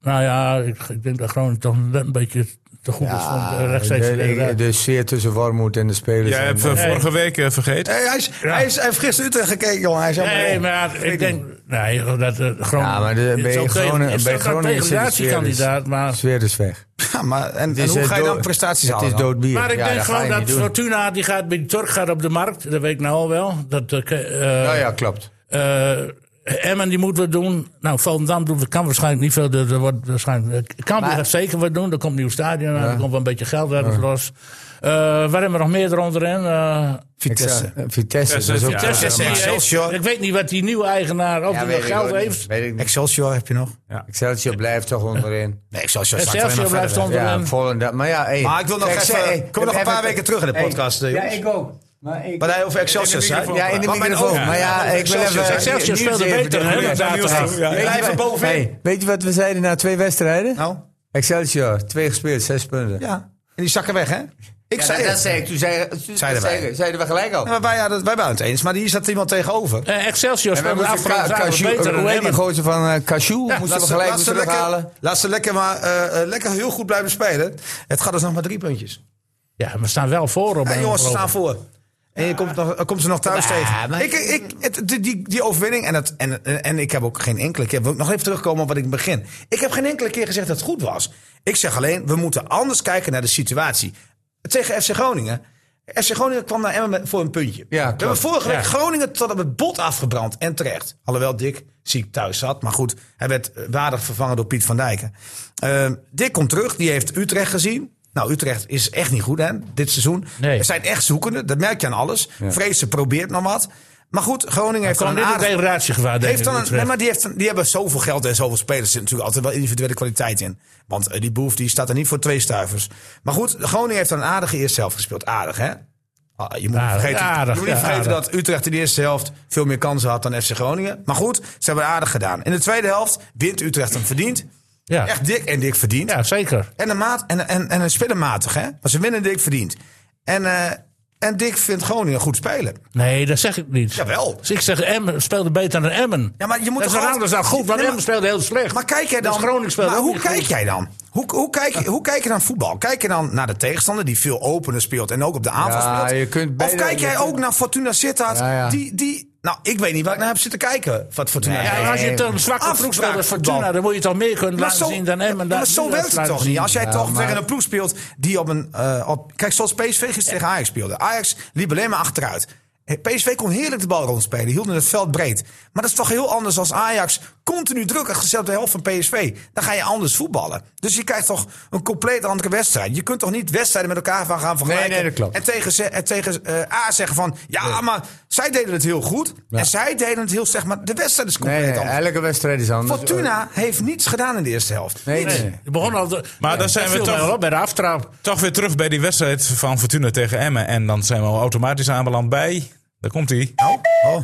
[SPEAKER 4] Nou ja, ik, ik denk dat Groningen toch net een beetje te goed is van de rechtstreeks.
[SPEAKER 5] de, de sfeer tussen Wormoed en de spelers.
[SPEAKER 1] Jij
[SPEAKER 5] en-
[SPEAKER 1] hebt eh,
[SPEAKER 5] eh,
[SPEAKER 1] vorige week eh, vergeten.
[SPEAKER 2] Hey, hij, is, hij, is, hij heeft gisteren Utrecht gekeken, jongen. Hij is helemaal
[SPEAKER 4] Nee,
[SPEAKER 2] rond.
[SPEAKER 4] maar ik denk. Nee, dat eh, Groningen.
[SPEAKER 5] Ja, maar de- bij Groningen- bij Groningen is het een
[SPEAKER 4] kandidaat, maar.
[SPEAKER 5] sfeer is weg.
[SPEAKER 2] Ja, maar, en,
[SPEAKER 5] Het
[SPEAKER 2] en
[SPEAKER 5] is,
[SPEAKER 2] hoe
[SPEAKER 5] eh,
[SPEAKER 2] ga je dan
[SPEAKER 5] dood-
[SPEAKER 2] prestaties
[SPEAKER 5] Het
[SPEAKER 2] halen?
[SPEAKER 5] is
[SPEAKER 2] dan?
[SPEAKER 5] dood bier.
[SPEAKER 4] Maar ik
[SPEAKER 5] Ja,
[SPEAKER 4] denk
[SPEAKER 5] ga je
[SPEAKER 4] gewoon dat
[SPEAKER 5] niet doen.
[SPEAKER 4] Fortuna die gaat bij Turk gaat op de markt. Dat weet ik nou al wel. Dat, eh, eh,
[SPEAKER 5] Oh, Ja, ja, klopt.
[SPEAKER 4] eh, Emmen die moet wat doen. Nou, Volendam doet, kan waarschijnlijk niet veel. dus Er er wordt waarschijnlijk, kan
[SPEAKER 5] Maar-
[SPEAKER 4] gaat zeker wat doen. Er komt een nieuw stadion aan. Er komt wel een beetje geld ergens los. Eh, waar hebben we nog meer eronder in? Eh,
[SPEAKER 5] Vitesse. Ik zou- eh, Vitesse. dat is ook-
[SPEAKER 1] Ja,
[SPEAKER 4] Vitesse,
[SPEAKER 1] dat is
[SPEAKER 4] die heeft-
[SPEAKER 2] Excelsior.
[SPEAKER 4] ik weet niet wat die nieuwe eigenaar, of
[SPEAKER 5] Ja,
[SPEAKER 4] die
[SPEAKER 5] weet
[SPEAKER 4] nog
[SPEAKER 5] ik
[SPEAKER 4] geld
[SPEAKER 5] ook niet.
[SPEAKER 4] heeft.
[SPEAKER 5] Weet ik niet.
[SPEAKER 2] Excelsior heb je nog?
[SPEAKER 5] Excelsior blijft toch onderin.
[SPEAKER 2] Nee, Excelsior staat alleen maar
[SPEAKER 4] Excelsior
[SPEAKER 2] verder
[SPEAKER 4] blijft
[SPEAKER 2] weg.
[SPEAKER 4] onderin.
[SPEAKER 5] Ja, Volendam. Maar ja, hey,
[SPEAKER 2] Maar ik wil nog
[SPEAKER 5] kijk,
[SPEAKER 2] even-
[SPEAKER 5] hey,
[SPEAKER 2] kom nog een
[SPEAKER 5] even-
[SPEAKER 2] paar weken terug in de
[SPEAKER 5] hey,
[SPEAKER 2] podcast, eh,
[SPEAKER 5] Ja,
[SPEAKER 2] jongens.
[SPEAKER 5] ik ook. Maar ik,
[SPEAKER 2] Maar hij over Excelsior
[SPEAKER 1] In de
[SPEAKER 2] zei.
[SPEAKER 1] microfoon.
[SPEAKER 5] ja, in de
[SPEAKER 2] Maar mijn
[SPEAKER 5] microfoon.
[SPEAKER 2] oog-
[SPEAKER 5] Maar ja, ik wil even...
[SPEAKER 4] Excelsior
[SPEAKER 5] Niels
[SPEAKER 4] speelde
[SPEAKER 5] even
[SPEAKER 4] beter,
[SPEAKER 5] de
[SPEAKER 4] hè,
[SPEAKER 5] handen
[SPEAKER 4] met
[SPEAKER 5] laten
[SPEAKER 1] Niels
[SPEAKER 5] gaan.
[SPEAKER 1] toe, ja.
[SPEAKER 5] Weet je
[SPEAKER 2] Blijven
[SPEAKER 5] wat-
[SPEAKER 2] bovenin.
[SPEAKER 5] hey, Weet je wat we zeiden na twee wedstrijden?
[SPEAKER 2] Nou,
[SPEAKER 5] Excelsior, twee gespeeld, zes punten.
[SPEAKER 2] ja. En die zakken weg, hè? Ik
[SPEAKER 5] Ja,
[SPEAKER 2] zei
[SPEAKER 5] dat, dat
[SPEAKER 2] het.
[SPEAKER 5] zei ik. Toen zei, toen,
[SPEAKER 2] Zeiden
[SPEAKER 5] zeiden,
[SPEAKER 2] wij.
[SPEAKER 5] zeiden, zeiden we gelijk al.
[SPEAKER 2] Ja, maar wij, ja, dat- wij waren het eens, maar hier zat iemand tegenover.
[SPEAKER 4] Eh, Excelsior speelde afgelopen zaterdag beter dan
[SPEAKER 5] Hoe heet die
[SPEAKER 4] Emmen.
[SPEAKER 5] gozer van eh Cashew? Moesten we gelijk moeten
[SPEAKER 2] lekker,
[SPEAKER 5] terughalen?
[SPEAKER 2] laat ze lekker, maar, eh, eh, lekker heel goed blijven spelen. Het gaat dus nog maar drie puntjes.
[SPEAKER 4] Ja, we staan wel voor
[SPEAKER 2] En
[SPEAKER 4] op Emmen,
[SPEAKER 2] jongens, ze
[SPEAKER 4] geloof
[SPEAKER 2] staan
[SPEAKER 4] ik.
[SPEAKER 2] voor. En je komt, nog, komt ze nog thuis
[SPEAKER 5] Ja,
[SPEAKER 2] tegen.
[SPEAKER 5] maar-
[SPEAKER 2] Ik, ik, het- die, die, die overwinning en, het, en, en, en ik heb ook geen enkele keer... wil ik nog even terugkomen op wat ik in het begin. Ik heb geen enkele keer gezegd dat het goed was. Ik zeg alleen, we moeten anders kijken naar de situatie. Tegen FC Groningen. FC Groningen kwam naar Emmen met- voor een puntje.
[SPEAKER 5] Ja,
[SPEAKER 2] we hebben
[SPEAKER 5] klopt.
[SPEAKER 2] vorige week Groningen tot op het bot afgebrand. En terecht. Alhoewel Dick ziek thuis zat. Maar goed, hij werd eh, waardig vervangen door Piet van Dijken. Ehm, Dick komt terug. Die heeft Utrecht gezien. Nou, Utrecht is echt niet goed hè, dit seizoen.
[SPEAKER 4] Nee.
[SPEAKER 2] Ze zijn echt zoekende. Dat merk je aan alles. Vreese probeert nog wat. Maar goed, Groningen heeft
[SPEAKER 4] Kan
[SPEAKER 2] dan
[SPEAKER 4] dit
[SPEAKER 2] een
[SPEAKER 4] een
[SPEAKER 2] aardig...
[SPEAKER 4] degradatiegevaar denk
[SPEAKER 2] Heeft
[SPEAKER 4] ik,
[SPEAKER 2] dan een,
[SPEAKER 4] Utrecht?
[SPEAKER 2] nee, maar die, heeft, die hebben zoveel geld en zoveel spelers. Er zit natuurlijk altijd wel individuele kwaliteit in. Want eh, die Boef die staat er niet voor twee stuivers. Maar goed, Groningen heeft dan een aardige eerste helft gespeeld. Aardig, hè? Ah, Je moet niet
[SPEAKER 4] Aardig,
[SPEAKER 2] vergeten,
[SPEAKER 4] aardig,
[SPEAKER 2] je moet niet
[SPEAKER 4] ja,
[SPEAKER 2] vergeten
[SPEAKER 4] aardig.
[SPEAKER 2] dat Utrecht in de eerste helft veel meer kansen had dan FC Groningen. Maar goed, ze hebben het aardig gedaan. In de tweede helft wint Utrecht hem verdiend.
[SPEAKER 4] Ja.
[SPEAKER 2] Echt dik en dik verdiend.
[SPEAKER 4] ja, zeker.
[SPEAKER 2] En een, maat, en, en, en een speler matig, hè? Maar ze winnen dik verdiend. En, eh, en Dick vindt Groningen goed spelen.
[SPEAKER 4] Nee, dat zeg ik niet.
[SPEAKER 2] Jawel.
[SPEAKER 4] Dus ik zeg, Emmen speelde beter dan Emmen.
[SPEAKER 2] Ja, maar je moet
[SPEAKER 4] dat is
[SPEAKER 2] toch
[SPEAKER 4] wel
[SPEAKER 2] altijd-
[SPEAKER 4] anders dan goed, want
[SPEAKER 2] Nee, maar-
[SPEAKER 4] Emmen speelde heel slecht.
[SPEAKER 2] Maar kijk jij
[SPEAKER 4] Dus
[SPEAKER 2] dan.
[SPEAKER 4] Groningen speelde
[SPEAKER 2] maar
[SPEAKER 4] ook
[SPEAKER 2] hoe
[SPEAKER 4] niet
[SPEAKER 2] kijk
[SPEAKER 4] goed.
[SPEAKER 2] jij dan? Hoe, hoe, kijk, hoe kijk je dan voetbal? Kijk je dan naar de tegenstander die veel opener speelt en ook op de aanval
[SPEAKER 5] Ja,
[SPEAKER 2] speelt?
[SPEAKER 5] je kunt
[SPEAKER 2] of
[SPEAKER 5] beide-
[SPEAKER 2] kijk jij
[SPEAKER 5] je
[SPEAKER 2] ook
[SPEAKER 5] kunt-
[SPEAKER 2] naar Fortuna Sittard?
[SPEAKER 5] Ja, ja.
[SPEAKER 2] Die, die, nou, ik weet niet waar ik naar heb zitten kijken. Wat Fortuna
[SPEAKER 4] Ja,
[SPEAKER 2] Sittard.
[SPEAKER 4] als je dan een zwakke ploeg speelt als
[SPEAKER 2] Afspraakvoetbal.
[SPEAKER 4] Fortuna, dan moet je toch meer kunnen
[SPEAKER 2] Maar
[SPEAKER 4] laten
[SPEAKER 2] zo-
[SPEAKER 4] zien dan Emmen.
[SPEAKER 2] Ja,
[SPEAKER 4] dat-
[SPEAKER 2] maar zo
[SPEAKER 4] dat
[SPEAKER 2] werkt het
[SPEAKER 4] laten
[SPEAKER 2] toch
[SPEAKER 4] zien.
[SPEAKER 2] niet? Als jij
[SPEAKER 5] Ja,
[SPEAKER 2] toch
[SPEAKER 5] maar-
[SPEAKER 2] tegen een ploeg speelt die op een... eh, op, kijk, zoals PSV gisteren tegen Ajax speelde. Ajax liep alleen maar achteruit. Eh, PSV kon heerlijk de bal rondspelen. Hielden het veld breed. Maar dat is toch heel anders als Ajax continu druk heeft gezet op de helft van PSV. Dan ga je anders voetballen. Dus je krijgt toch een compleet andere wedstrijd. Je kunt toch niet wedstrijden met elkaar van gaan vergelijken.
[SPEAKER 5] nee, dat klopt.
[SPEAKER 2] En tegen, ze- en tegen eh, A zeggen van... Ja, maar zij deden het heel goed. En zij deden het heel slecht. Maar de wedstrijd is compleet
[SPEAKER 5] Nee, nee,
[SPEAKER 2] anders.
[SPEAKER 5] elke wedstrijd is anders.
[SPEAKER 2] Fortuna heeft niets gedaan in de eerste helft.
[SPEAKER 5] Nee, nee.
[SPEAKER 4] eh, Nee, het begon al de-
[SPEAKER 1] Maar daar zijn
[SPEAKER 4] dat
[SPEAKER 1] we
[SPEAKER 4] viel mij
[SPEAKER 1] toch-
[SPEAKER 4] wel op bij de aftrap.
[SPEAKER 1] Toch weer terug bij die wedstrijd van Fortuna tegen Emmen. En dan zijn we al automatisch aanbeland bij... Daar komt hij.
[SPEAKER 2] Oh.
[SPEAKER 4] Eh,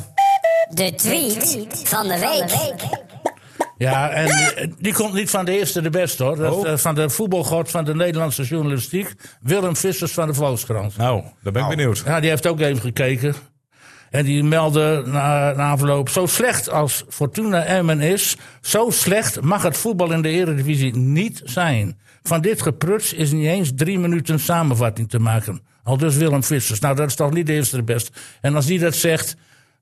[SPEAKER 6] De tweet van de week.
[SPEAKER 4] Ja, en die, die komt niet van de eerste de beste hoor. Dat is, eh, van de voetbalgod van de Nederlandse journalistiek, Willem Vissers van de Volkskrant.
[SPEAKER 1] Nou, daar ben ik benieuwd.
[SPEAKER 4] Ja, die heeft ook even gekeken. En die meldde na, na afloop... Zo slecht als Fortuna Emmen is... zo slecht mag het voetbal in de eredivisie niet zijn. Van dit gepruts is niet eens drie minuten samenvatting te maken. Al dus Willem Vissers. Nou, dat is toch niet de eerste de beste. En als die dat zegt...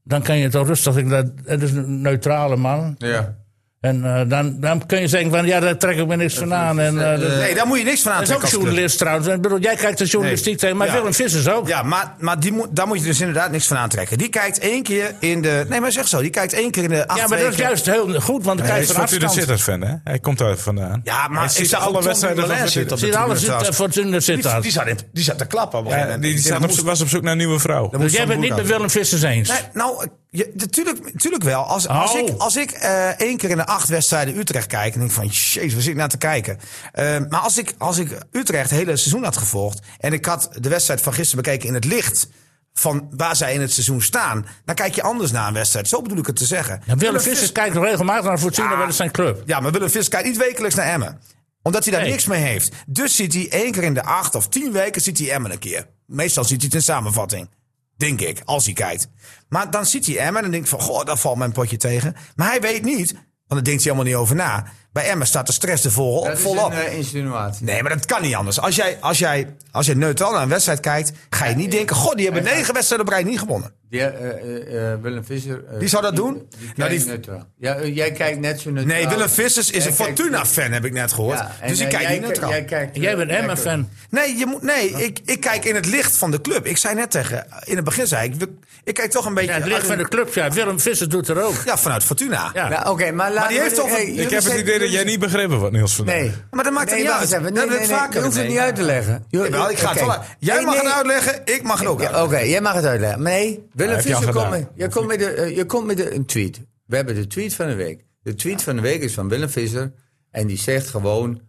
[SPEAKER 4] dan kan je toch rustig... zeggen, dat- Het is een neutrale man.
[SPEAKER 5] Ja.
[SPEAKER 4] En eh, dan, dan kun je zeggen van... ja, daar trek ik me niks van aan. En, eh, dat-
[SPEAKER 2] Nee, daar moet je niks van
[SPEAKER 4] dat is
[SPEAKER 2] aantrekken.
[SPEAKER 4] ook
[SPEAKER 2] als club.
[SPEAKER 4] journalist trouwens. Ik bedoel, jij kijkt de journalistiek
[SPEAKER 2] Nee.
[SPEAKER 4] tegen... maar
[SPEAKER 2] Ja.
[SPEAKER 4] Willem Vissers ook.
[SPEAKER 2] Ja, maar, maar die moet, daar moet je dus inderdaad niks van aantrekken. Die kijkt één keer in de... Nee, maar zeg zo. Die kijkt één keer in de acht
[SPEAKER 4] Ja, maar dat is
[SPEAKER 2] weken.
[SPEAKER 4] juist heel goed, want
[SPEAKER 1] Hij
[SPEAKER 4] dan krijg
[SPEAKER 1] is
[SPEAKER 4] je van
[SPEAKER 1] Fortuna
[SPEAKER 4] afstand.
[SPEAKER 1] Sittard fan, hè? Hij komt daar vandaan.
[SPEAKER 2] Ja, maar
[SPEAKER 1] Hij
[SPEAKER 2] ik
[SPEAKER 1] ziet
[SPEAKER 2] zag ook
[SPEAKER 1] alle
[SPEAKER 2] Tom
[SPEAKER 1] wedstrijden van
[SPEAKER 2] Dumoulin
[SPEAKER 1] Fortuna.
[SPEAKER 2] zitten op de
[SPEAKER 4] Zie je
[SPEAKER 2] tribune
[SPEAKER 4] alles zit,
[SPEAKER 2] trouwens.
[SPEAKER 4] Fortuna zit
[SPEAKER 2] Die,
[SPEAKER 4] aan.
[SPEAKER 2] die, zat in- die zat te klappen. op een
[SPEAKER 1] Ja,
[SPEAKER 2] gegeven
[SPEAKER 1] Eh, die die
[SPEAKER 2] moment.
[SPEAKER 1] staat op, was op zoek naar een nieuwe vrouw.
[SPEAKER 4] Dus jij bent
[SPEAKER 2] Van
[SPEAKER 4] niet met Willem Vissers eens.
[SPEAKER 2] Nee, nou, je, natuurlijk, natuurlijk wel. Als, als
[SPEAKER 4] Oh.
[SPEAKER 2] ik, als ik eh, één keer in de acht wedstrijden Utrecht kijk... en denk ik van, jezus, waar zit ik naar te kijken? Eh, maar als ik, als ik Utrecht het hele seizoen had gevolgd... en ik had de wedstrijd van gisteren bekeken in het licht... van waar zij in het seizoen staan... dan kijk je anders naar een wedstrijd. Zo bedoel ik het te zeggen.
[SPEAKER 4] Ja, Willem
[SPEAKER 2] Willem
[SPEAKER 4] Vissers
[SPEAKER 2] Vissers-
[SPEAKER 4] kijkt regelmatig naar Fortuna
[SPEAKER 2] Ja.
[SPEAKER 4] bij zijn club.
[SPEAKER 2] Ja, maar Willem Vissers kijkt niet wekelijks naar Emmen. Omdat hij daar
[SPEAKER 4] Nee.
[SPEAKER 2] niks mee heeft. Dus ziet hij één keer in de acht of tien weken ziet hij Emmen een keer. Meestal ziet hij het in samenvatting. Denk ik, als hij kijkt. Maar dan ziet hij Emmen en denkt van... Goh, daar valt mijn potje tegen. Maar hij weet niet, want daar denkt hij helemaal niet over na. Bij Emmen staat de stress er vol,
[SPEAKER 5] Dat is
[SPEAKER 2] volop.
[SPEAKER 5] een eh, insinuatie.
[SPEAKER 2] Nee, maar dat kan niet anders. Als jij, als jij, als jij neutraal naar een wedstrijd kijkt... ga je niet denken... Goh, die hebben negen wedstrijden op rij niet gewonnen.
[SPEAKER 5] Die, eh, eh, eh, Willem Visser. eh,
[SPEAKER 2] Wie zou dat doen?
[SPEAKER 5] Die, die
[SPEAKER 2] Nou,
[SPEAKER 5] kijkt
[SPEAKER 2] die-
[SPEAKER 5] neutraal. Ja, eh, jij kijkt net zo neutraal.
[SPEAKER 2] Nee, Willem Vissers is
[SPEAKER 5] Jij
[SPEAKER 2] een
[SPEAKER 5] kijkt-
[SPEAKER 2] Fortuna-fan, heb ik net gehoord.
[SPEAKER 5] Ja, en,
[SPEAKER 2] dus die
[SPEAKER 5] eh,
[SPEAKER 2] kijkt
[SPEAKER 5] jij
[SPEAKER 2] niet neutraal.
[SPEAKER 5] Jij, kijkt,
[SPEAKER 4] Jij bent
[SPEAKER 5] jij kijkt-
[SPEAKER 4] Emma-fan.
[SPEAKER 2] Nee, je moet, nee ik, ik kijk in het licht van de club. Ik zei net tegen, in het begin zei ik, we- ik kijk toch een beetje...
[SPEAKER 4] Ja, het ligt van de club, ja. Willem Vissers doet er ook.
[SPEAKER 2] Ja, vanuit Fortuna.
[SPEAKER 4] Ja.
[SPEAKER 5] Nou, Oké, maar laat
[SPEAKER 2] Maar die heeft toch een- ik
[SPEAKER 1] Ik heb het idee dat jij niet begrepen wat Niels vandaag.
[SPEAKER 5] Nee.
[SPEAKER 2] Maar dat maakt
[SPEAKER 5] nee,
[SPEAKER 2] er niet
[SPEAKER 5] wacht
[SPEAKER 2] uit.
[SPEAKER 5] eens
[SPEAKER 2] Dat
[SPEAKER 5] even.
[SPEAKER 2] heb
[SPEAKER 5] Nee, nee,
[SPEAKER 2] ik
[SPEAKER 5] nee,
[SPEAKER 2] vaker.
[SPEAKER 5] Je hoeft het
[SPEAKER 2] Nee.
[SPEAKER 5] niet uit te leggen. Je-
[SPEAKER 2] Jawel, ik ga het
[SPEAKER 5] oké.
[SPEAKER 2] wel- Jij
[SPEAKER 5] Nee,
[SPEAKER 2] mag
[SPEAKER 5] nee.
[SPEAKER 2] het uitleggen, ik mag het ook
[SPEAKER 5] Ja, Oké,
[SPEAKER 2] uitleggen.
[SPEAKER 5] jij mag het uitleggen. Maar nee, Willem
[SPEAKER 1] heb je al
[SPEAKER 5] Visser, komt
[SPEAKER 1] gedaan.
[SPEAKER 5] met, je komt met, de, eh, je komt met de, een tweet. We hebben de tweet van de week. De tweet van de week is van Willem Visser. En die zegt gewoon,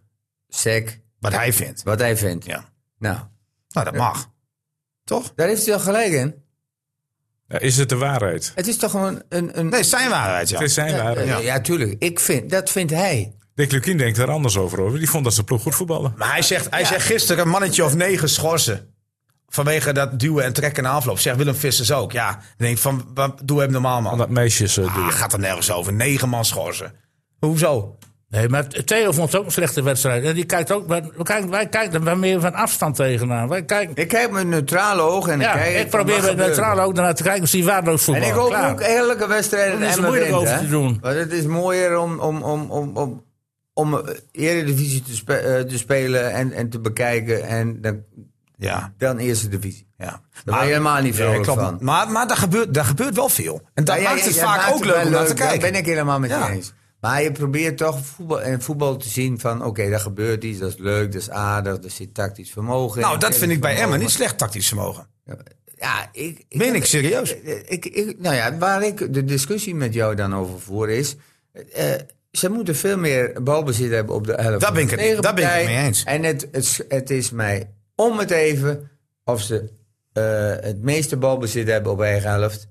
[SPEAKER 5] sec,
[SPEAKER 2] Wat hij vindt.
[SPEAKER 5] wat hij vindt.
[SPEAKER 2] Ja.
[SPEAKER 5] Nou,
[SPEAKER 2] Nou, dat mag. Toch?
[SPEAKER 5] daar heeft hij al gelijk in.
[SPEAKER 1] Ja, Eh, Is het de waarheid?
[SPEAKER 5] Het is toch gewoon een... een
[SPEAKER 2] Nee, zijn waarheid, ja.
[SPEAKER 1] Het is zijn
[SPEAKER 5] ja,
[SPEAKER 1] waarheid.
[SPEAKER 5] ja. tuurlijk. Ik vind, dat vindt hij.
[SPEAKER 1] Dick Lukien denkt daar anders over over. Die vond dat ze ploeg goed voetballen.
[SPEAKER 2] Maar hij zegt, hij zegt gisteren een mannetje of negen schorsen. Vanwege dat duwen en trekken na afloop. Zegt Willem Vissers ook. Ja, dan denk ik van, wat, doe hem normaal, man.
[SPEAKER 1] Van dat meisjes eh,
[SPEAKER 2] Ah,
[SPEAKER 1] doen.
[SPEAKER 2] gaat er nergens over. Negen man schorsen. Hoezo?
[SPEAKER 4] Nee, maar Theo vond het ook een slechte wedstrijd. En die kijkt ook, maar we kijken, wij kijken er meer van afstand tegenaan. Wij kijken,
[SPEAKER 5] Ik kijk met een neutrale oog en
[SPEAKER 4] ja,
[SPEAKER 5] ik kijk...
[SPEAKER 4] ik probeer
[SPEAKER 5] het
[SPEAKER 4] met neutraal ook naar te kijken. Ik zie waardeloos
[SPEAKER 5] En
[SPEAKER 4] voetbal.
[SPEAKER 5] ik hoop
[SPEAKER 4] Klaar.
[SPEAKER 5] ook elke wedstrijd
[SPEAKER 4] Om er zo
[SPEAKER 5] Emmen
[SPEAKER 4] moeilijk
[SPEAKER 5] wint,
[SPEAKER 4] over
[SPEAKER 5] hè.
[SPEAKER 4] te doen.
[SPEAKER 5] Want het is mooier om, om, om, om, om om eh, Eredivisie te, spe- eh, te spelen en, en te bekijken en dan,
[SPEAKER 2] Ja.
[SPEAKER 5] dan Eerste Divisie.
[SPEAKER 2] Ah, Ja.
[SPEAKER 5] ben je helemaal niet vrolijk van.
[SPEAKER 2] Maar, maar daar, gebeurt, daar gebeurt wel veel. En dat
[SPEAKER 5] Maar jij-
[SPEAKER 2] maakt het
[SPEAKER 5] jij
[SPEAKER 2] vaak
[SPEAKER 5] maakt
[SPEAKER 2] ook
[SPEAKER 5] wel
[SPEAKER 2] leuk om naar te
[SPEAKER 5] daar
[SPEAKER 2] kijken.
[SPEAKER 5] ben ik helemaal met
[SPEAKER 2] Ja.
[SPEAKER 5] je eens. Maar je probeert toch voetbal, en voetbal te zien van... oké, daar gebeurt iets, dat is leuk, dat is aardig, er zit tactisch vermogen in,
[SPEAKER 2] nou, dat vind ik bij Emma
[SPEAKER 5] vermogen.
[SPEAKER 2] niet slecht tactisch vermogen.
[SPEAKER 5] Ja, ik... ik
[SPEAKER 2] Meen ik serieus.
[SPEAKER 5] Ik, ik, nou ja, waar ik de discussie met jou dan over voer is... eh, ze moeten veel meer balbezit hebben op de helft.
[SPEAKER 2] Daar ben ik
[SPEAKER 5] van de
[SPEAKER 2] het- daar ben ik het
[SPEAKER 5] tegenpartij.
[SPEAKER 2] mee eens.
[SPEAKER 5] En het, het, het is mij om het even of ze eh, het meeste balbezit hebben op eigen helft.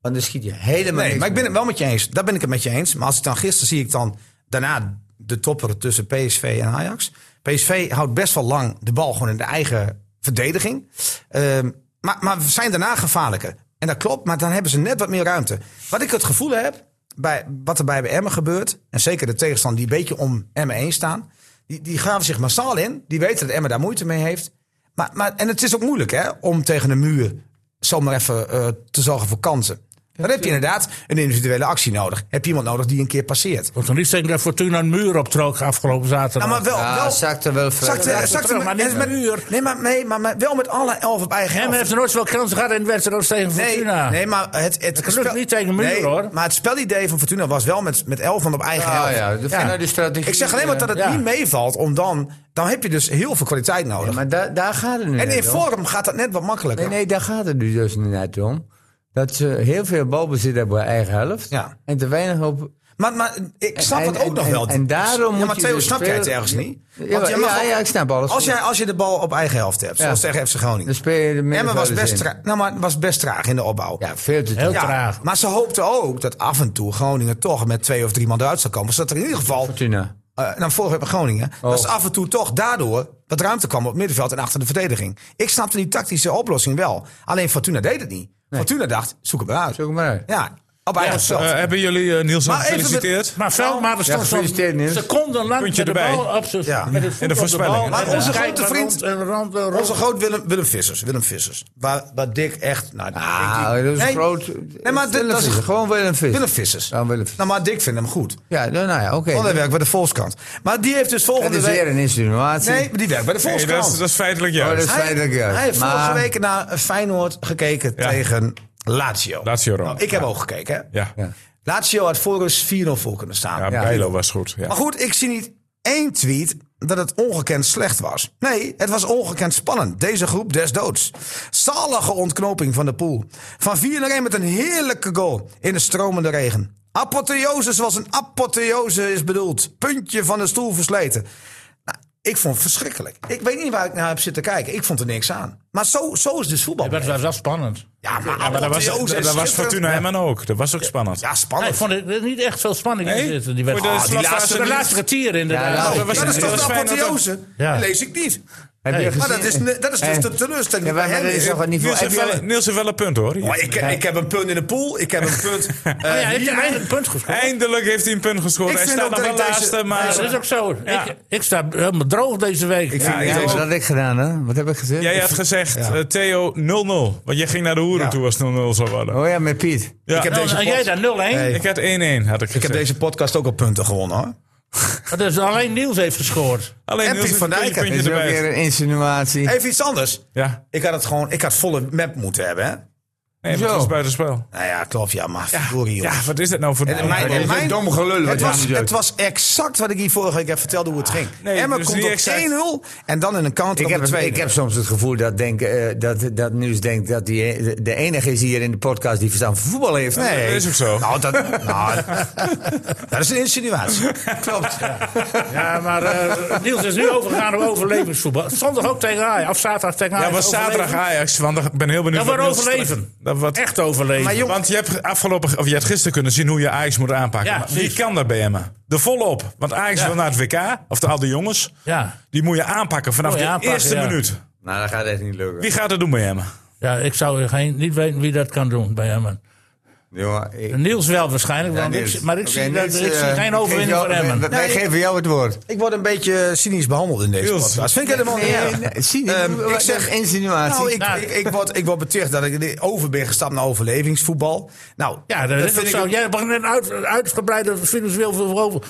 [SPEAKER 5] Want dan schiet je helemaal
[SPEAKER 2] Nee,
[SPEAKER 5] niks
[SPEAKER 2] maar ik ben
[SPEAKER 5] meer.
[SPEAKER 2] het wel met je eens. Daar ben ik het met je eens. Maar als ik dan gisteren zie ik dan daarna de topper tussen PSV en Ajax. PSV houdt best wel lang de bal gewoon in de eigen verdediging. Ehm, maar, maar we zijn daarna gevaarlijker. En dat klopt, maar dan hebben ze net wat meer ruimte. Wat ik het gevoel heb, bij, wat er bij Emmen gebeurt... en zeker de tegenstander die een beetje om Emmen heen staan... die, die graven zich massaal in. Die weten dat Emmen daar moeite mee heeft. Maar, maar, en het is ook moeilijk hè, om tegen een muur zomaar even eh, te zorgen voor kansen. Dan heb je inderdaad een individuele actie nodig. Heb je iemand nodig die een keer passeert.
[SPEAKER 4] Want dan niet zeggen dat Fortuna een muur optrok afgelopen zaterdag.
[SPEAKER 2] Nou, maar wel,
[SPEAKER 5] Ja,
[SPEAKER 2] wel
[SPEAKER 5] ah, zakt er wel
[SPEAKER 2] zakte,
[SPEAKER 5] verder.
[SPEAKER 2] zakte-
[SPEAKER 4] terug, maar niet
[SPEAKER 2] en met-
[SPEAKER 4] een uur.
[SPEAKER 2] Nee, maar, nee maar, maar wel met alle elf op eigen
[SPEAKER 4] Hem
[SPEAKER 2] helft.
[SPEAKER 4] heeft er nooit zoveel kansen gehad in de wedstrijd als tegen
[SPEAKER 2] Nee,
[SPEAKER 4] Fortuna.
[SPEAKER 2] nee, maar het, het
[SPEAKER 4] kan ook niet tegen de muur,
[SPEAKER 2] nee,
[SPEAKER 4] hoor.
[SPEAKER 2] Maar het spelidee van Fortuna was wel met, met elf man op eigen
[SPEAKER 5] Ah,
[SPEAKER 2] helft.
[SPEAKER 5] ja, de, vanuit de strategie. eh,
[SPEAKER 2] Ik zeg alleen maar dat het
[SPEAKER 4] Ja.
[SPEAKER 2] niet meevalt, om dan, dan heb je dus heel veel kwaliteit nodig.
[SPEAKER 5] Ja, maar daar daar gaat het nu
[SPEAKER 2] en in
[SPEAKER 5] net om.
[SPEAKER 2] vorm gaat dat net wat makkelijker.
[SPEAKER 5] Nee, nee, daar gaat het nu dus net om. Dat ze heel veel balbezit hebben bij eigen helft.
[SPEAKER 2] Ja.
[SPEAKER 5] En te weinig op
[SPEAKER 2] Maar, maar ik snap
[SPEAKER 5] En-
[SPEAKER 2] het ook
[SPEAKER 5] en-
[SPEAKER 2] nog
[SPEAKER 5] en-
[SPEAKER 2] wel.
[SPEAKER 5] en daarom
[SPEAKER 2] ja,
[SPEAKER 5] moet
[SPEAKER 2] maar
[SPEAKER 5] je
[SPEAKER 2] Theo,
[SPEAKER 5] dus
[SPEAKER 2] snap jij
[SPEAKER 5] veel-
[SPEAKER 2] het ergens niet?
[SPEAKER 5] Ja,
[SPEAKER 2] Want jij
[SPEAKER 5] ja,
[SPEAKER 2] mag wel-
[SPEAKER 5] ja, ik snap alles.
[SPEAKER 2] Als jij, als je de bal op eigen helft hebt, zoals
[SPEAKER 5] Ja.
[SPEAKER 2] tegen FC Groningen.
[SPEAKER 5] Dan speel je de
[SPEAKER 2] Emma was
[SPEAKER 5] middenvelders
[SPEAKER 2] best,
[SPEAKER 5] in.
[SPEAKER 2] tra- nou, maar was best traag in de opbouw.
[SPEAKER 5] Ja, veel te
[SPEAKER 4] Heel
[SPEAKER 5] traag.
[SPEAKER 4] traag.
[SPEAKER 2] Maar ze hoopte ook dat af en toe Groningen toch met twee of drie man eruit zou komen. Zodat er in ieder geval,
[SPEAKER 5] Fortuna.
[SPEAKER 2] eh nou vorige week bij Groningen, dat
[SPEAKER 5] Oh.
[SPEAKER 2] ze af en toe toch daardoor wat ruimte kwam op het middenveld en achter de verdediging. Ik snapte die tactische oplossing wel. Alleen Fortuna deed het niet. Fortuna dacht, zoek hem uit.
[SPEAKER 5] Zoek hem maar uit.
[SPEAKER 2] Ja, op eigen zelf.
[SPEAKER 1] Eh, hebben jullie eh, Niels
[SPEAKER 2] Maar even met-
[SPEAKER 1] gefeliciteerd?
[SPEAKER 4] Maar Veldmaten
[SPEAKER 5] Ja,
[SPEAKER 4] stond zo'n
[SPEAKER 5] gefeliciteerd, Niels.
[SPEAKER 4] seconden lang met
[SPEAKER 1] Puntje
[SPEAKER 4] de
[SPEAKER 1] erbij.
[SPEAKER 4] bal op zijn
[SPEAKER 2] Ja.
[SPEAKER 4] met het voet
[SPEAKER 1] de
[SPEAKER 4] op
[SPEAKER 1] voorspellingen.
[SPEAKER 4] bal.
[SPEAKER 1] Maar
[SPEAKER 4] En
[SPEAKER 2] onze
[SPEAKER 4] dan
[SPEAKER 2] grote
[SPEAKER 4] kijkt
[SPEAKER 2] vriend-
[SPEAKER 4] rond en rond en rond.
[SPEAKER 2] Onze groot Willem, Willem Vissers. Willem Vissers. Waar, waar Dick echt... Nou,
[SPEAKER 5] Ah,
[SPEAKER 2] ik-
[SPEAKER 5] dat is een
[SPEAKER 2] nee,
[SPEAKER 5] groot.
[SPEAKER 2] Nee, maar dit-
[SPEAKER 5] Willem
[SPEAKER 2] dat is
[SPEAKER 5] Visser, gewoon Willem Visser.
[SPEAKER 2] Willem Vissers.
[SPEAKER 5] Ja, Willem Visser.
[SPEAKER 2] Nou, maar Dick vindt hem goed.
[SPEAKER 5] Ja, nou, nou ja, oké.
[SPEAKER 2] Want hij werkt bij de Volkskrant. Maar die heeft dus
[SPEAKER 5] Het
[SPEAKER 2] volgende
[SPEAKER 5] is weer
[SPEAKER 2] week...
[SPEAKER 5] een insinuatie.
[SPEAKER 2] Nee, maar die werkt bij de
[SPEAKER 1] Nee, dat,
[SPEAKER 2] Volkskrant.
[SPEAKER 1] is, dat is feitelijk
[SPEAKER 5] Oh, dat
[SPEAKER 1] juist.
[SPEAKER 5] is feitelijk
[SPEAKER 2] hij,
[SPEAKER 5] juist.
[SPEAKER 2] hij heeft
[SPEAKER 5] Maar-
[SPEAKER 2] vorige week naar Feyenoord gekeken
[SPEAKER 1] Ja.
[SPEAKER 2] tegen Lazio.
[SPEAKER 1] Lazio Rome.
[SPEAKER 2] Nou, ik heb ook gekeken. Hè?
[SPEAKER 1] Ja. Ja.
[SPEAKER 2] Lazio had voor rust 4-0 voor kunnen staan.
[SPEAKER 1] Ja, Bijlo was goed. Ja.
[SPEAKER 2] Maar goed, ik zie niet één tweet dat het ongekend slecht was. Nee, het was ongekend spannend. Deze groep des doods. Zalige ontknoping van de pool. Van 4 naar 1 met een heerlijke goal in de stromende regen. Apotheose zoals een apotheose is bedoeld. Puntje van de stoel versleten. Nou, ik vond het verschrikkelijk. Ik weet niet waar ik naar heb zitten kijken. Ik vond er niks aan. Maar zo, zo is dus voetbal.
[SPEAKER 4] Ja, Dat was wel spannend.
[SPEAKER 2] Ja, maar,
[SPEAKER 1] Ja, maar dat was,
[SPEAKER 2] apotheose
[SPEAKER 1] dat
[SPEAKER 2] is
[SPEAKER 1] was
[SPEAKER 2] schitterend.
[SPEAKER 1] Fortuna Emmen ook. Dat was ook spannend.
[SPEAKER 2] Ja,
[SPEAKER 4] Nee,
[SPEAKER 2] spannend.
[SPEAKER 4] ik vond er niet echt veel spanning
[SPEAKER 1] Nee?
[SPEAKER 4] in zitten. Die
[SPEAKER 1] Voor
[SPEAKER 4] wedstrijd.
[SPEAKER 1] de
[SPEAKER 4] Ah, die
[SPEAKER 1] slagfase
[SPEAKER 4] laatste, de Ah,
[SPEAKER 1] niet.
[SPEAKER 4] laatste kwartier inderdaad.
[SPEAKER 5] Ja, nou,
[SPEAKER 1] Dat was-
[SPEAKER 2] dat is
[SPEAKER 1] dat
[SPEAKER 2] toch de
[SPEAKER 1] was Feyenoord
[SPEAKER 2] apotheose?
[SPEAKER 4] Ja.
[SPEAKER 2] Dat lees ik niet.
[SPEAKER 5] Heb je
[SPEAKER 4] Hey.
[SPEAKER 5] gezien?
[SPEAKER 2] Maar dat is, ne- dat is dus
[SPEAKER 5] Hey.
[SPEAKER 2] de teleurstelling.
[SPEAKER 5] Ja, maar
[SPEAKER 2] bij hem
[SPEAKER 5] dat is
[SPEAKER 2] is-
[SPEAKER 5] toch wat niet voor.
[SPEAKER 1] Niels
[SPEAKER 5] Heb
[SPEAKER 1] heeft, wel,
[SPEAKER 5] je-
[SPEAKER 1] Niels heeft wel een punt hoor.
[SPEAKER 2] Maar ik, ik heb een punt in de pool. Ik heb een punt. eh,
[SPEAKER 4] Oh ja, hij heeft
[SPEAKER 2] hier.
[SPEAKER 4] eindelijk een punt gescoord.
[SPEAKER 1] Eindelijk heeft hij een punt gescoord.
[SPEAKER 2] Ik
[SPEAKER 1] Hij
[SPEAKER 2] vind
[SPEAKER 1] staat
[SPEAKER 2] ook
[SPEAKER 1] nog
[SPEAKER 2] dat
[SPEAKER 1] wel
[SPEAKER 2] ik deze-
[SPEAKER 1] laatste,
[SPEAKER 4] Ja,
[SPEAKER 1] maar...
[SPEAKER 4] dat is ook zo.
[SPEAKER 1] Ja.
[SPEAKER 4] Ik, ik sta helemaal droog deze week.
[SPEAKER 2] Ik
[SPEAKER 1] Ja,
[SPEAKER 2] vind
[SPEAKER 1] ik
[SPEAKER 5] Ja,
[SPEAKER 2] deze-
[SPEAKER 5] wat had ik gedaan, hè? Wat heb ik gezegd?
[SPEAKER 1] Jij had gezegd, eh, Theo, 0-0. Want jij ging naar de hoeren
[SPEAKER 2] Ja.
[SPEAKER 1] toe als 0-0 zou worden.
[SPEAKER 5] Oh ja, met Piet.
[SPEAKER 1] Ja.
[SPEAKER 2] Ik heb
[SPEAKER 4] Nou,
[SPEAKER 2] deze
[SPEAKER 4] en jij
[SPEAKER 2] pod-
[SPEAKER 4] daar 0-1.
[SPEAKER 2] Nee.
[SPEAKER 1] Ik had 1-1, had ik gezegd.
[SPEAKER 2] Ik heb deze podcast ook al punten gewonnen hoor.
[SPEAKER 4] Dus alleen Niels heeft gescoord.
[SPEAKER 1] Alleen Niels
[SPEAKER 2] En Piet
[SPEAKER 1] heeft
[SPEAKER 2] van
[SPEAKER 1] een
[SPEAKER 2] Dijk.
[SPEAKER 1] puntje
[SPEAKER 5] Is er ook
[SPEAKER 1] erbij.
[SPEAKER 5] weer een insinuatie?
[SPEAKER 2] Even iets anders.
[SPEAKER 1] Ja,
[SPEAKER 2] Ik had het gewoon, ik had volle map moeten hebben. Hè?
[SPEAKER 1] nee, maar
[SPEAKER 5] Zo.
[SPEAKER 1] het was buitenspel.
[SPEAKER 2] Nou ja, klopt. Ja, maar verdorie,
[SPEAKER 1] Ja,
[SPEAKER 2] joh.
[SPEAKER 1] wat is dat nou voor...
[SPEAKER 2] En mijn-
[SPEAKER 5] dit is
[SPEAKER 2] mijn-
[SPEAKER 5] een dom gelul wat
[SPEAKER 2] Het
[SPEAKER 5] je
[SPEAKER 2] was,
[SPEAKER 5] nu doet.
[SPEAKER 2] het was exact wat ik hier vorige week heb verteld hoe het ging.
[SPEAKER 1] nee,
[SPEAKER 2] Emma
[SPEAKER 1] dus
[SPEAKER 2] komt
[SPEAKER 1] niet
[SPEAKER 2] op
[SPEAKER 1] exact.
[SPEAKER 2] 1-0 en dan in een counter
[SPEAKER 5] Ik
[SPEAKER 2] op
[SPEAKER 5] heb,
[SPEAKER 2] de tweede.
[SPEAKER 5] ik heb soms het gevoel dat, denk, eh, dat, dat Nieuws denkt dat hij de enige is hier in de podcast die verstand van voetbal heeft.
[SPEAKER 2] Nee.
[SPEAKER 1] Dat is ook zo.
[SPEAKER 2] Nou, dat, nou, dat is een insinuatie. Klopt.
[SPEAKER 4] Ja, maar eh, Niels is nu overgegaan op overlevingsvoetbal. Zondag ook tegen Ajax. Of zaterdag tegen Ajax.
[SPEAKER 1] Ja, was zaterdag
[SPEAKER 4] overleven.
[SPEAKER 1] Ajax, want ik ben heel benieuwd...
[SPEAKER 4] Dat wordt
[SPEAKER 1] wat Niels-
[SPEAKER 4] overleven.
[SPEAKER 1] Dat wordt
[SPEAKER 4] Echt overleven.
[SPEAKER 2] Maar jongen,
[SPEAKER 1] Want je hebt, afgelopen, of je hebt gisteren kunnen zien hoe je Ajax moet aanpakken.
[SPEAKER 4] Ja,
[SPEAKER 1] Maar wie
[SPEAKER 4] precies.
[SPEAKER 1] kan dat bij Emma? De volop. Want Ajax wil naar het WK, of de oude jongens.
[SPEAKER 4] ja.
[SPEAKER 1] Die moet je aanpakken vanaf
[SPEAKER 4] Moet je
[SPEAKER 1] de
[SPEAKER 4] aanpakken,
[SPEAKER 1] eerste
[SPEAKER 4] ja.
[SPEAKER 1] minuut.
[SPEAKER 5] Nou, dat gaat echt niet lukken.
[SPEAKER 1] Wie gaat dat doen bij Emma?
[SPEAKER 4] ja, ik zou geen, niet weten wie dat kan doen bij Emmen.
[SPEAKER 5] Jongen, ik-
[SPEAKER 4] Niels wel waarschijnlijk, want ik,
[SPEAKER 5] Niels.
[SPEAKER 4] zie- maar ik,
[SPEAKER 5] Oké,
[SPEAKER 4] zie,
[SPEAKER 5] Niels,
[SPEAKER 4] dat, ik zie
[SPEAKER 5] eh,
[SPEAKER 4] geen
[SPEAKER 5] ik
[SPEAKER 4] overwinning
[SPEAKER 5] geef jou-
[SPEAKER 4] voor Emmen.
[SPEAKER 5] Wij, wij geven jou het woord.
[SPEAKER 2] Ik word een beetje cynisch behandeld in deze
[SPEAKER 1] Niels.
[SPEAKER 2] podcast. Vind ik helemaal niet erg.
[SPEAKER 5] zie
[SPEAKER 2] Ehm,
[SPEAKER 5] ik zeg insinuatie.
[SPEAKER 2] Nou, ik,
[SPEAKER 4] Nou.
[SPEAKER 2] ik, ik, word, ik word beticht dat ik over ben gestapt naar overlevingsvoetbal. Nou,
[SPEAKER 4] Ja, dat, is ook
[SPEAKER 2] vind
[SPEAKER 4] zo.
[SPEAKER 2] ik-
[SPEAKER 4] Jij begint een uit, uitgebreide filosofie over. over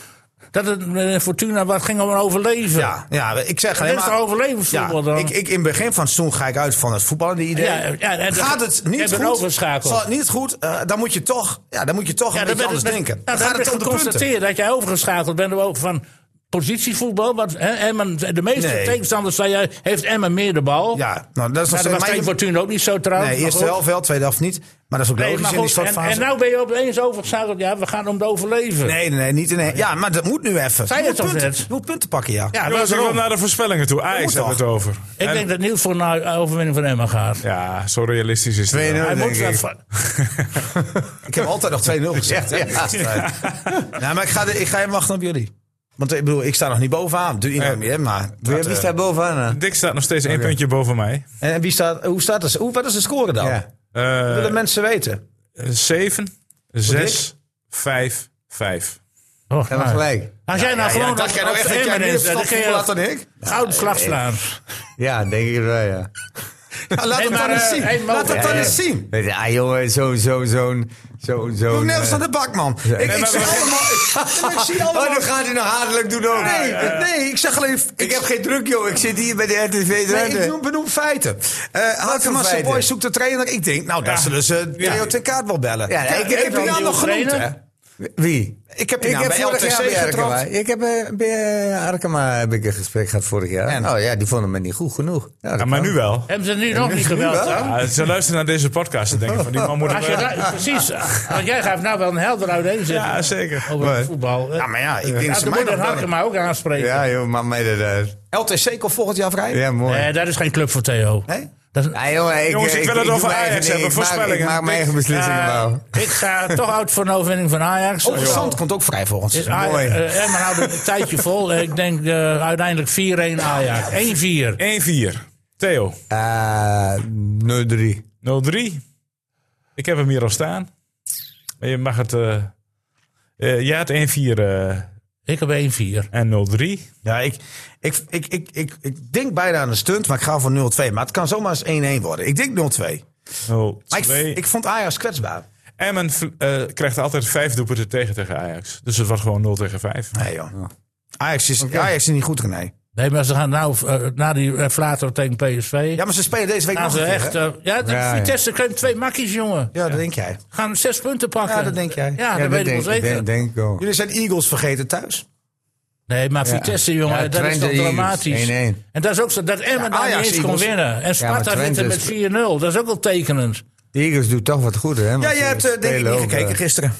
[SPEAKER 4] Dat het eh, Fortuna wat ging om overleven.
[SPEAKER 2] Ja, ja, ik zeg
[SPEAKER 4] Dat
[SPEAKER 2] alleen
[SPEAKER 4] is
[SPEAKER 2] maar...
[SPEAKER 4] toch overlevingsvoetbal
[SPEAKER 2] ja,
[SPEAKER 4] dan?
[SPEAKER 2] ik, ik, in het begin van het seizoen ga ik uit van het voetballen, die idee.
[SPEAKER 4] Ja, ja, en-
[SPEAKER 2] gaat het
[SPEAKER 4] en
[SPEAKER 2] niet
[SPEAKER 4] ben
[SPEAKER 2] goed,
[SPEAKER 4] overgeschakeld.
[SPEAKER 2] zal het niet goed, eh, dan moet je toch, ja, dan moet je toch een beetje anders denken.
[SPEAKER 4] Nou,
[SPEAKER 2] dan
[SPEAKER 4] dan
[SPEAKER 2] gaat
[SPEAKER 4] heb
[SPEAKER 2] het
[SPEAKER 4] ik
[SPEAKER 2] om de punten.
[SPEAKER 4] geconstateerd dat jij overgeschakeld bent ook van positievoetbal. Want hè, Emmen, de meeste
[SPEAKER 2] Nee.
[SPEAKER 4] tegenstanders zei jij, heeft Emmen meer de bal.
[SPEAKER 2] Ja,
[SPEAKER 4] Ja,
[SPEAKER 2] nou, dat is nog
[SPEAKER 4] dat was
[SPEAKER 2] steeds
[SPEAKER 4] tegen
[SPEAKER 2] mijn...
[SPEAKER 4] Fortuna ook niet zo trouwens.
[SPEAKER 2] Nee,
[SPEAKER 4] maar
[SPEAKER 2] eerste
[SPEAKER 4] goed.
[SPEAKER 2] helft wel, tweede helft niet. Maar dat is ook
[SPEAKER 4] Nee,
[SPEAKER 2] logisch
[SPEAKER 4] maar
[SPEAKER 2] in die
[SPEAKER 4] goed,
[SPEAKER 2] soort
[SPEAKER 4] en,
[SPEAKER 2] fase.
[SPEAKER 4] en nou ben je opeens overgeschakeld. Ja, we gaan om het overleven.
[SPEAKER 2] Nee, nee, nee, niet in één. Ja, maar dat moet nu even.
[SPEAKER 4] Zei
[SPEAKER 2] je
[SPEAKER 4] het
[SPEAKER 2] moet
[SPEAKER 4] al
[SPEAKER 2] punten,
[SPEAKER 4] Oh, net.
[SPEAKER 2] je moet punten pakken, ja.
[SPEAKER 4] Ja,
[SPEAKER 1] Jongens, ik wil
[SPEAKER 4] waarom?
[SPEAKER 1] naar de voorspellingen toe. Ajax
[SPEAKER 2] moet
[SPEAKER 1] hebben we het over.
[SPEAKER 4] Ik
[SPEAKER 1] En-
[SPEAKER 4] denk dat Niels voor een eh, overwinning van Emmen gaat.
[SPEAKER 1] Ja, zo realistisch is het. wel.
[SPEAKER 4] Hij
[SPEAKER 2] 2-0
[SPEAKER 4] moet
[SPEAKER 2] denk
[SPEAKER 4] wel
[SPEAKER 2] ik.
[SPEAKER 4] van-
[SPEAKER 2] Ik heb altijd nog 2-0 gezegd. hè. Nou, maar ik ga, de- ik ga even wachten op jullie. Want eh, ik bedoel, ik sta nog niet bovenaan. Doe iemand meer, maar...
[SPEAKER 6] Wie, wie staat bovenaan?
[SPEAKER 1] Dick staat nog steeds één puntje boven mij.
[SPEAKER 2] En wie staat, hoe staat het? Hoe, wat is de score dan?
[SPEAKER 6] Ja.
[SPEAKER 2] Dat
[SPEAKER 1] Eh
[SPEAKER 2] willen mensen weten.
[SPEAKER 1] 7, 6, 5, 5.
[SPEAKER 4] Oh,
[SPEAKER 6] Hebben
[SPEAKER 4] nou.
[SPEAKER 6] we gelijk?
[SPEAKER 4] Als jij nou gewoon
[SPEAKER 2] dat
[SPEAKER 4] als-
[SPEAKER 2] jij nou
[SPEAKER 4] als
[SPEAKER 2] echt dat jij
[SPEAKER 4] Emmen
[SPEAKER 2] meer
[SPEAKER 4] is, dan
[SPEAKER 2] verstand
[SPEAKER 4] kun je
[SPEAKER 2] van had dan ik.
[SPEAKER 4] gouden slag slaan.
[SPEAKER 6] Ja, denk ik wel, ja.
[SPEAKER 2] Ja, laat
[SPEAKER 4] Nee,
[SPEAKER 2] het dan
[SPEAKER 4] maar,
[SPEAKER 2] eens
[SPEAKER 4] eh,
[SPEAKER 2] zien.
[SPEAKER 4] hey, Mo-
[SPEAKER 2] laat het dan
[SPEAKER 4] eh,
[SPEAKER 2] eens zien.
[SPEAKER 6] Weet je, ah jongen, zo'n, zo'n, zo'n, zo'n, zo'n...
[SPEAKER 2] Doe net als
[SPEAKER 6] eh,
[SPEAKER 2] aan de bak, man. Ik, ik
[SPEAKER 1] maar
[SPEAKER 2] zie
[SPEAKER 1] we-
[SPEAKER 2] allemaal... Ik, ik zie
[SPEAKER 6] Oh,
[SPEAKER 2] allemaal...
[SPEAKER 6] dan gaat hij nog hatelijk doen ook.
[SPEAKER 2] Nee, nee, ik zeg alleen...
[SPEAKER 6] Ik heb geen druk, joh. Ik zit hier bij de RTV
[SPEAKER 2] Nee,
[SPEAKER 6] Drenthe.
[SPEAKER 2] ik noem, benoem feiten. Uh,
[SPEAKER 6] voor
[SPEAKER 2] Hartemassa
[SPEAKER 6] feiten?
[SPEAKER 2] Boys zoekt de trainer. Ik denk, nou, daar zullen ze Theo ten Kaart wel bellen.
[SPEAKER 6] Ja,
[SPEAKER 2] Kijk,
[SPEAKER 6] ik heb
[SPEAKER 2] heb
[SPEAKER 6] wel
[SPEAKER 2] je naam
[SPEAKER 6] een
[SPEAKER 2] nog
[SPEAKER 4] nieuwe
[SPEAKER 2] genoemd, hè?
[SPEAKER 4] trainer.
[SPEAKER 6] eh, Wie?
[SPEAKER 2] Ik heb je
[SPEAKER 6] Ik
[SPEAKER 2] naam
[SPEAKER 6] heb
[SPEAKER 2] bij
[SPEAKER 6] vorig jaar bij
[SPEAKER 2] LTC
[SPEAKER 6] Arkema.
[SPEAKER 2] getrapt.
[SPEAKER 6] Ik heb eh, bij eh, Arkema heb ik een gesprek gehad vorig jaar.
[SPEAKER 2] En?
[SPEAKER 6] Nou ja, die vonden me niet goed genoeg. Ja, dat
[SPEAKER 1] Ja, maar
[SPEAKER 6] kan.
[SPEAKER 1] nu wel.
[SPEAKER 4] Hebben ze nu nog niet geweld, hè?
[SPEAKER 1] Ja, ze luisteren naar deze podcast en denken van die man moet
[SPEAKER 4] Als je
[SPEAKER 1] het wel-
[SPEAKER 4] daar- precies, want jij gaat nou wel een helder uiteenzetting
[SPEAKER 1] Ja, zeker.
[SPEAKER 4] over
[SPEAKER 6] maar-
[SPEAKER 4] voetbal.
[SPEAKER 2] Ja, maar ja, ik denk
[SPEAKER 4] Ja,
[SPEAKER 2] ze
[SPEAKER 4] dan
[SPEAKER 2] mij
[SPEAKER 4] moet
[SPEAKER 2] nog
[SPEAKER 4] dat
[SPEAKER 2] bellen.
[SPEAKER 4] Hakken maar ook aanspreken.
[SPEAKER 6] Ja, joh, maar mij dat uit.
[SPEAKER 2] LTC komt volgend jaar vrij.
[SPEAKER 6] Ja, mooi.
[SPEAKER 4] Nee, dat Eh, is geen club voor Theo.
[SPEAKER 2] Nee?
[SPEAKER 4] Dat,
[SPEAKER 6] Ja, jongen, ik,
[SPEAKER 1] Jongens, ik wil het
[SPEAKER 6] doe
[SPEAKER 1] over
[SPEAKER 6] mijn eigen
[SPEAKER 1] Ajax
[SPEAKER 6] ding.
[SPEAKER 1] hebben,
[SPEAKER 6] Ik maak-
[SPEAKER 1] voorspellingen.
[SPEAKER 6] Ik maak mijn eigen beslissingen
[SPEAKER 4] Eh,
[SPEAKER 6] wel.
[SPEAKER 4] ik ga toch uit voor een overwinning van Ajax.
[SPEAKER 2] Ook Zand komt ook vrij volgend
[SPEAKER 4] Is
[SPEAKER 2] jaar.
[SPEAKER 4] Ajax-
[SPEAKER 2] Oh, Mooi.
[SPEAKER 4] eh, Emmen houdt het een tijdje vol. Ik denk eh, uiteindelijk 4-1 Ajax. 1-4.
[SPEAKER 1] 1-4. Theo,
[SPEAKER 6] Eh 0-3.
[SPEAKER 1] 0-3. Ik heb hem hier al staan. Maar je mag het... eh eh jij had 1-4 eh,
[SPEAKER 4] Ik heb 1-4.
[SPEAKER 1] en 0-3.
[SPEAKER 2] Ja, ik, ik, ik, ik, ik, ik denk bijna aan een stunt, maar ik ga voor 0-2. Maar het kan zomaar eens 1-1 worden. Ik denk 0-2. Maar ik,
[SPEAKER 1] 0-2.
[SPEAKER 2] ik vond Ajax kwetsbaar.
[SPEAKER 1] Emmen eh, krijgt altijd vijf doelpunten tegen tegen Ajax. Dus het was gewoon 0 tegen 5.
[SPEAKER 2] Nee, joh. Ajax is, Ajax is niet goed, René.
[SPEAKER 4] Nee, maar ze gaan nou eh, na die eh, flater tegen PSV.
[SPEAKER 2] Ja, maar ze spelen deze week
[SPEAKER 4] gaan
[SPEAKER 2] nog
[SPEAKER 4] ze
[SPEAKER 2] een keer,
[SPEAKER 4] echt.
[SPEAKER 2] hè?
[SPEAKER 4] eh, ja, de
[SPEAKER 6] Ja, ja.
[SPEAKER 4] Vitesse krijgt twee makkies, jongen.
[SPEAKER 2] Ja, dat denk jij.
[SPEAKER 4] Gaan zes punten pakken.
[SPEAKER 2] Ja, dat denk jij.
[SPEAKER 4] Ja, dat
[SPEAKER 6] dat
[SPEAKER 4] weet ik wel
[SPEAKER 6] denk-
[SPEAKER 4] zeker.
[SPEAKER 6] denk- Denk oh, ik wel.
[SPEAKER 2] Jullie zijn Eagles vergeten thuis.
[SPEAKER 4] Nee, maar Vitesse, jongen,
[SPEAKER 6] Ja,
[SPEAKER 4] dat is
[SPEAKER 6] Twente
[SPEAKER 4] toch
[SPEAKER 6] Eagles,
[SPEAKER 4] dramatisch.
[SPEAKER 6] 1-1.
[SPEAKER 4] En dat is ook zo, dat Emmen daar
[SPEAKER 2] Ajax
[SPEAKER 4] niet eens kon
[SPEAKER 2] Eagles.
[SPEAKER 4] winnen. En Sparta
[SPEAKER 6] maar
[SPEAKER 4] wint
[SPEAKER 6] Twente
[SPEAKER 4] er
[SPEAKER 6] is-
[SPEAKER 4] met 4-0. Dat is ook wel tekenend.
[SPEAKER 6] De Eagles doet toch wat goed, hè? want
[SPEAKER 2] Ja, je
[SPEAKER 6] ze
[SPEAKER 2] hebt eh, denk ik
[SPEAKER 6] spelen
[SPEAKER 2] niet
[SPEAKER 6] ook,
[SPEAKER 2] gekeken
[SPEAKER 6] eh,
[SPEAKER 2] gisteren.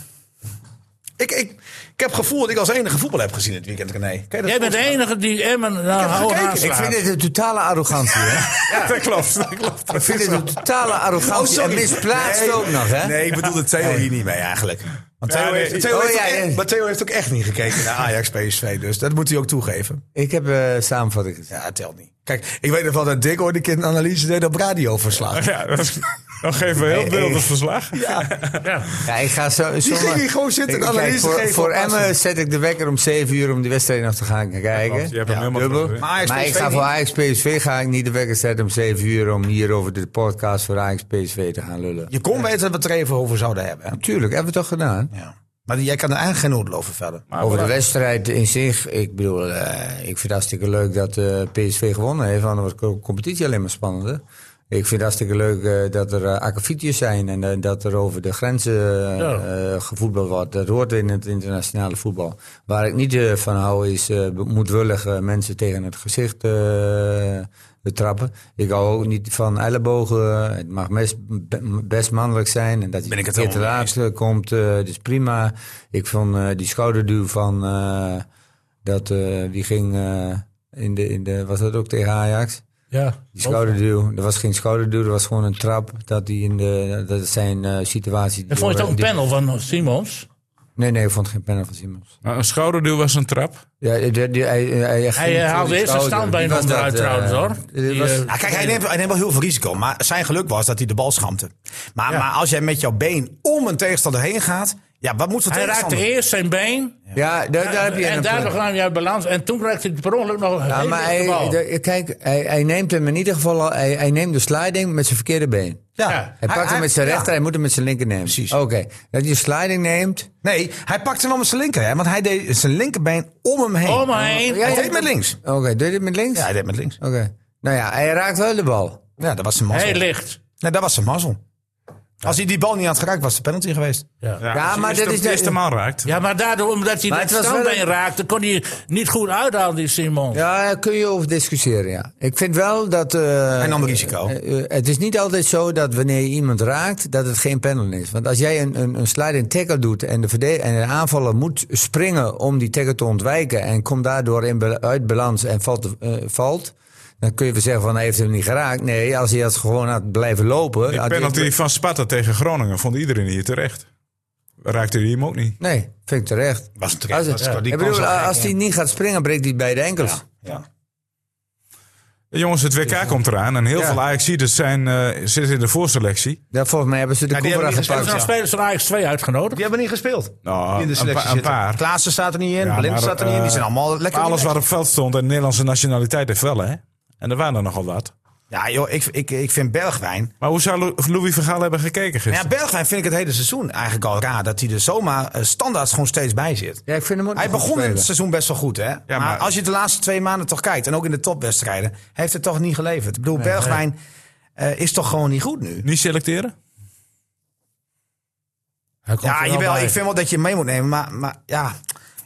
[SPEAKER 2] Ik, ik, ik heb het gevoel dat ik als enige voetbal heb gezien dit weekend, René. Kan je dat
[SPEAKER 4] Jij bent de
[SPEAKER 2] voorstellen?
[SPEAKER 4] enige die Emmen nou, hoog
[SPEAKER 2] gekeken.
[SPEAKER 4] aanslaat.
[SPEAKER 6] Ik vind dit een totale arrogantie, hè?
[SPEAKER 1] Dat klopt, dat klopt.
[SPEAKER 6] Ik vind dit een totale arrogantie. en misplaatst
[SPEAKER 2] Oh, Nee,
[SPEAKER 6] ook nog, hè?
[SPEAKER 2] Nee, ik bedoelde Theo hier niet mee eigenlijk. Want
[SPEAKER 1] Ja,
[SPEAKER 2] Theo
[SPEAKER 1] nee.
[SPEAKER 2] heeft- Theo
[SPEAKER 6] Oh,
[SPEAKER 2] heeft ook
[SPEAKER 6] ja,
[SPEAKER 2] echt-
[SPEAKER 6] ja.
[SPEAKER 2] Maar Theo heeft ook echt niet gekeken naar Ajax PSV. Dus dat moet hij ook toegeven.
[SPEAKER 6] Ik heb eh samenvatting gezien.
[SPEAKER 2] Ja, het telt niet. Kijk, ik weet nog wel dat Dick ooit een keer een analyse deed op radioverslag.
[SPEAKER 1] Ja, dat, dan geven we heel
[SPEAKER 6] Nee,
[SPEAKER 1] beeldig
[SPEAKER 6] echt.
[SPEAKER 1] verslag.
[SPEAKER 6] Ja, ik ga zo,
[SPEAKER 2] Die ging hier gewoon zitten en
[SPEAKER 6] Ik- kijk,
[SPEAKER 2] analyse
[SPEAKER 6] voor,
[SPEAKER 2] geven
[SPEAKER 6] Voor
[SPEAKER 2] op
[SPEAKER 6] Emmen
[SPEAKER 2] basis.
[SPEAKER 6] zet ik de wekker om 7 uur om die wedstrijd nog te gaan kijken.
[SPEAKER 1] klopt. Je hebt hem helemaal
[SPEAKER 6] dubbel.
[SPEAKER 1] terug, hè?
[SPEAKER 6] Maar,
[SPEAKER 2] Maar Ajax-PSV
[SPEAKER 6] ik ga
[SPEAKER 2] niet.
[SPEAKER 6] voor Ajax PSV ga ik niet de wekker zetten om 7 uur om hier over de podcast voor Ajax PSV te gaan lullen.
[SPEAKER 2] Je kon weten dat we het er even over zouden hebben. hè?
[SPEAKER 6] Natuurlijk, hebben we toch gedaan?
[SPEAKER 2] Ja. Maar jij kan er eigenlijk geen oordeel over verder.
[SPEAKER 6] Over de wedstrijd in zich, ik bedoel, eh, ik vind het hartstikke leuk dat eh, PSV gewonnen heeft, want dan wordt de competitie alleen maar spannender. Ik vind het hartstikke leuk eh, dat er uh, zijn en eh, dat er over de grenzen eh, eh, gevoetbald wordt. Dat hoort in het internationale voetbal. Waar ik niet eh, van hou is eh, be- moedwillig eh, mensen tegen het gezicht eh, te trappen. Ik hou ook niet van ellebogen. Het mag mes- be- best mannelijk zijn en dat je
[SPEAKER 2] Ben ik het
[SPEAKER 6] een keer te
[SPEAKER 2] helemaal mee
[SPEAKER 6] laat
[SPEAKER 2] eens.
[SPEAKER 6] eh, komt, eh dus prima. Ik vond eh, die schouderduw van eh, dat eh, die ging eh, in de in de was dat ook tegen Ajax?
[SPEAKER 4] Ja.
[SPEAKER 6] Die schouderduw, er was geen schouderduw, er was gewoon een trap dat die in de dat is zijn eh, situatie.
[SPEAKER 4] Ik vond het ook een
[SPEAKER 6] die-
[SPEAKER 4] panel van Simons.
[SPEAKER 6] Nee, nee, ik vond geen panel van Simons.
[SPEAKER 1] Maar Nou, Een schouderduw was een trap.
[SPEAKER 5] Ah,
[SPEAKER 6] Ja, die- die- die- hij, hij, ging
[SPEAKER 4] Hij, eh,
[SPEAKER 6] voor die
[SPEAKER 4] haalde eerst een
[SPEAKER 6] schouder.
[SPEAKER 4] standbeen
[SPEAKER 6] Wie was dat,
[SPEAKER 4] onderuit
[SPEAKER 6] eh,
[SPEAKER 4] trouwens, hoor.
[SPEAKER 6] dit
[SPEAKER 4] Die,
[SPEAKER 6] was-
[SPEAKER 4] eh,
[SPEAKER 2] Ja, Nou, kijk, hij neemt, hij neemt wel heel veel risico. Maar zijn geluk was dat hij de bal schampte. Maar, maar als jij met jouw been om een tegenstander heen gaat... Ja, wat moeten we
[SPEAKER 4] Hij raakte
[SPEAKER 2] tegenstander?
[SPEAKER 4] eerst zijn been.
[SPEAKER 5] Ja, daar, daar heb je
[SPEAKER 4] en
[SPEAKER 5] een
[SPEAKER 4] daardoor
[SPEAKER 5] punt.
[SPEAKER 4] kwam hij uit balans. En toen raakte hij per ongeluk nog een
[SPEAKER 5] Ja,
[SPEAKER 4] hele
[SPEAKER 5] maar
[SPEAKER 4] eerste bal.
[SPEAKER 5] hij, de- kijk, hij, hij neemt hem in ieder geval, al- hij, hij neemt de sliding met zijn verkeerde been.
[SPEAKER 2] Ja.
[SPEAKER 4] Ja.
[SPEAKER 5] Hij pakt hem met zijn
[SPEAKER 2] ja.
[SPEAKER 5] rechter, hij moet hem met zijn linker nemen.
[SPEAKER 2] Precies.
[SPEAKER 5] Oké, dat hij een sliding neemt.
[SPEAKER 2] Nee, hij pakte hem wel met zijn linker. Hè, want hij deed zijn linkerbeen om hem heen.
[SPEAKER 4] Om hem heen.
[SPEAKER 2] Hij
[SPEAKER 5] Ja,
[SPEAKER 2] deed
[SPEAKER 5] ja.
[SPEAKER 2] met links.
[SPEAKER 5] Oké, doe je dit met links?
[SPEAKER 2] Ja, hij deed met links.
[SPEAKER 5] Oké. Nou ja, hij raakt wel de bal.
[SPEAKER 2] Ja, dat was zijn mazzel.
[SPEAKER 4] Heel licht.
[SPEAKER 2] Nee, dat was zijn mazzel. Als hij die bal niet had geraakt, was de penalty geweest.
[SPEAKER 5] Ja, dus
[SPEAKER 1] als je
[SPEAKER 5] maar
[SPEAKER 1] dus eerst
[SPEAKER 5] dat
[SPEAKER 1] op
[SPEAKER 5] is...
[SPEAKER 1] de eerste maal raakt.
[SPEAKER 4] Ja, maar daardoor, omdat hij
[SPEAKER 5] Maar
[SPEAKER 4] dat
[SPEAKER 5] het was wel
[SPEAKER 4] standbeen
[SPEAKER 5] een-
[SPEAKER 4] raakte, kon hij niet goed uithalen, die Simon.
[SPEAKER 5] Ja, daar kun je over discussiëren, ja. Ik vind wel dat... eh,
[SPEAKER 2] Hij nam een risico.
[SPEAKER 5] eh, eh, het is niet altijd zo dat wanneer je iemand raakt, dat het geen penalty is. Want als jij een, een, een sliding tackle doet en de, verde- en de aanvaller moet springen om die tackle te ontwijken en komt daardoor in, bal- uit balans en valt, de- eh, valt, dan kun je wel zeggen van hij heeft hem niet geraakt. Nee, als hij had gewoon had blijven lopen...
[SPEAKER 1] Die
[SPEAKER 5] had hij-
[SPEAKER 1] penalty van Sparta tegen Groningen vond iedereen hier terecht. Raakte hij hem ook niet?
[SPEAKER 5] Nee, vind ik terecht.
[SPEAKER 2] Was het
[SPEAKER 5] Als,
[SPEAKER 2] was- die
[SPEAKER 5] ik
[SPEAKER 2] kans
[SPEAKER 5] bedoel,
[SPEAKER 2] was gek,
[SPEAKER 5] als
[SPEAKER 2] ja.
[SPEAKER 5] hij niet gaat springen, breekt hij beide enkels.
[SPEAKER 2] Ja.
[SPEAKER 1] Jongens, het WK komt eraan en heel
[SPEAKER 5] Ja.
[SPEAKER 1] veel Ajaxieders zijn eh, zitten in de voorselectie.
[SPEAKER 5] Ja, volgens mij hebben ze de
[SPEAKER 2] Ja, die
[SPEAKER 5] Koemera
[SPEAKER 2] hebben die
[SPEAKER 5] gepakt.
[SPEAKER 4] Er zijn
[SPEAKER 2] ja.
[SPEAKER 4] spelers van Ajax 2 uitgenodigd.
[SPEAKER 2] Die hebben niet gespeeld.
[SPEAKER 1] Nou,
[SPEAKER 2] Die in de
[SPEAKER 1] een
[SPEAKER 2] selectie
[SPEAKER 1] pa- een
[SPEAKER 2] zitten.
[SPEAKER 1] paar.
[SPEAKER 2] Klaassen staat er niet in,
[SPEAKER 1] Ja,
[SPEAKER 2] Blind
[SPEAKER 1] maar,
[SPEAKER 2] staat er niet in. Die
[SPEAKER 1] eh,
[SPEAKER 2] zijn allemaal lekker
[SPEAKER 1] Alles
[SPEAKER 2] in de
[SPEAKER 1] wat op veld stond en Nederlandse nationaliteit heeft wel, hè? En er waren er nogal wat.
[SPEAKER 2] Ja joh, ik, ik, ik vind Bergwijn... Nou
[SPEAKER 1] Maar hoe zou Lou- Louis Vergaal hebben gekeken
[SPEAKER 2] Ja,
[SPEAKER 1] gisteren?
[SPEAKER 2] Bergwijn vind ik het hele seizoen eigenlijk al raar... dat hij er zomaar eh, standaard gewoon steeds bij zit.
[SPEAKER 5] Ja, ik vind hem ook
[SPEAKER 2] Hij
[SPEAKER 5] nog goed
[SPEAKER 2] begon in het
[SPEAKER 5] spelen.
[SPEAKER 2] seizoen best wel goed, hè? maar,
[SPEAKER 1] maar-
[SPEAKER 2] als je de laatste twee maanden toch kijkt... en ook in de topwedstrijden, heeft het toch niet geleverd. Ik bedoel, Bergwijn eh, is toch gewoon niet goed nu?
[SPEAKER 1] Niet selecteren?
[SPEAKER 4] Hij komt
[SPEAKER 2] Ja,
[SPEAKER 4] er wel
[SPEAKER 2] jawel,
[SPEAKER 4] bij.
[SPEAKER 2] ik vind wel dat je hem mee moet nemen, maar, maar ja...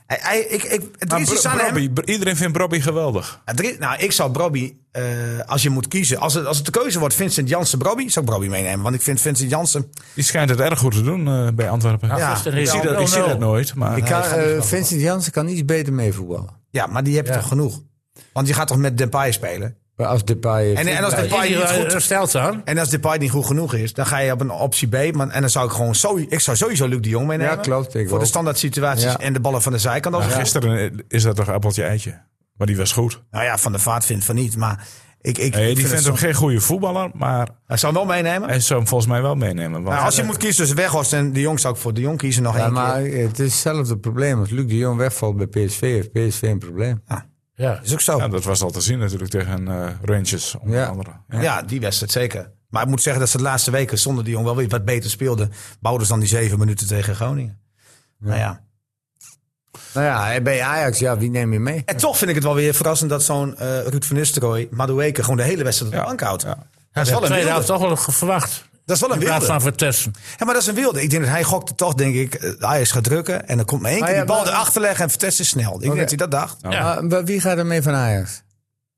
[SPEAKER 2] Hij, hij- ik, ik, het
[SPEAKER 1] Maar
[SPEAKER 2] is iets
[SPEAKER 1] Bro-
[SPEAKER 2] aan hem.
[SPEAKER 1] Ah, Brobby, Bro- iedereen vindt Brobby geweldig.
[SPEAKER 2] Ja, drie- nou, ik zou Brobby, eh, als je moet kiezen, als het, als het de keuze wordt Vincent Jansen, Brobby, zou ik Brobby meenemen. Want ik vind Vincent Jansen,
[SPEAKER 1] Die schijnt het erg goed te doen eh, bij Antwerpen.
[SPEAKER 2] Ja, Oh,
[SPEAKER 4] Gisteren
[SPEAKER 1] ik
[SPEAKER 4] Dus is
[SPEAKER 1] zie,
[SPEAKER 4] het
[SPEAKER 1] dat, ik zie
[SPEAKER 4] 0-0.
[SPEAKER 1] dat nooit. Maar
[SPEAKER 5] Ik kan, eh, Vincent Jansen kan iets beter mee voetballen.
[SPEAKER 2] ja, maar die heb je toch genoeg. Want je gaat toch met Depay spelen.
[SPEAKER 5] Maar Als Depay...
[SPEAKER 2] En, en als
[SPEAKER 4] Is
[SPEAKER 2] Depay
[SPEAKER 4] hij
[SPEAKER 2] niet
[SPEAKER 4] wel- eh,
[SPEAKER 2] goed,
[SPEAKER 4] hersteld dan?
[SPEAKER 2] en als Depay niet goed genoeg is, dan ga je op een optie B. Maar, en dan zou ik gewoon zo, ik zou sowieso Luc de Jong meenemen.
[SPEAKER 5] Ja, klopt, ik
[SPEAKER 2] voor de
[SPEAKER 5] ook.
[SPEAKER 2] standaard situaties
[SPEAKER 5] Ja.
[SPEAKER 2] en de ballen van de zijkant. Als ja.
[SPEAKER 1] Gisteren eh, is dat toch appeltje-eitje. Maar die was goed.
[SPEAKER 2] Nou ja, van de vaart vindt van niet. Maar ik, ik,
[SPEAKER 1] Nee,
[SPEAKER 2] ik
[SPEAKER 1] die
[SPEAKER 2] vind het
[SPEAKER 1] vindt
[SPEAKER 2] zo-
[SPEAKER 1] hem geen goede voetballer, maar
[SPEAKER 2] Hij zou hem wel meenemen.
[SPEAKER 1] hij zou hem volgens mij wel meenemen. Want eh,
[SPEAKER 2] Nou, als je moet kiezen tussen Weghorst en de Jong, zou ik voor de Jong kiezen nog
[SPEAKER 5] Ja,
[SPEAKER 2] één
[SPEAKER 5] maar
[SPEAKER 2] keer.
[SPEAKER 5] het is hetzelfde probleem. Als Luc de Jong wegvalt bij PSV, heeft PSV een probleem.
[SPEAKER 4] Ja.
[SPEAKER 2] Is ook zo.
[SPEAKER 1] Ja, dat was al te zien natuurlijk tegen eh Rangers, onder
[SPEAKER 5] Ja.
[SPEAKER 1] andere.
[SPEAKER 2] Ja, die wedstrijd zeker. Maar ik moet zeggen dat ze de laatste weken zonder die jong wel weer wat beter speelden. Bouwden ze dan die zeven minuten tegen Groningen. Nou ja.
[SPEAKER 5] Nou ja, bij Ajax, ja, wie neem je mee?
[SPEAKER 2] En toch vind ik het wel weer verrassend dat zo'n eh Ruud van Nistelrooy, Madueke, gewoon de hele wedstrijd op de
[SPEAKER 1] Ja.
[SPEAKER 2] bank houdt.
[SPEAKER 1] Ja.
[SPEAKER 2] Dat, is wel
[SPEAKER 4] de
[SPEAKER 2] een
[SPEAKER 4] tweede helft
[SPEAKER 2] wilde.
[SPEAKER 4] toch wel verwacht.
[SPEAKER 2] dat is wel een
[SPEAKER 4] In plaats
[SPEAKER 2] wilde.
[SPEAKER 4] van Vertessen.
[SPEAKER 2] Ja, maar dat is een wilde. Ik denk dat hij gokte toch, denk ik, eh, Ajax gaat drukken. En dan komt maar één
[SPEAKER 5] Maar
[SPEAKER 2] keer die
[SPEAKER 5] ja,
[SPEAKER 2] bal
[SPEAKER 5] maar-
[SPEAKER 2] erachter leggen en Vitesse is snel. Ik denk dat hij dat dacht.
[SPEAKER 4] Ja.
[SPEAKER 5] Maar Ah, wie gaat er mee van Ajax?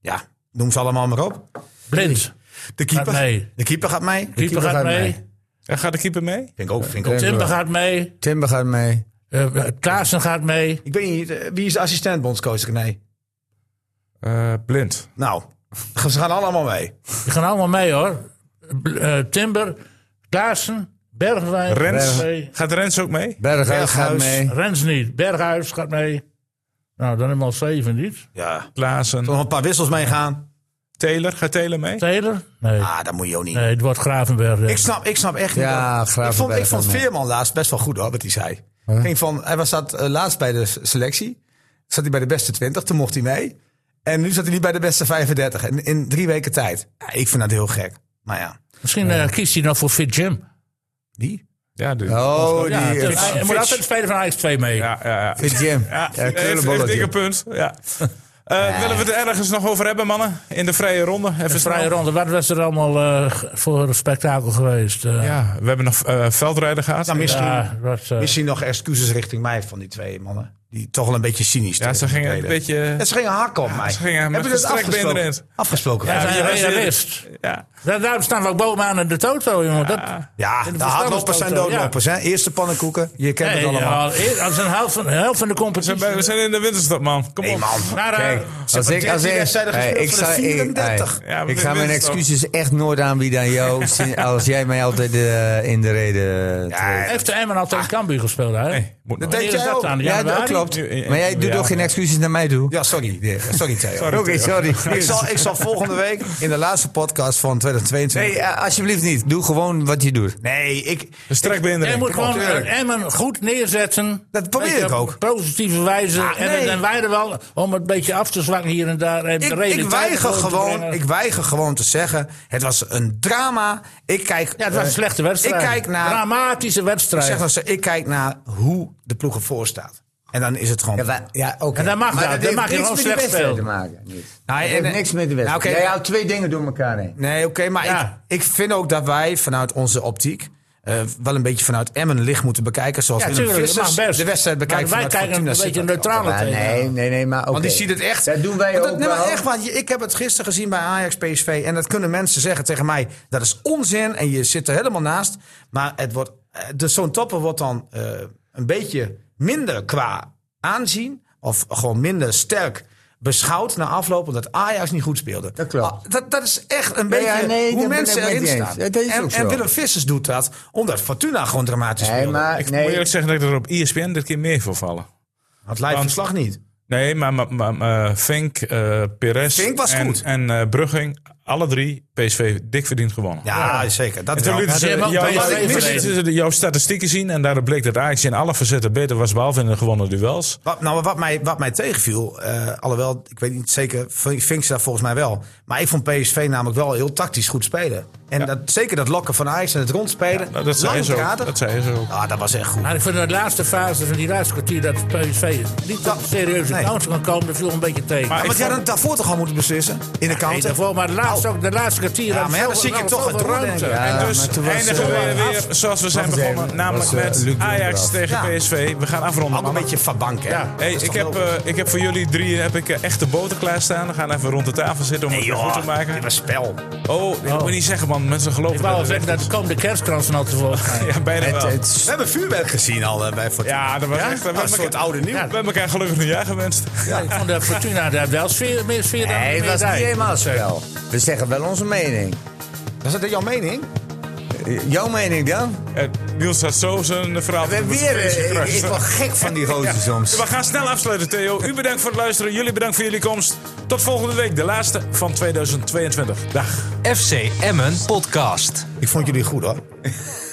[SPEAKER 2] Ja, noem ze allemaal maar op.
[SPEAKER 4] Blind.
[SPEAKER 2] De keeper,
[SPEAKER 4] Gaat mee.
[SPEAKER 2] de keeper gaat mee.
[SPEAKER 4] Keeper gaat mee.
[SPEAKER 1] En gaat de keeper mee?
[SPEAKER 2] Vind ik ook, vind ik ook.
[SPEAKER 4] Timber gaat mee.
[SPEAKER 5] Timber gaat mee.
[SPEAKER 4] eh, Klaassen gaat mee.
[SPEAKER 2] Ik weet niet, eh, wie is de assistent bondscoach? Nee.
[SPEAKER 1] Eh, blind.
[SPEAKER 2] Nou, ze gaan allemaal mee.
[SPEAKER 4] Die gaan allemaal mee hoor. B- eh, Timber, Klaassen, Bergwijn.
[SPEAKER 1] Rens.
[SPEAKER 4] gaat mee.
[SPEAKER 1] Gaat Rens ook mee?
[SPEAKER 5] Berghuis, gaat
[SPEAKER 2] Berghuis.
[SPEAKER 5] mee.
[SPEAKER 4] Rens niet. Berghuis gaat mee. Nou, dan helemaal zeven niet.
[SPEAKER 2] Ja.
[SPEAKER 1] Klaassen.
[SPEAKER 2] nog een paar wissels meegaan.
[SPEAKER 1] Taylor. Gaat Taylor mee?
[SPEAKER 4] Taylor? Nee.
[SPEAKER 2] Ah, dat moet je ook niet.
[SPEAKER 4] Nee, het wordt Gravenberg. denk
[SPEAKER 2] Ik,
[SPEAKER 4] ik.
[SPEAKER 2] snap, ik snap echt niet.
[SPEAKER 5] Ja,
[SPEAKER 2] dat- ik
[SPEAKER 5] Gravenberg
[SPEAKER 2] vond, ik
[SPEAKER 5] gaat
[SPEAKER 2] vond
[SPEAKER 5] mee.
[SPEAKER 2] Veerman laatst best wel goed hoor, wat hij zei. Ging van, hij was zat, eh, laatst bij de s- selectie. Zat hij bij de beste 20, toen mocht hij mee. En nu zat hij niet bij de beste 35. In, in drie weken tijd. Ja, ik vind dat heel gek. Maar ja,
[SPEAKER 4] Misschien eh, kiest hij nog voor Fit Jim.
[SPEAKER 2] die?
[SPEAKER 1] Ja, dus.
[SPEAKER 5] Oh, die...
[SPEAKER 4] Ja,
[SPEAKER 5] eh,
[SPEAKER 4] dus hij- hij moet altijd spelen van Ajax 2 mee.
[SPEAKER 1] Ja, ja, ja.
[SPEAKER 5] Fit Jim.
[SPEAKER 1] Ja,
[SPEAKER 5] Ja,
[SPEAKER 1] heeft- heeft een
[SPEAKER 5] krullenbolletje.
[SPEAKER 1] dikke punt. Ja. Eh, Willen we het ergens nog over hebben, mannen? In de vrije ronde? Even
[SPEAKER 4] De vrije
[SPEAKER 1] snel.
[SPEAKER 4] ronde, wat was er allemaal eh, g- voor een spektakel geweest? eh?
[SPEAKER 1] Ja, we hebben nog eh veldrijden gehad.
[SPEAKER 2] Nou, misschien,
[SPEAKER 4] Ja, wat, eh,
[SPEAKER 2] misschien nog excuses richting mij van die twee mannen. Die toch wel een beetje cynisch
[SPEAKER 1] Ja, ze
[SPEAKER 2] tegen me
[SPEAKER 1] gingen een
[SPEAKER 2] deden.
[SPEAKER 1] beetje...
[SPEAKER 2] Ja, ze gingen hakken op mij.
[SPEAKER 1] ze gingen met
[SPEAKER 2] Hebben jullie dat
[SPEAKER 1] gestrekt been
[SPEAKER 2] afgesproken?
[SPEAKER 1] erin.
[SPEAKER 2] Afgesproken.
[SPEAKER 4] Hij
[SPEAKER 2] Ja,
[SPEAKER 4] is
[SPEAKER 1] wie
[SPEAKER 4] een
[SPEAKER 1] was er?
[SPEAKER 4] realist.
[SPEAKER 1] Ja.
[SPEAKER 4] Daar- Daarom staan we ook bovenaan in de toto, jongen. Dat,
[SPEAKER 2] ja de hardlopers zijn
[SPEAKER 4] verstandsauto,
[SPEAKER 2] doodlopers. Hè? Eerste pannenkoeken. Je kent
[SPEAKER 4] nee,
[SPEAKER 2] het allemaal.
[SPEAKER 4] ja, dat is een helft van, een helft van de
[SPEAKER 1] We
[SPEAKER 4] competitie.
[SPEAKER 1] zijn- We zijn in de winterstop, man. Kom op.
[SPEAKER 4] Maar, eh,
[SPEAKER 5] Als ik, als ik, hey, ik,
[SPEAKER 2] sta
[SPEAKER 5] zou- hey, hey,
[SPEAKER 1] Ja, maar
[SPEAKER 5] ik ga mijn
[SPEAKER 1] winst toch?
[SPEAKER 5] excuses echt nooit aanbieden aan jou. sinds- als jij mij altijd eh, in de reden treedt.
[SPEAKER 4] heeft de Emmen altijd in Cambuur gespeeld, hè?
[SPEAKER 1] Nee, moet nog.
[SPEAKER 2] deed
[SPEAKER 4] Wanneer is
[SPEAKER 2] jij
[SPEAKER 4] dat
[SPEAKER 2] ook.
[SPEAKER 4] dan?
[SPEAKER 5] Ja, dat
[SPEAKER 4] Januari?
[SPEAKER 5] klopt.
[SPEAKER 1] Nu-
[SPEAKER 5] Maar jij doet
[SPEAKER 1] ja.
[SPEAKER 5] ook geen excuses naar mij toe.
[SPEAKER 2] eh, Ja, sorry. Nee, Sorry, Theo.
[SPEAKER 5] Oké, sorry.
[SPEAKER 2] Ik zal, ik zal volgende week in de laatste podcast van 2022.
[SPEAKER 5] Nee, eh, alsjeblieft niet. Doe gewoon wat je doet.
[SPEAKER 2] Nee, ik.
[SPEAKER 1] Een strek been
[SPEAKER 4] Jij
[SPEAKER 1] erin.
[SPEAKER 4] moet gewoon
[SPEAKER 2] tuurlijk.
[SPEAKER 4] eh, Emmen goed neerzetten.
[SPEAKER 2] Dat probeer
[SPEAKER 4] Weet je,
[SPEAKER 2] ik
[SPEAKER 4] op
[SPEAKER 2] ook.
[SPEAKER 4] Positieve wijze.
[SPEAKER 2] Ah,
[SPEAKER 4] en,
[SPEAKER 2] nee.
[SPEAKER 4] en wij er wel om het een beetje af te zwakken hier en daar. En de
[SPEAKER 2] Ik, ik,
[SPEAKER 4] realiteit
[SPEAKER 2] weiger
[SPEAKER 4] te
[SPEAKER 2] gewoon,
[SPEAKER 4] brengen.
[SPEAKER 2] ik weiger gewoon te zeggen. Het was een drama. Ik kijk.
[SPEAKER 4] ja, het was
[SPEAKER 2] eh,
[SPEAKER 4] een slechte wedstrijd.
[SPEAKER 2] Ik kijk naar.
[SPEAKER 4] Dramatische
[SPEAKER 2] Ik,
[SPEAKER 4] wedstrijd.
[SPEAKER 2] zeg nog zo, ik kijk naar hoe de ploeg ervoor staat. En dan is het gewoon.
[SPEAKER 5] ja oké.
[SPEAKER 4] en dan mag
[SPEAKER 2] Maar dat
[SPEAKER 4] dat. Dan
[SPEAKER 2] heeft
[SPEAKER 4] mag je
[SPEAKER 2] niks
[SPEAKER 4] gewoon
[SPEAKER 2] met die
[SPEAKER 4] slecht
[SPEAKER 2] wedstrijd
[SPEAKER 4] spelen.
[SPEAKER 5] te maken. Niet.
[SPEAKER 2] Nou,
[SPEAKER 5] Het
[SPEAKER 2] en-
[SPEAKER 5] heeft niks met de wedstrijd.
[SPEAKER 2] Nou, oké.
[SPEAKER 5] Jij houdt twee dingen door elkaar heen.
[SPEAKER 2] Nee, oké, maar
[SPEAKER 4] Ja.
[SPEAKER 2] ik, ik vind ook dat wij vanuit onze optiek. eh, wel een beetje vanuit Emmen licht moeten bekijken. Zoals
[SPEAKER 4] Ja,
[SPEAKER 2] Willem
[SPEAKER 4] tuurlijk, dat
[SPEAKER 2] Vissers
[SPEAKER 4] mag best.
[SPEAKER 2] de wedstrijd bekijkt.
[SPEAKER 4] Maar wij
[SPEAKER 2] vanuit
[SPEAKER 4] kijken een
[SPEAKER 2] Fortuna
[SPEAKER 4] beetje
[SPEAKER 2] Sittard.
[SPEAKER 4] neutraler
[SPEAKER 5] Maar
[SPEAKER 4] tegen.
[SPEAKER 5] nee, nee, nee, maar oké.
[SPEAKER 2] Want die ziet het echt.
[SPEAKER 5] Dat doen wij
[SPEAKER 2] Maar
[SPEAKER 5] ook
[SPEAKER 2] nee, maar
[SPEAKER 5] wel.
[SPEAKER 2] echt, want je- ik heb het gisteren gezien bij Ajax PSV. En dat kunnen mensen zeggen tegen mij. Dat is onzin en je zit er helemaal naast. Maar het wordt, eh, dus zo'n topper wordt dan eh, een beetje minder qua aanzien. Of gewoon minder sterk beschouwd na afloop. Omdat Ajax niet goed speelde.
[SPEAKER 5] Dat klopt.
[SPEAKER 2] Ah, Dat, dat is echt een
[SPEAKER 5] Ja,
[SPEAKER 2] beetje
[SPEAKER 5] ja, nee,
[SPEAKER 2] hoe
[SPEAKER 5] dat ben
[SPEAKER 2] mensen
[SPEAKER 5] ik met
[SPEAKER 2] erin
[SPEAKER 5] je eens.
[SPEAKER 2] staan.
[SPEAKER 5] Dat is
[SPEAKER 2] en,
[SPEAKER 5] ook
[SPEAKER 2] en
[SPEAKER 5] zo.
[SPEAKER 2] Willem Vissers doet dat omdat Fortuna gewoon dramatisch
[SPEAKER 5] Nee,
[SPEAKER 2] speelde.
[SPEAKER 5] maar
[SPEAKER 1] Ik moet
[SPEAKER 5] nee.
[SPEAKER 1] eerlijk zeggen dat ik er op E ESPN dit keer meer voor vallen.
[SPEAKER 2] Had live
[SPEAKER 1] Want-
[SPEAKER 2] verslag niet.
[SPEAKER 1] Nee, maar, maar, maar, maar Fink, eh Perez
[SPEAKER 2] Fink was
[SPEAKER 1] en,
[SPEAKER 2] goed.
[SPEAKER 1] en eh, Brugging, alle drie PSV dik verdiend gewonnen.
[SPEAKER 2] Ja, zeker. Dat
[SPEAKER 1] En toen
[SPEAKER 2] wel.
[SPEAKER 1] lieten
[SPEAKER 4] Ja,
[SPEAKER 1] ze
[SPEAKER 4] die hebben
[SPEAKER 1] jouw-
[SPEAKER 4] ook PSV
[SPEAKER 1] toen lieten
[SPEAKER 4] verleden.
[SPEAKER 1] ze jouw statistieken zien en daaruit bleek dat Ajax in alle facetten beter was, behalve in de gewonnen duels.
[SPEAKER 2] Wat, nou, wat mij, wat mij tegenviel, eh, alhoewel, ik weet niet zeker, Vink- Vink ze daar volgens mij wel. Maar ik vond PSV namelijk wel heel tactisch goed spelen. En dat, zeker dat lokken van Ajax en het rondspelen.
[SPEAKER 1] Nou, dat zei
[SPEAKER 2] lang
[SPEAKER 1] ze ook.
[SPEAKER 2] kader.
[SPEAKER 1] Dat zei ze ook.
[SPEAKER 2] Ah, dat was echt goed.
[SPEAKER 4] Maar Nou, ik vind de laatste fase van die laatste kwartier dat PSV niet tot
[SPEAKER 2] Ja.
[SPEAKER 4] serieuze
[SPEAKER 2] Nee.
[SPEAKER 4] kansen kan komen. Dat viel een beetje tegen.
[SPEAKER 1] Maar
[SPEAKER 2] Ja,
[SPEAKER 1] ik
[SPEAKER 2] want jij had
[SPEAKER 1] vond-
[SPEAKER 2] dan daarvoor toch al moeten beslissen? In de
[SPEAKER 4] Nee,
[SPEAKER 2] counter?
[SPEAKER 4] daarvoor, maar de laatste, ook, de laatste kwartier.
[SPEAKER 2] Oh. ja,
[SPEAKER 4] had
[SPEAKER 2] maar ja, dan
[SPEAKER 4] zoveel-
[SPEAKER 2] zie ik je
[SPEAKER 4] had
[SPEAKER 2] toch
[SPEAKER 4] zoveel
[SPEAKER 2] het door,
[SPEAKER 4] ruimte.
[SPEAKER 2] denk ik.
[SPEAKER 1] En
[SPEAKER 5] Ja,
[SPEAKER 1] dus
[SPEAKER 5] maar toen was,
[SPEAKER 1] eindigen we
[SPEAKER 5] eh,
[SPEAKER 1] weer zoals we zijn
[SPEAKER 5] eens even,
[SPEAKER 1] begonnen,
[SPEAKER 5] was,
[SPEAKER 1] namelijk
[SPEAKER 5] eh, Luc
[SPEAKER 1] met
[SPEAKER 5] de Jong
[SPEAKER 1] Ajax
[SPEAKER 5] eraf.
[SPEAKER 1] tegen
[SPEAKER 2] Ja.
[SPEAKER 1] PSV. We gaan afronden.
[SPEAKER 2] Ook een
[SPEAKER 1] mannen.
[SPEAKER 2] beetje van bank, hè? Dat
[SPEAKER 1] Hey,
[SPEAKER 2] is
[SPEAKER 1] ik,
[SPEAKER 2] toch
[SPEAKER 1] heb,
[SPEAKER 2] wel-
[SPEAKER 1] eh, ik heb voor jullie drie heb ik, eh, echte boter klaarstaan. We gaan even rond de tafel zitten om
[SPEAKER 2] Nee,
[SPEAKER 1] het weer
[SPEAKER 2] joh,
[SPEAKER 1] goed te maken.
[SPEAKER 2] dit was spel.
[SPEAKER 1] Oh, dat moet je niet zeggen, man. Mensen geloven
[SPEAKER 4] Ik wou al
[SPEAKER 1] het
[SPEAKER 4] zeggen, dat komen de kerstkransen al tevoorschijn.
[SPEAKER 1] Ja, bijna wel.
[SPEAKER 2] We hebben vuurwerk gezien al eh, bij Fortuna.
[SPEAKER 1] Ja, dat was
[SPEAKER 5] Oh,
[SPEAKER 1] echt... We
[SPEAKER 2] Dat is
[SPEAKER 1] hebben
[SPEAKER 2] voor het
[SPEAKER 1] elkaar,
[SPEAKER 2] oude nieuw.
[SPEAKER 1] we hebben elkaar gelukkig nieuwjaar gewenst.
[SPEAKER 4] Ja, ik vond dat Fortuna daar wel sfeer, meer sfeer dan
[SPEAKER 5] Nee,
[SPEAKER 4] meer
[SPEAKER 5] dat is
[SPEAKER 4] zijn.
[SPEAKER 5] niet helemaal spel. We zeggen wel onze mening.
[SPEAKER 2] Was dat jouw mening?
[SPEAKER 5] Eh, Jouw mening dan?
[SPEAKER 1] Eh, Niels had zo zijn verhaal.
[SPEAKER 5] We hebben
[SPEAKER 1] van de
[SPEAKER 5] weer,
[SPEAKER 1] Europese
[SPEAKER 5] eh, ik,
[SPEAKER 1] kruis.
[SPEAKER 5] ik word gek van die gozer soms.
[SPEAKER 1] We gaan snel afsluiten, Theo. U bedankt voor het luisteren. Jullie bedankt voor jullie komst. Tot volgende week, de laatste van 2022. Dag.
[SPEAKER 3] FC Emmen podcast.
[SPEAKER 2] Ik vond jullie goed, hoor.